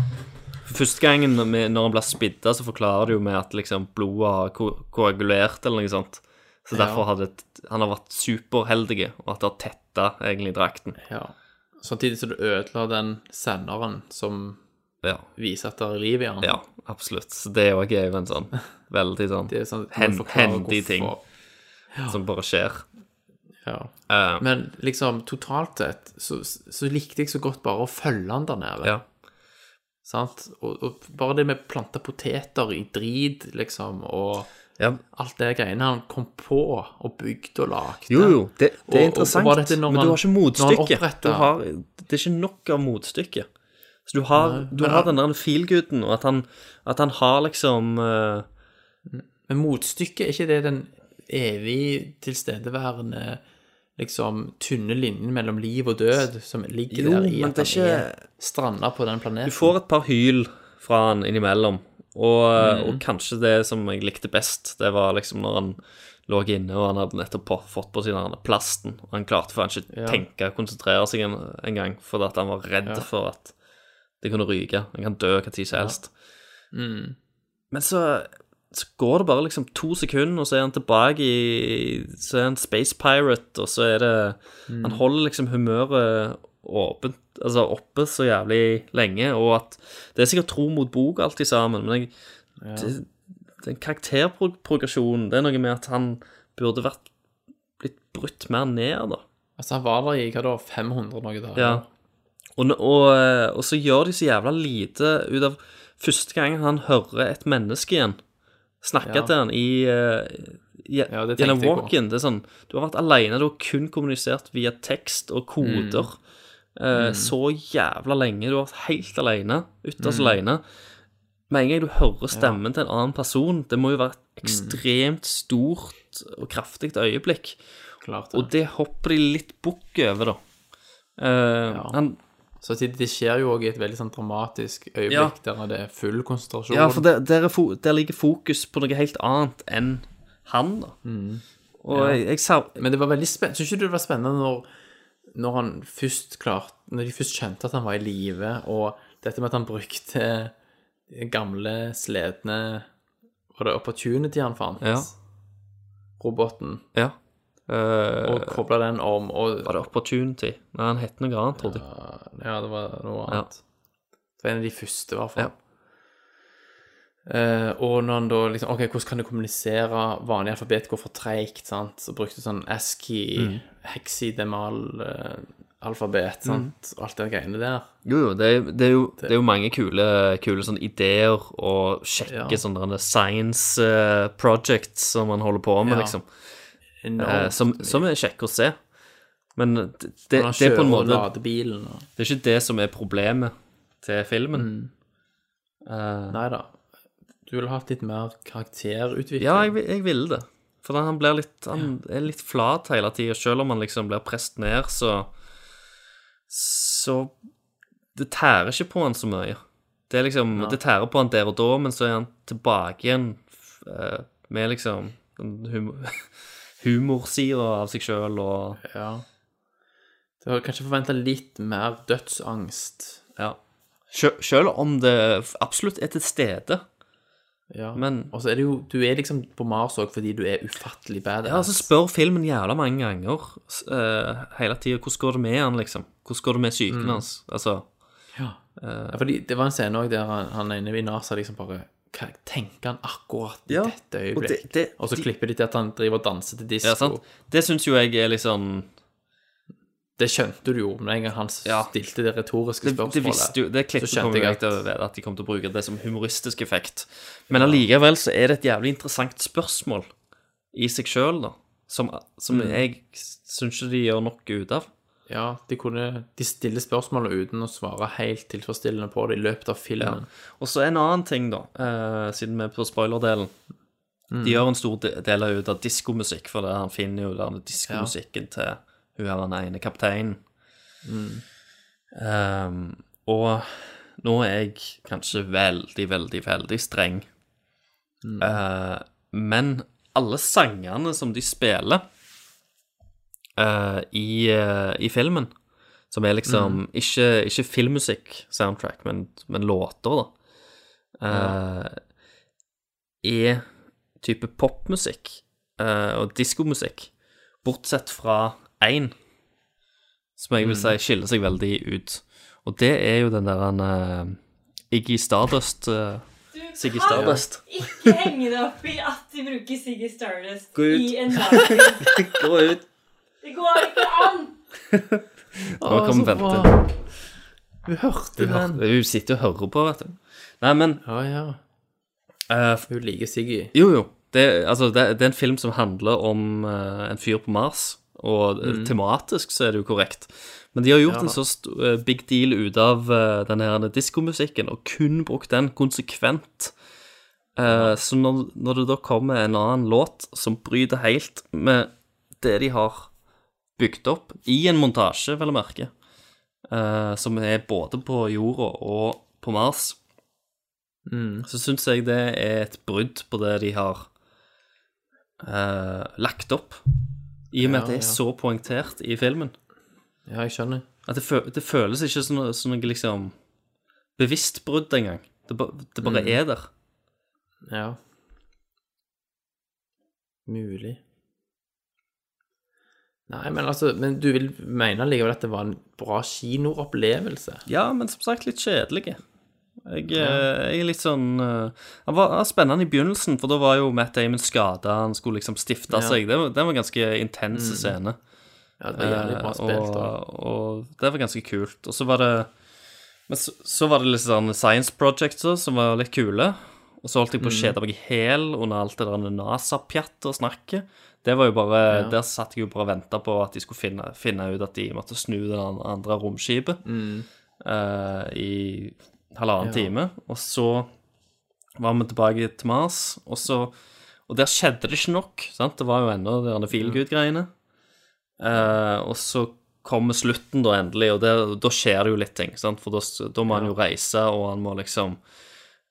S12: Første gangen med, når han blir spidda, så forklarer det jo med at liksom blodet har ko koagulert eller noe sånt. Så derfor ja. hadde han har vært superheldig, og at det har tetta egentlig drakten.
S9: Ja. Samtidig som det ødela den senderen som
S12: ja.
S9: vise at det er liv i han.
S12: Ja, absolutt. Så det òg er jo en sånn veldig sånn, sånn hen, hendig ting ja. som bare skjer. Eh,
S9: Ja. Uh, Men liksom, totalt sett så, så, likte jeg så godt bare å følge han der nede.
S12: Ja.
S9: Sant? Og, og, bare det med planta poteter i drit, liksom, og
S12: ja.
S9: alt det greiene han kom på og bygde og lagde.
S12: Jo, jo, det, det er interessant, og, og men du har ikke motstykket. Det er ikke nok av motstykket. Så du har, Nei, du har den der feelgooden, og at han, at han, har liksom uh...
S9: Men motstykket, er ikke det den evig tilstedeværende liksom tynne linjen mellom liv og død som ligger jo, der i at han ikke... er stranda på den planeten?
S12: Du får et par hyl fra han innimellom, og, mm. og, kanskje det som jeg likte best, det var liksom når han lå inne, og han hadde nettopp fått på seg den plasten, og han klarte for han ikke ja. tenke og konsentrere seg en, en gang, fordi han var redd ja. for at det kan ryke. Den kan dø hva tid som helst.
S9: Ja. Mm.
S12: Men så, så, går det bare liksom to sekunder, og så er han tilbake i Så er han space pirate, og så er det mm. Han holder liksom humøret åpent, altså oppe så jævlig lenge, og at Det er sikkert tro mot bok, alltid sammen, men jeg, ja. det, den karakterprogresjonen Det er noe med at han burde vært blitt brutt mer ned, da.
S9: Altså, han var der i hva da, 500 noe dager?
S12: Ja. Og, og, eh, og, så gjør de så jævla lite ut av Første gang han hører et menneske igjen snakke ja. til han i, i, ja, gjennom walk-in Det er sånn Du har vært aleine, du har kun kommunisert via tekst og koder mm. Eh, mm. så jævla lenge. Du har vært helt aleine, ytterst mm. aleine. Med en gang du hører stemmen til en annen person Det må jo være et ekstremt stort og kraftig øyeblikk.
S9: Klart
S12: Og det hopper de litt bukk over, da. Eh, han,
S9: Samtidig, det skjer jo òg i et veldig sånn dramatisk øyeblikk
S12: Ja.
S9: der det er full konsentrasjon.
S12: ja, for der, der, er fo der ligger fokus på noe helt annet enn han, da.
S9: Mm.
S12: Og
S9: Ja.
S12: jeg, jeg sa
S9: Men det var veldig spennende. Syns ikke du det var spennende når, når han først klart, Når de først skjønte at han var i live, og dette med at han brukte gamle, sledne Var det Opportunity han fant?
S12: Ja.
S9: Roboten.
S12: Ja. Eh,
S9: og kobla den om, og
S12: Var det Opportunity? Nei, han het noe annet, trodde jeg.
S9: Ja, det var noe
S12: Ja.
S9: annet. Det var en av de første, i hvert fall. Eh, og når han da liksom OK, hvordan kan du kommunisere? Vanlig alfabet går for treigt, sant? Så brukte du sånn ASCII,
S12: Mm.
S9: heksidemal eh, alfabet, sant? Og alt det greiene der.
S12: Jo, jo, det er, det er jo, det er jo mange kule, kule sånne ideer og
S9: Ja.
S12: sjekke sånne der science eh, projects som man holder på med,
S9: Ja.
S12: liksom.
S9: Enormt
S12: Eh, som, som er kjekke å se. Men det, det,
S9: Når han
S12: det er på
S9: kjører
S12: en
S9: og
S12: måte
S9: lader bilen og
S12: Det er ikke det som er problemet til filmen.
S9: Nei da. Du ville hatt litt mer karakterutvikling.
S12: Ja, jeg, vi- jeg ville det. For han, blir litt, han er litt flat hele tida, selv om han liksom blir presset ned, så Så det tærer ikke på han så mye. Det er liksom, det tærer på han der og da, men så er han tilbake igjen f- eh, med liksom den hum humorsida av seg sjøl og
S9: Ja. Du hadde kanskje forventa litt mer dødsangst.
S12: Ja. Sjø- Sjøl om det f- absolutt er til stede.
S9: Ja.
S12: Men-
S9: Og så er det jo Du er liksom på Mars òg fordi du er ufattelig badass.
S12: Ja, så spør altså filmen jævla mange ganger s- eh, hele tida hvordan går det med han, liksom. Hvordan går det med psyken
S9: Mm.
S12: hans? Altså
S9: Ja.
S12: eh,
S9: Ja, fordi det var en scene også der han, han ene i NASA liksom bare hva Tenker han akkurat i
S12: Ja,
S9: dette
S12: og det-
S9: øyeblikk? Og,
S12: det-
S9: så
S12: de-
S9: klipper de til at han driver og danser til disko.
S12: Ja, sant? Det syns jo jeg er litt sånn
S9: Det skjønte du jo med en gang han stilte det retoriske
S12: Det,
S9: spørsmålet.
S12: det visste jo, det klippet
S9: så
S12: kom
S9: skjønte
S12: jo
S9: jeg
S12: jeg
S9: at
S12: til å vite at de kom til å bruke det som humoristisk effekt. Men allikevel så er det et jævlig interessant spørsmål i seg sjøl, da. Som, som
S9: Mm.
S12: jeg syns ikke de gjør nok ut av.
S9: ja, de, kunne, de stiller spørsmålet uten å svare helt tilfredsstillende på det i løpet av filmen.
S12: Og så en annen ting, da, eh, siden vi er på spoilerdelen.
S9: Mm.
S12: De gjør en stor de- del ut av diskomusikk, for det, han finner jo den diskomusikken til hun her den ene kapteinen.
S9: Mm.
S12: Ehm, og nå er jeg kanskje veldig, veldig, veldig streng.
S9: Mm.
S12: Eh, men alle sangene som de spiller eh, i, eh, i filmen, som er liksom
S9: Mm.
S12: ikke, ikke filmmusikk, soundtrack, men, men låter, da, eh, er type popmusikk eh, og diskomusikk, bortsett fra én som
S9: Mm.
S12: jeg vil si skiller seg veldig ut. Og det er jo den der han eh, Iggy Stardust uh, Siggy Stardust.
S5: Ikke henge deg opp i at de bruker Siggy Stardust
S12: Gå ut.
S5: i en dag.
S12: Gå ut.
S5: Det går ikke an!
S12: Nå
S9: Å,
S12: kom
S9: så bra.
S12: Bente.
S9: Du hørte
S12: Du
S9: den.
S12: hørte- Hun sitter og hører på, vet du. Nei, men
S9: Ja, ja.
S12: eh,
S9: Hun liker Siggy.
S12: Jo, jo. Det, altså, det, det er en film som handler om eh, en fyr på Mars, og eh,
S9: Mm.
S12: tematisk så er det jo korrekt. Men de har gjort
S9: Ja.
S12: en så st eh, big deal ut av eh, den her diskomusikken, og kun brukt den konsekvent. Eh, så når, når det da kommer en annen låt som bryter helt med det de har bygd opp, i en montasje, vel å merke, eh, som er både på jorda og på Mars,
S9: Mm.
S12: så syns jeg det er et brudd på det de har eh, lagt opp. I og med
S9: Ja,
S12: at det er
S9: ja.
S12: så poengtert i filmen.
S9: Ja, jeg skjønner.
S12: At det, fø- det føles ikke som, noe- som noe liksom bevisst brudd engang. Det, ba- det bare
S9: Mm.
S12: er der.
S9: Ja. Mulig. Nei, men altså Men du vil mene likevel at det var en bra kinoopplevelse?
S12: Ja, men som sagt litt kjedelige. Jeg, eh, jeg er litt sånn eh, Han var var spennende i begynnelsen, for da var jo Matt Damon skada. Han skulle liksom stifte
S9: Ja.
S12: seg. Det var, det var en ganske intens
S9: Mm.
S12: scene.
S9: Ja, det var jævlig bra
S12: Eh,
S9: spilt, da.
S12: og, og det var ganske kult. Og så var det Men så, så var det litt sånn science projects også, som var litt kule. Og så holdt jeg på å
S9: Mm.
S12: kjede meg i hæl under alt det der NASA-pjatt og snakket. Det var jo bare,
S9: Ja.
S12: Der satt jeg jo bare og venta på at de skulle finne, finne ut at de måtte snu det an- andre romskipet
S9: Mm.
S12: eh, i
S9: Ja.
S12: halvannen time. Og så var vi tilbake til Mars, og så Og der skjedde det ikke nok, sant? Det var jo ennå de derne feelgood-greiene. Eh, og så kommer slutten, da, endelig, og der, da skjer det jo litt ting, sant? For da, da må han jo reise, og han må liksom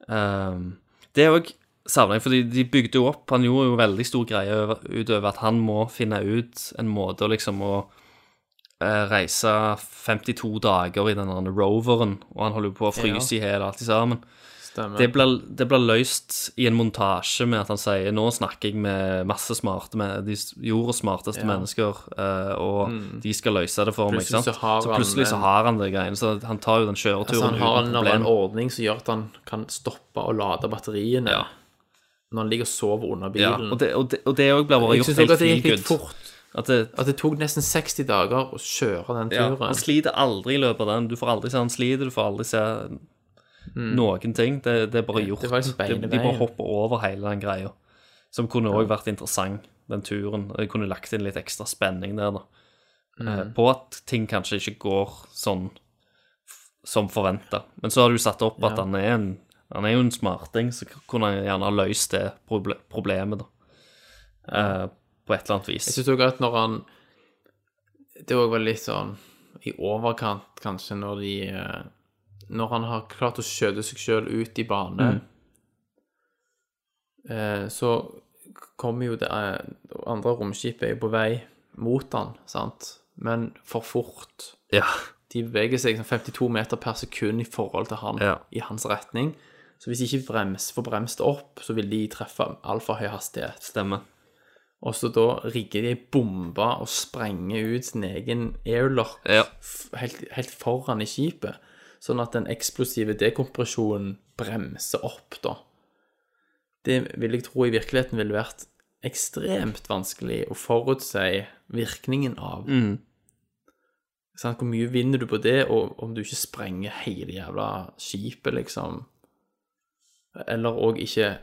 S12: Ehm, det òg savner jeg, fordi de bygde jo opp Han gjorde jo veldig stor greie over- utover at han må finne ut en måte å liksom å eh, reise 52 dager i den der roveren, og han holder jo på å fryse i hjel alt i sammen.
S9: Stemmer.
S12: Det blir, det blir løst i en montasje med at han sier Nå snakker jeg med masse smarte men- de s- jordas smarteste
S9: Ja.
S12: mennesker, eh, og
S9: Mm.
S12: de skal løse det for meg.
S9: Plutselig
S12: sant?
S9: så har
S12: så
S9: han
S12: plutselig så
S9: en-
S12: har han det greiene, så han tar jo den kjøreturen
S9: Altså, han har
S12: uten
S9: en,
S12: problem.
S9: en ordning som gjør at han kan stoppe og lade batteriene når han ligger og sover under
S12: Ja,
S9: bilen.
S12: og det, og det, og det også blir bare
S9: jeg
S12: gjort
S9: synes også
S12: helt
S9: at det gikk litt
S12: feelgood.
S9: fort.
S12: At det,
S9: At det tok nesten 60 dager å kjøre den
S12: ja,
S9: turen.
S12: han sliter aldri i løpet av den. Du får aldri se han sliter, du får aldri se
S9: Mm.
S12: noen ting. Det, det er bare
S9: Ja,
S12: gjort.
S9: det var liksom bein i
S12: de, de bare
S9: bein.
S12: hopper over hele den greia. Som kunne
S9: Ja.
S12: òg vært interessant, den turen. Jeg kunne lagt inn litt ekstra spenning der, da.
S9: Mm.
S12: Eh, På at ting kanskje ikke går sånn f- som forventa. Men så har du satt opp at
S9: Ja.
S12: han er, en, han er jo en smarting, så kunne han gjerne ha løst det proble problemet, da. Eh, på et eller annet vis.
S9: Jeg synes også at når han Det òg var litt sånn i overkant, kanskje, når de eh, Når han har klart å skjøte seg sjøl ut i bane, eh, så kommer jo det eh, andre romskipet er jo på vei mot han, sant, men for fort.
S12: Ja.
S9: De beveger seg sånn 52 meter per sekund i forhold til han,
S12: Ja.
S9: i hans retning. Så hvis de ikke brems, får bremst opp, så vil de treffe altfor høy hastighet.
S12: Stemmer.
S9: Og så da rigger de ei bombe og sprenger ut sin egen airlock f- helt, helt foran i skipet. Sånn at den eksplosive dekompresjonen bremser opp, da. Det vil jeg tro i virkeligheten ville vært ekstremt vanskelig å forutsi virkningen av.
S12: Mm.
S9: Sant, hvor mye vinner du på det, og om du ikke sprenger hele jævla skipet, liksom? Eller òg ikke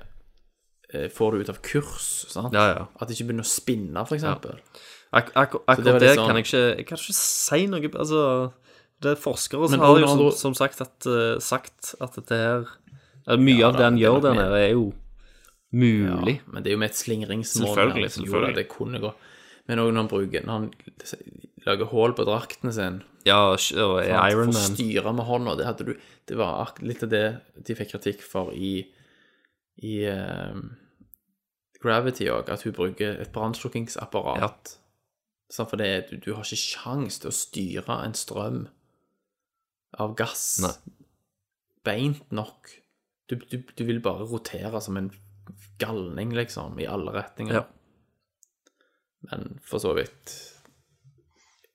S9: eh, får det ut av kurs, sant?
S12: Ja, ja.
S9: At det ikke begynner å spinne, for eksempel.
S12: Ak ak
S9: Så det var
S12: akkurat det,
S9: litt sånn-
S12: kan jeg ikke Jeg kan ikke si noe Altså, det er forskere som
S9: Men
S12: har
S9: og
S12: jo
S9: når
S12: som,
S9: du-
S12: som sagt, at, eh, sagt at dette her eh, Mye av det han
S9: det
S12: gjør
S9: er nok
S12: der
S9: mer.
S12: nede, er jo mulig.
S9: Ja, men det er jo med et slingringsmål.
S12: Selvfølgelig,
S9: her, som
S12: selvfølgelig.
S9: gjorde at Det kunne gå. Men òg når han bruker Når han lager hull på drakten sin
S12: Ja, sh- og er
S9: Sant?
S12: Iron
S9: For
S12: Man.
S9: styre med hånda, det hadde du Det var ak- litt av det de fikk kritikk for i I eh, Gravity òg, at hun bruker et brannslukkingsapparat. Sant, for det er du, du har ikke sjans til å styre en strøm av gass beint nok. Du, du, du vil bare rotere som en galning, liksom, i alle retninger.
S12: Ja.
S9: Men for så vidt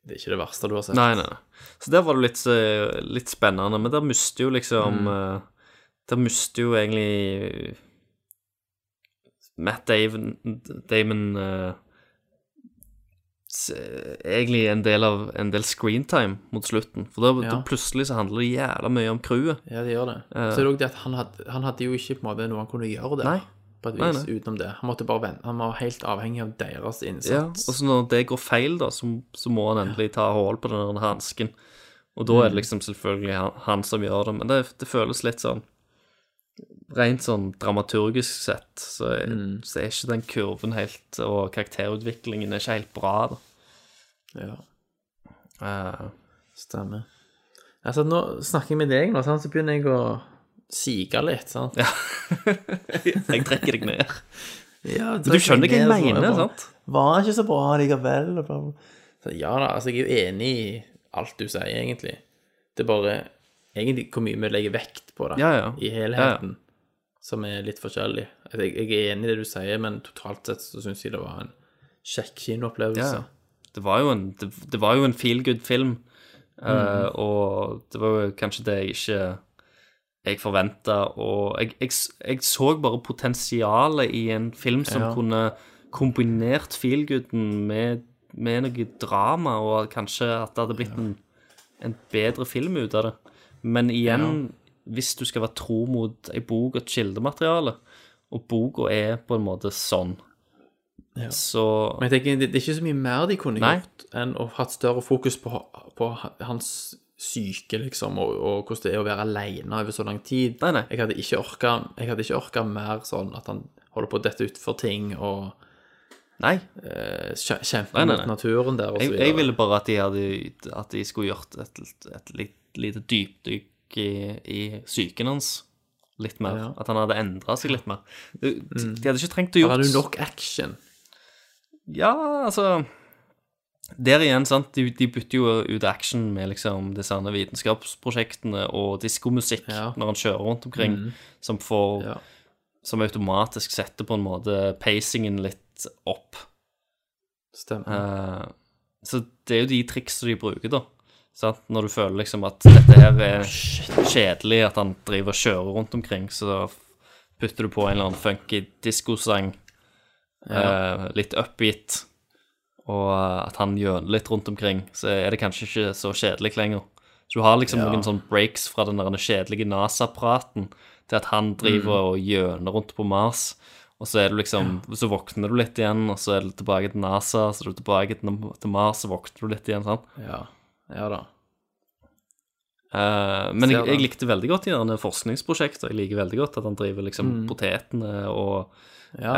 S9: Det er ikke det verste du har sett.
S12: Nei, nei, nei. Så der var det litt, eh, litt spennende, men der mister jo liksom
S9: Mm.
S12: eh, Der mister jo egentlig Matt Damon, Damon eh, s- eh, egentlig en del av en del screentime mot slutten. For da, da
S9: Ja.
S12: plutselig så handler det jævla mye om crewet.
S9: Ja, det gjør det.
S12: Eh.
S9: Så er det også det at han hadde, han hadde jo ikke på en måte noe han kunne gjøre der.
S12: Nei.
S9: På et
S12: Nei,
S9: vis
S12: nei.
S9: utenom det. Han måtte bare vente. Han var helt avhengig av deres
S12: Ja,
S9: innsats.
S12: og så når det går feil, da, så, så må han endelig ta hull på den der hansken. Og da er det
S9: Mm.
S12: liksom selvfølgelig han, han som gjør det, men det, det føles litt sånn Rent sånn dramaturgisk sett, så, er-
S9: Mm.
S12: så er ikke den kurven helt Og karakterutviklingen er ikke helt bra, da.
S9: Ja.
S12: Eh,
S9: Stemmer. Altså, nå snakker jeg med deg nå, sant? så begynner jeg å sige litt, sant?
S12: Ja. jeg trekker deg ned.
S9: Ja,
S12: Men du skjønner hva
S9: ned,
S12: jeg
S9: så
S12: mener,
S9: bare,
S12: sant?
S9: Var ikke så bra likevel. og bla, bla. Så, ja da, altså jeg er jo enig i alt du sier, egentlig. Det er bare egentlig hvor mye vi legger vekt på det
S12: Ja, ja.
S9: i helheten, som er litt forskjellig. Altså, Jeg, jeg er enig i det du sier, men totalt sett så syns jeg det var en kjekk kinoopplevelse.
S12: Ja, ja. Det var jo en, det, det var jo en feel good film. eh,
S9: Mhm.
S12: og det var jo kanskje det jeg ikke jeg forventa. Og jeg, jeg, s- jeg så bare potensialet i en film som
S9: Ja.
S12: kunne kombinert feel gooden med, med noe drama, og kanskje at det hadde blitt en, en bedre film ut av det. Men igjen, hvis du skal være tro mot ei bok og et kildemateriale, og boka er på en måte sånn,
S9: Ja.
S12: så
S9: Men jeg tenker, det, det er ikke så mye mer de kunne
S12: Nei.
S9: gjort enn å hatt større fokus på, på hans syke, liksom, og, og hvordan det er å være alene over så lang tid. Jeg hadde ikke orka, jeg hadde ikke orka mer sånn at han holder på å dette utfor ting og
S12: Nei.
S9: Eh, kje- kjempe
S12: Nei, nei,
S9: mot
S12: nei.
S9: naturen der og så
S12: jeg,
S9: videre.
S12: jeg ville bare at de, hadde, at de skulle gjort et, et litt, lite dypdykk i, i psyken hans litt mer.
S9: Ja.
S12: At han hadde endra seg litt mer. De, de
S9: Mm.
S12: de hadde ikke trengt å gjort
S9: Han hadde jo nok action.
S12: Ja, altså Der igjen, sant. De, de bytter jo ut action med liksom de sanne vitenskapsprosjektene og diskomusikk når han kjører rundt omkring,
S9: Mm.
S12: som får Som automatisk setter på en måte pacingen litt opp. Eh, så det er jo de triksene de bruker, da. Sant? Når du føler liksom at dette her
S9: Ah,
S12: er kjedelig, at han driver og kjører rundt omkring, så putter du på en eller annen funky diskosang,
S9: Ja.
S12: eh, litt upbeat, og eh, at han gjøner litt rundt omkring, så er det kanskje ikke så kjedelig lenger. Så du har liksom
S9: Ja.
S12: noen sånne breaks fra den der kjedelige NASA-praten til at han driver
S9: Mm.
S12: og gjøner rundt på Mars. Og så er du liksom, så våkner du litt igjen, og så er du tilbake til NASA, så er du tilbake til til Mars, så våkner du litt igjen, sant?
S9: Ja, ja da.
S12: Eh, men
S9: Ser
S12: jeg,
S9: det.
S12: jeg likte veldig godt de der forskningsprosjektene. Jeg liker veldig godt at han driver liksom
S9: Mm.
S12: potetene og
S9: Ja.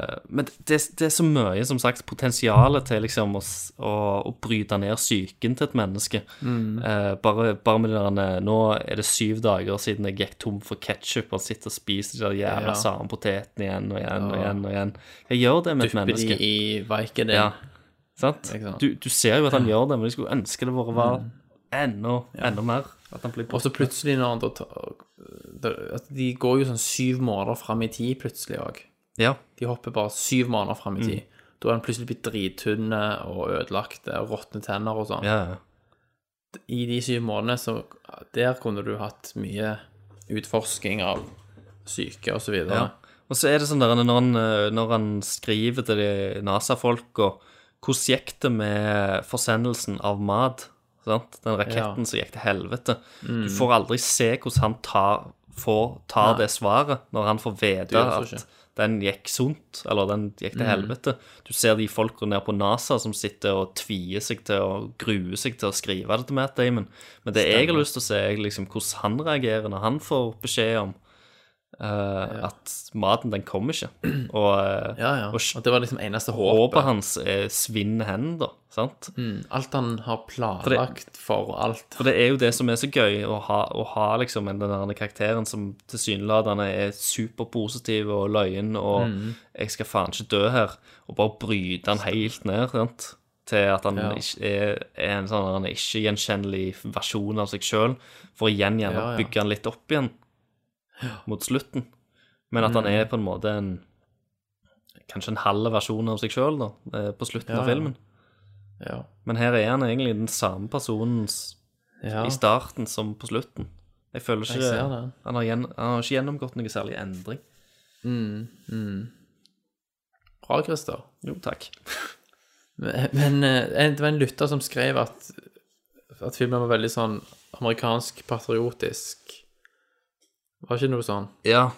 S12: eh, Men det, det er så mye, som sagt, potensial til liksom å, s- å, å bryte ned psyken til et menneske.
S9: Mm.
S12: Eh, bare, bare med den der Nå er det syv dager siden jeg gikk tom for ketsjup og sitter og spiser de der jævla
S9: Ja.
S12: samme potetene igjen og igjen og
S9: Ja.
S12: igjen. og igjen Jeg gjør det med et
S9: Dypper de
S12: menneske.
S9: i Viken,
S12: Ja. Sant?
S9: Ikke sant?
S12: Du, du ser jo at han gjør det, men jeg skulle ønske det bare var enda, enda mer. At han blir
S9: Og så plutselig når han da tar da- at De går jo sånn syv måneder fram i tid plutselig òg.
S12: Ja.
S9: De hopper bare syv måneder fram
S12: Mm.
S9: i tid. Da er han plutselig blitt drittynne og ødelagt og råtne tenner og sånn.
S12: Ja, ja.
S9: I de syv månedene så Der kunne du hatt mye utforsking av syke og så videre.
S12: Ja. Og så er det sånn der når han, eh, når han skriver til de NASA-folka Hvordan gikk det med forsendelsen av mat? Sant? Den raketten
S9: Ja.
S12: som gikk til helvete.
S9: Mm.
S12: Du får aldri se hvordan han tar, får, tar
S9: Nei.
S12: det svaret, når han får
S9: Det
S12: vite
S9: gjør det
S12: at den gikk sunt, eller den gikk til
S9: Mm.
S12: helvete. Du ser de folka nede på NASA som sitter og tvier seg til å grue seg til å skrive det til Matt Damon. Men det jeg har
S9: Stemmer.
S12: lyst til å se, er liksom hvordan han reagerer når han får beskjed om eh, at maten, den kom ikke. Og, eh,
S9: Ja, ja.
S12: og,
S9: Og det var liksom eneste
S12: håpet,
S9: håpet.
S12: hans er svinn hen, da. Sant?
S9: Mm. Alt han har planlagt for alt.
S12: For det er jo det som er så gøy, å ha, å ha liksom en- den der karakteren som tilsynelatende er superpositiv og løyen og
S9: Mhm.
S12: 'jeg skal faen ikke dø her', og bare bryte han helt ned sant? til at han
S9: Ja.
S12: ikke er, er en sånn han er ikke gjenkjennelig versjon av seg sjøl, for igjen gjerne
S9: Ja, ja.
S12: bygge han litt opp igjen mot slutten. Men at han
S9: Mhm.
S12: er på en måte en kanskje en halv versjon av seg sjøl på slutten
S9: Ja,
S12: av
S9: ja.
S12: filmen.
S9: Ja.
S12: Men her er han egentlig den samme personen s-
S9: Ja.
S12: i starten som på slutten. Jeg føler
S9: Jeg
S12: ikke
S9: ser det.
S12: han, har gjen, han har ikke gjennomgått noe særlig endring.
S9: Mm. Mm. Bra, Christer.
S12: Jo, takk.
S9: Men, men eh, en- det var en lytter som skrev at, at filmen var veldig sånn amerikansk patriotisk. Var ikke noe sånn?
S12: Ja.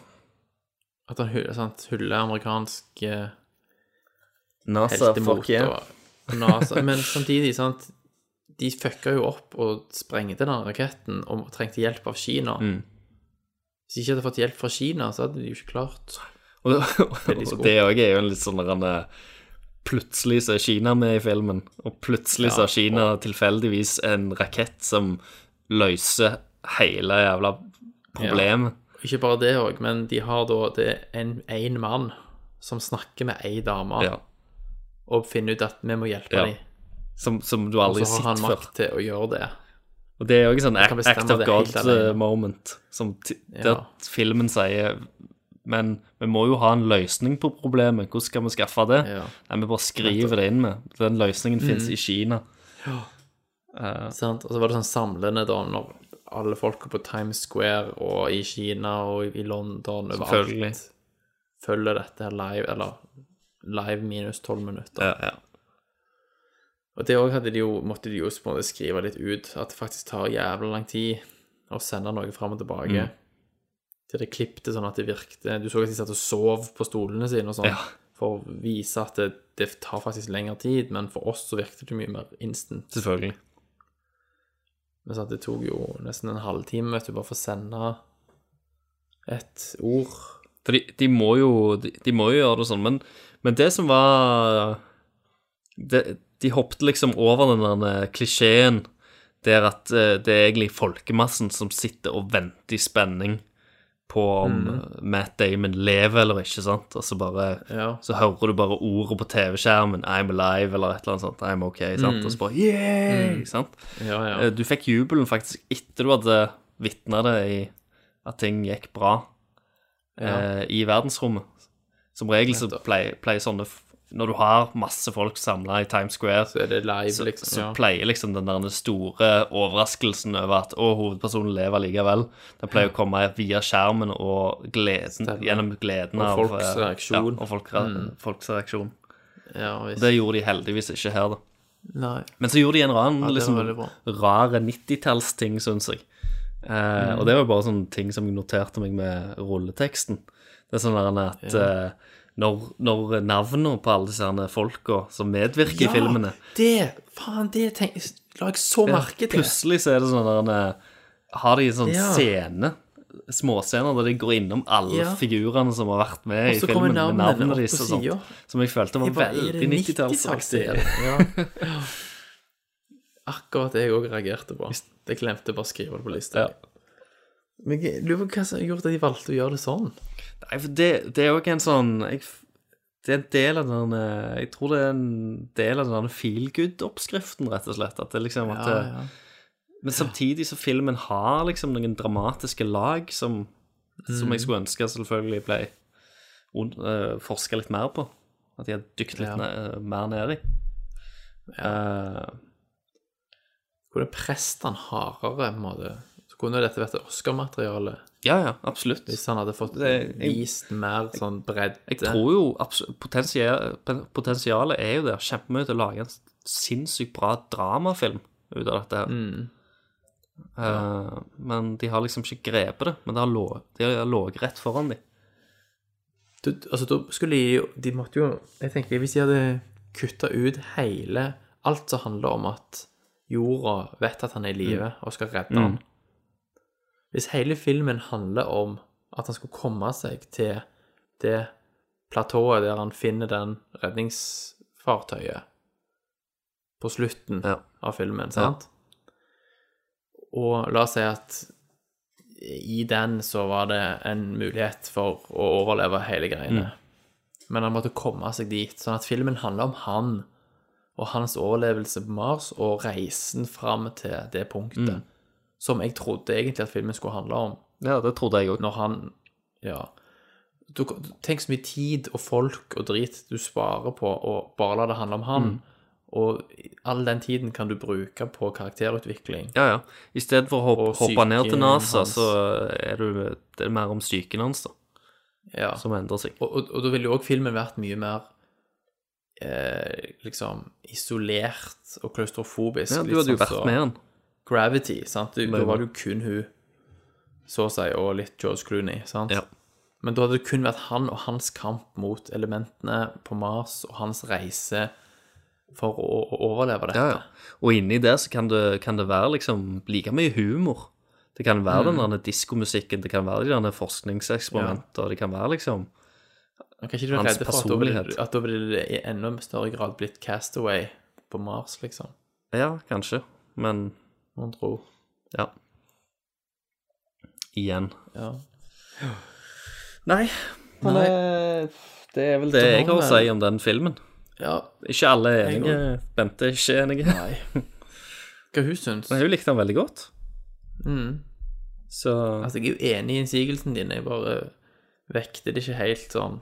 S9: At han hyller, sant, hyller amerikansk eh,
S12: NASA, Altså, fuck yeah.
S9: og NASA. Men samtidig, sant De fucka jo opp og sprengte den raketten og trengte hjelp av Kina.
S12: Mm.
S9: Hvis de ikke hadde fått hjelp fra Kina, så hadde de jo ikke klart
S12: Og, og det òg er jo en litt sånn der han eh, Plutselig så er Kina med i filmen, og plutselig så
S9: Ja,
S12: har Kina tilfeldigvis en rakett som løser hele jævla problemet.
S9: Ikke bare det òg, men de har da Det er en, en mann som snakker med ei dame
S12: Ja.
S9: og finner ut at vi må hjelpe
S12: Ja.
S9: dem.
S12: Som, som du aldri
S9: Og så har han
S12: har sett før.
S9: makt til å gjøre det.
S12: Og det er jo ikke sånn
S9: Jeg kan
S12: act,
S9: bestemme
S12: act of
S9: det
S12: God
S9: helt alene.
S12: eh, moment, som ti- det
S9: Ja.
S12: at filmen sier Men vi må jo ha en løsning på problemet. Hvordan skal vi skaffe det? Nei, vi bare skriver det inn med. Den løsningen
S9: Mm.
S12: finnes i Kina.
S9: Sant? Og så var det sånn samlende da når alle folk på Times Square og i Kina og i London
S12: Selvfølgelig.
S9: overalt følger dette her live, eller live minus tolv minutter. Og det òg hadde de jo, måtte de jo på en måte skrive litt ut, at det faktisk tar jævla lang tid å sende noe fram og tilbake.
S12: Mm.
S9: Til det klippte sånn at det virkte Du så at de satt og sov på stolene sine og sånn,
S12: Ja.
S9: for å vise at det, det tar faktisk lengre tid, men for oss så virket det mye mer instant.
S12: Selvfølgelig.
S9: Men sant, det tok jo nesten en halvtime vet du, bare for å sende et ord.
S12: For de, de, må jo, de, de må jo gjøre det sånn, men, men det som var De, de hoppet liksom over den der klisjeen der at eh, det er egentlig folkemassen som sitter og venter i spenning på om
S9: Mm.
S12: eh, Matt Damon lever eller ikke, sant? Og så bare Så hører du bare ordet på TV-skjermen 'I'm alive' eller et eller annet sånt. 'I'm OK', sant?
S9: Mm.
S12: Og så bare Yeah!
S9: Mm.
S12: Sant?
S9: Ja, ja.
S12: Eh, Du fikk jubelen faktisk etter du hadde vitna det i at ting gikk bra eh, i verdensrommet. Som regel så pleier, pleier sånne f- Når du har masse folk samla i Times Square, så
S9: er det live,
S12: så,
S9: liksom, ja.
S12: pleier liksom den der store overraskelsen over at å, hovedpersonen lever likevel, den pleier å komme via skjermen og gleden, gjennom gleden
S9: Og
S12: av
S9: folks
S12: eh,
S9: reaksjon.
S12: Ja, og folk,
S9: Mm.
S12: folks reaksjon.
S9: Ja, visst.
S12: Og det gjorde de heldigvis ikke her, da.
S9: Nei.
S12: Men så gjorde de en
S9: Ja,
S12: annen
S9: det var
S12: liksom,
S9: veldig bra.
S12: rare 90-tallsting, syns jeg. Eh,
S9: Mm.
S12: Og det var bare sånne ting som jeg noterte meg med rulleteksten. Det er sånn der at
S9: Ja.
S12: eh, når, når navnene på alle disse her folka som medvirker i filmene
S9: Det! Faen, det tenk, la jeg så merke til.
S12: Plutselig så er det sånn der eh, Har de en sånn
S9: Ja.
S12: scene, småscener, der de går innom alle
S9: Ja.
S12: figurene som har vært med
S9: Og
S12: i
S9: så
S12: filmen,
S9: kommer
S12: med
S9: navnene
S12: navnene
S9: opp
S12: deres
S9: på
S12: og sånt.
S9: sida.
S12: Som jeg følte var
S9: Jeg bare, er det
S12: veldig 90-tallsaktig.
S9: 90-tallsaktig? Ja. Akkurat det jeg òg reagerte på. Det glemte jeg bare å skrive det på lista. Men jeg lurer på hva som gjorde at de valgte å gjøre det sånn.
S12: Nei, for det, det er jo ikke en sånn jeg, f- Det er en del av den eh, Jeg tror det er en del av den feelgood-oppskriften, rett og slett. At det liksom at
S9: Ja,
S12: det,
S9: ja.
S12: Men samtidig så filmen har liksom noen dramatiske lag som, som
S9: Mm.
S12: jeg skulle ønske selvfølgelig ble uh, forska litt mer på. At de hadde dykt litt
S9: Ja.
S12: ne- eh, mer ned i. Eh,
S9: Hvor det presset han hardere, på en måte. Så kunne dette vært Oscar-materiale.
S12: Ja, ja, absolutt.
S9: Hvis han hadde fått
S12: Det- jeg-
S9: vist mer sånn bredde.
S12: Jeg tror jo abs- potensial, potensialet er jo der kjempemye til å lage en sinnssykt bra dramafilm ut av dette. her.
S9: Mm.
S12: Eh, men de har liksom ikke grepet det, men det har lå- de har ligget rett foran dem.
S9: Du, altså, da skulle de jo De måtte jo Jeg tenker, hvis de hadde kutta ut hele Alt som handler om at jorda vet at han er i live Mm. og skal redde
S12: Mm.
S9: han Hvis hele filmen handler om at han skulle komme seg til det platået der han finner den redningsfartøyet på slutten av filmen, sant? Og la oss si at i den så var det en mulighet for å overleve hele greiene.
S12: Mm.
S9: Men han måtte komme seg dit. Sånn at filmen handler om han og hans overlevelse på Mars og reisen fram til det punktet.
S12: Mm.
S9: Som jeg trodde egentlig at filmen skulle handle om.
S12: Ja, det trodde jeg òg.
S9: Når han Ja. Du, du- tenk så mye tid og folk og drit du sparer på å bare la det handle om han.
S12: Mm.
S9: Og all den tiden kan du bruke på karakterutvikling.
S12: Ja, ja. I stedet for å hoppe,
S9: Og
S12: hoppe ned til
S9: psyken
S12: NASA,
S9: hans.
S12: så er du, det er mer om psyken hans, da.
S9: Ja.
S12: Som endrer seg.
S9: Og, og, og da ville jo òg filmen vært mye mer eh, liksom isolert og klaustrofobisk.
S12: Ja, du
S9: litt
S12: hadde jo
S9: sånn
S12: vært
S9: som
S12: med han.
S9: Gravity, sant. Du, da
S12: Men-
S9: var det jo kun hun, så å si, og litt George Clooney, sant.
S12: Ja.
S9: Men da hadde det kun vært han og hans kamp mot elementene på Mars, og hans reise for å, å overleve dette.
S12: Ja, ja. Og inni der så kan det, kan det være liksom like mye humor. Det kan være
S9: Mm.
S12: den der diskomusikken, det kan være de der forskningseksperimenter, det kan være liksom
S9: Men Kan ikke du være
S12: Hans
S9: redd for at da ville-
S12: personlighet.
S9: at da ville det i enda større grad blitt Castaway på Mars, liksom?
S12: Ja, kanskje, men
S9: Man tror.
S12: Ja. Igjen.
S9: Ja.
S12: Nei.
S9: Men,
S12: eh, det er vel det jeg har å si om den filmen.
S9: Ja.
S12: Ikke alle er
S9: Jeg
S12: enige. Bente er ikke enig.
S9: Nei. Hva hun syns?
S12: Men hun likte den veldig godt.
S9: Mm.
S12: Så
S9: Altså, jeg er jo enig i innsigelsen din, jeg bare vekter det ikke helt sånn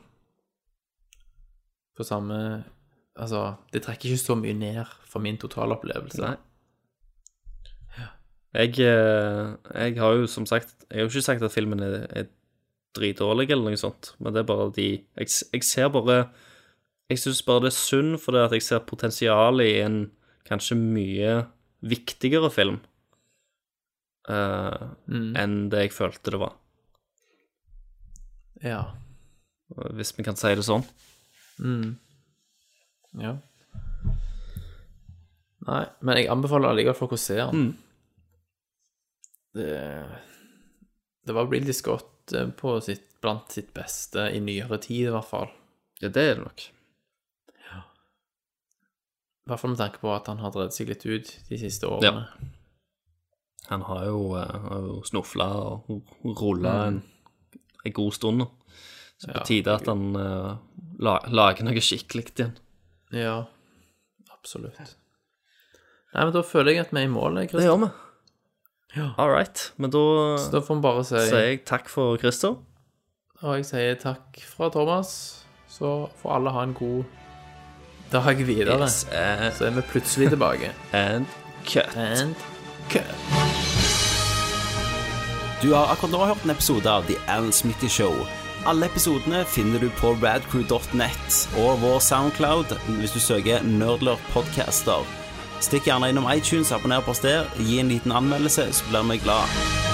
S9: på samme Altså, det trekker ikke så mye ned for min totalopplevelse.
S12: Nei. Jeg, eh, jeg har jo som sagt Jeg har jo ikke sagt at filmen er, er dritdårlig eller noe sånt, men det er bare de Jeg, s- jeg ser bare Jeg syns bare det er synd fordi at jeg ser potensialet i en kanskje mye viktigere film eh, enn det jeg følte det var,
S9: Ja.
S12: hvis vi kan si det sånn.
S9: Mm. Ja. Nei, men jeg anbefaler allikevel folk å se den. det, det var Ridley Scott eh, på sitt, blant sitt beste i nyere tid, i hvert fall.
S12: Ja, det er det nok.
S9: I hvert fall med tanke på at han har drevet seg litt ut de siste årene.
S12: Han har jo, uh, snufla og rulla en, en god stund nå. Så på
S9: Ja,
S12: tide at han eh, la, lager noe skikkelig igjen.
S9: Ja. absolutt. Nei, men da føler jeg at vi er i mål, Christer.
S12: Det gjør vi.
S9: Ja.
S12: All right. Men da,
S9: Så da får vi bare si-
S12: sier jeg takk for Christer.
S9: Og jeg sier takk fra Thomas. Så får alle ha en god dag videre.
S12: Yes, eh.
S9: Så er vi plutselig tilbake.
S12: And cut.
S9: And cut.
S1: Du har akkurat nå hørt en episode av The Alan Smitty Show. Alle episodene finner du på radcrew.net og vår Soundcloud hvis du søker Nerdler podcaster. Stikk gjerne innom iTunes, abonner på oss der, gi en liten anmeldelse, så blir vi glad.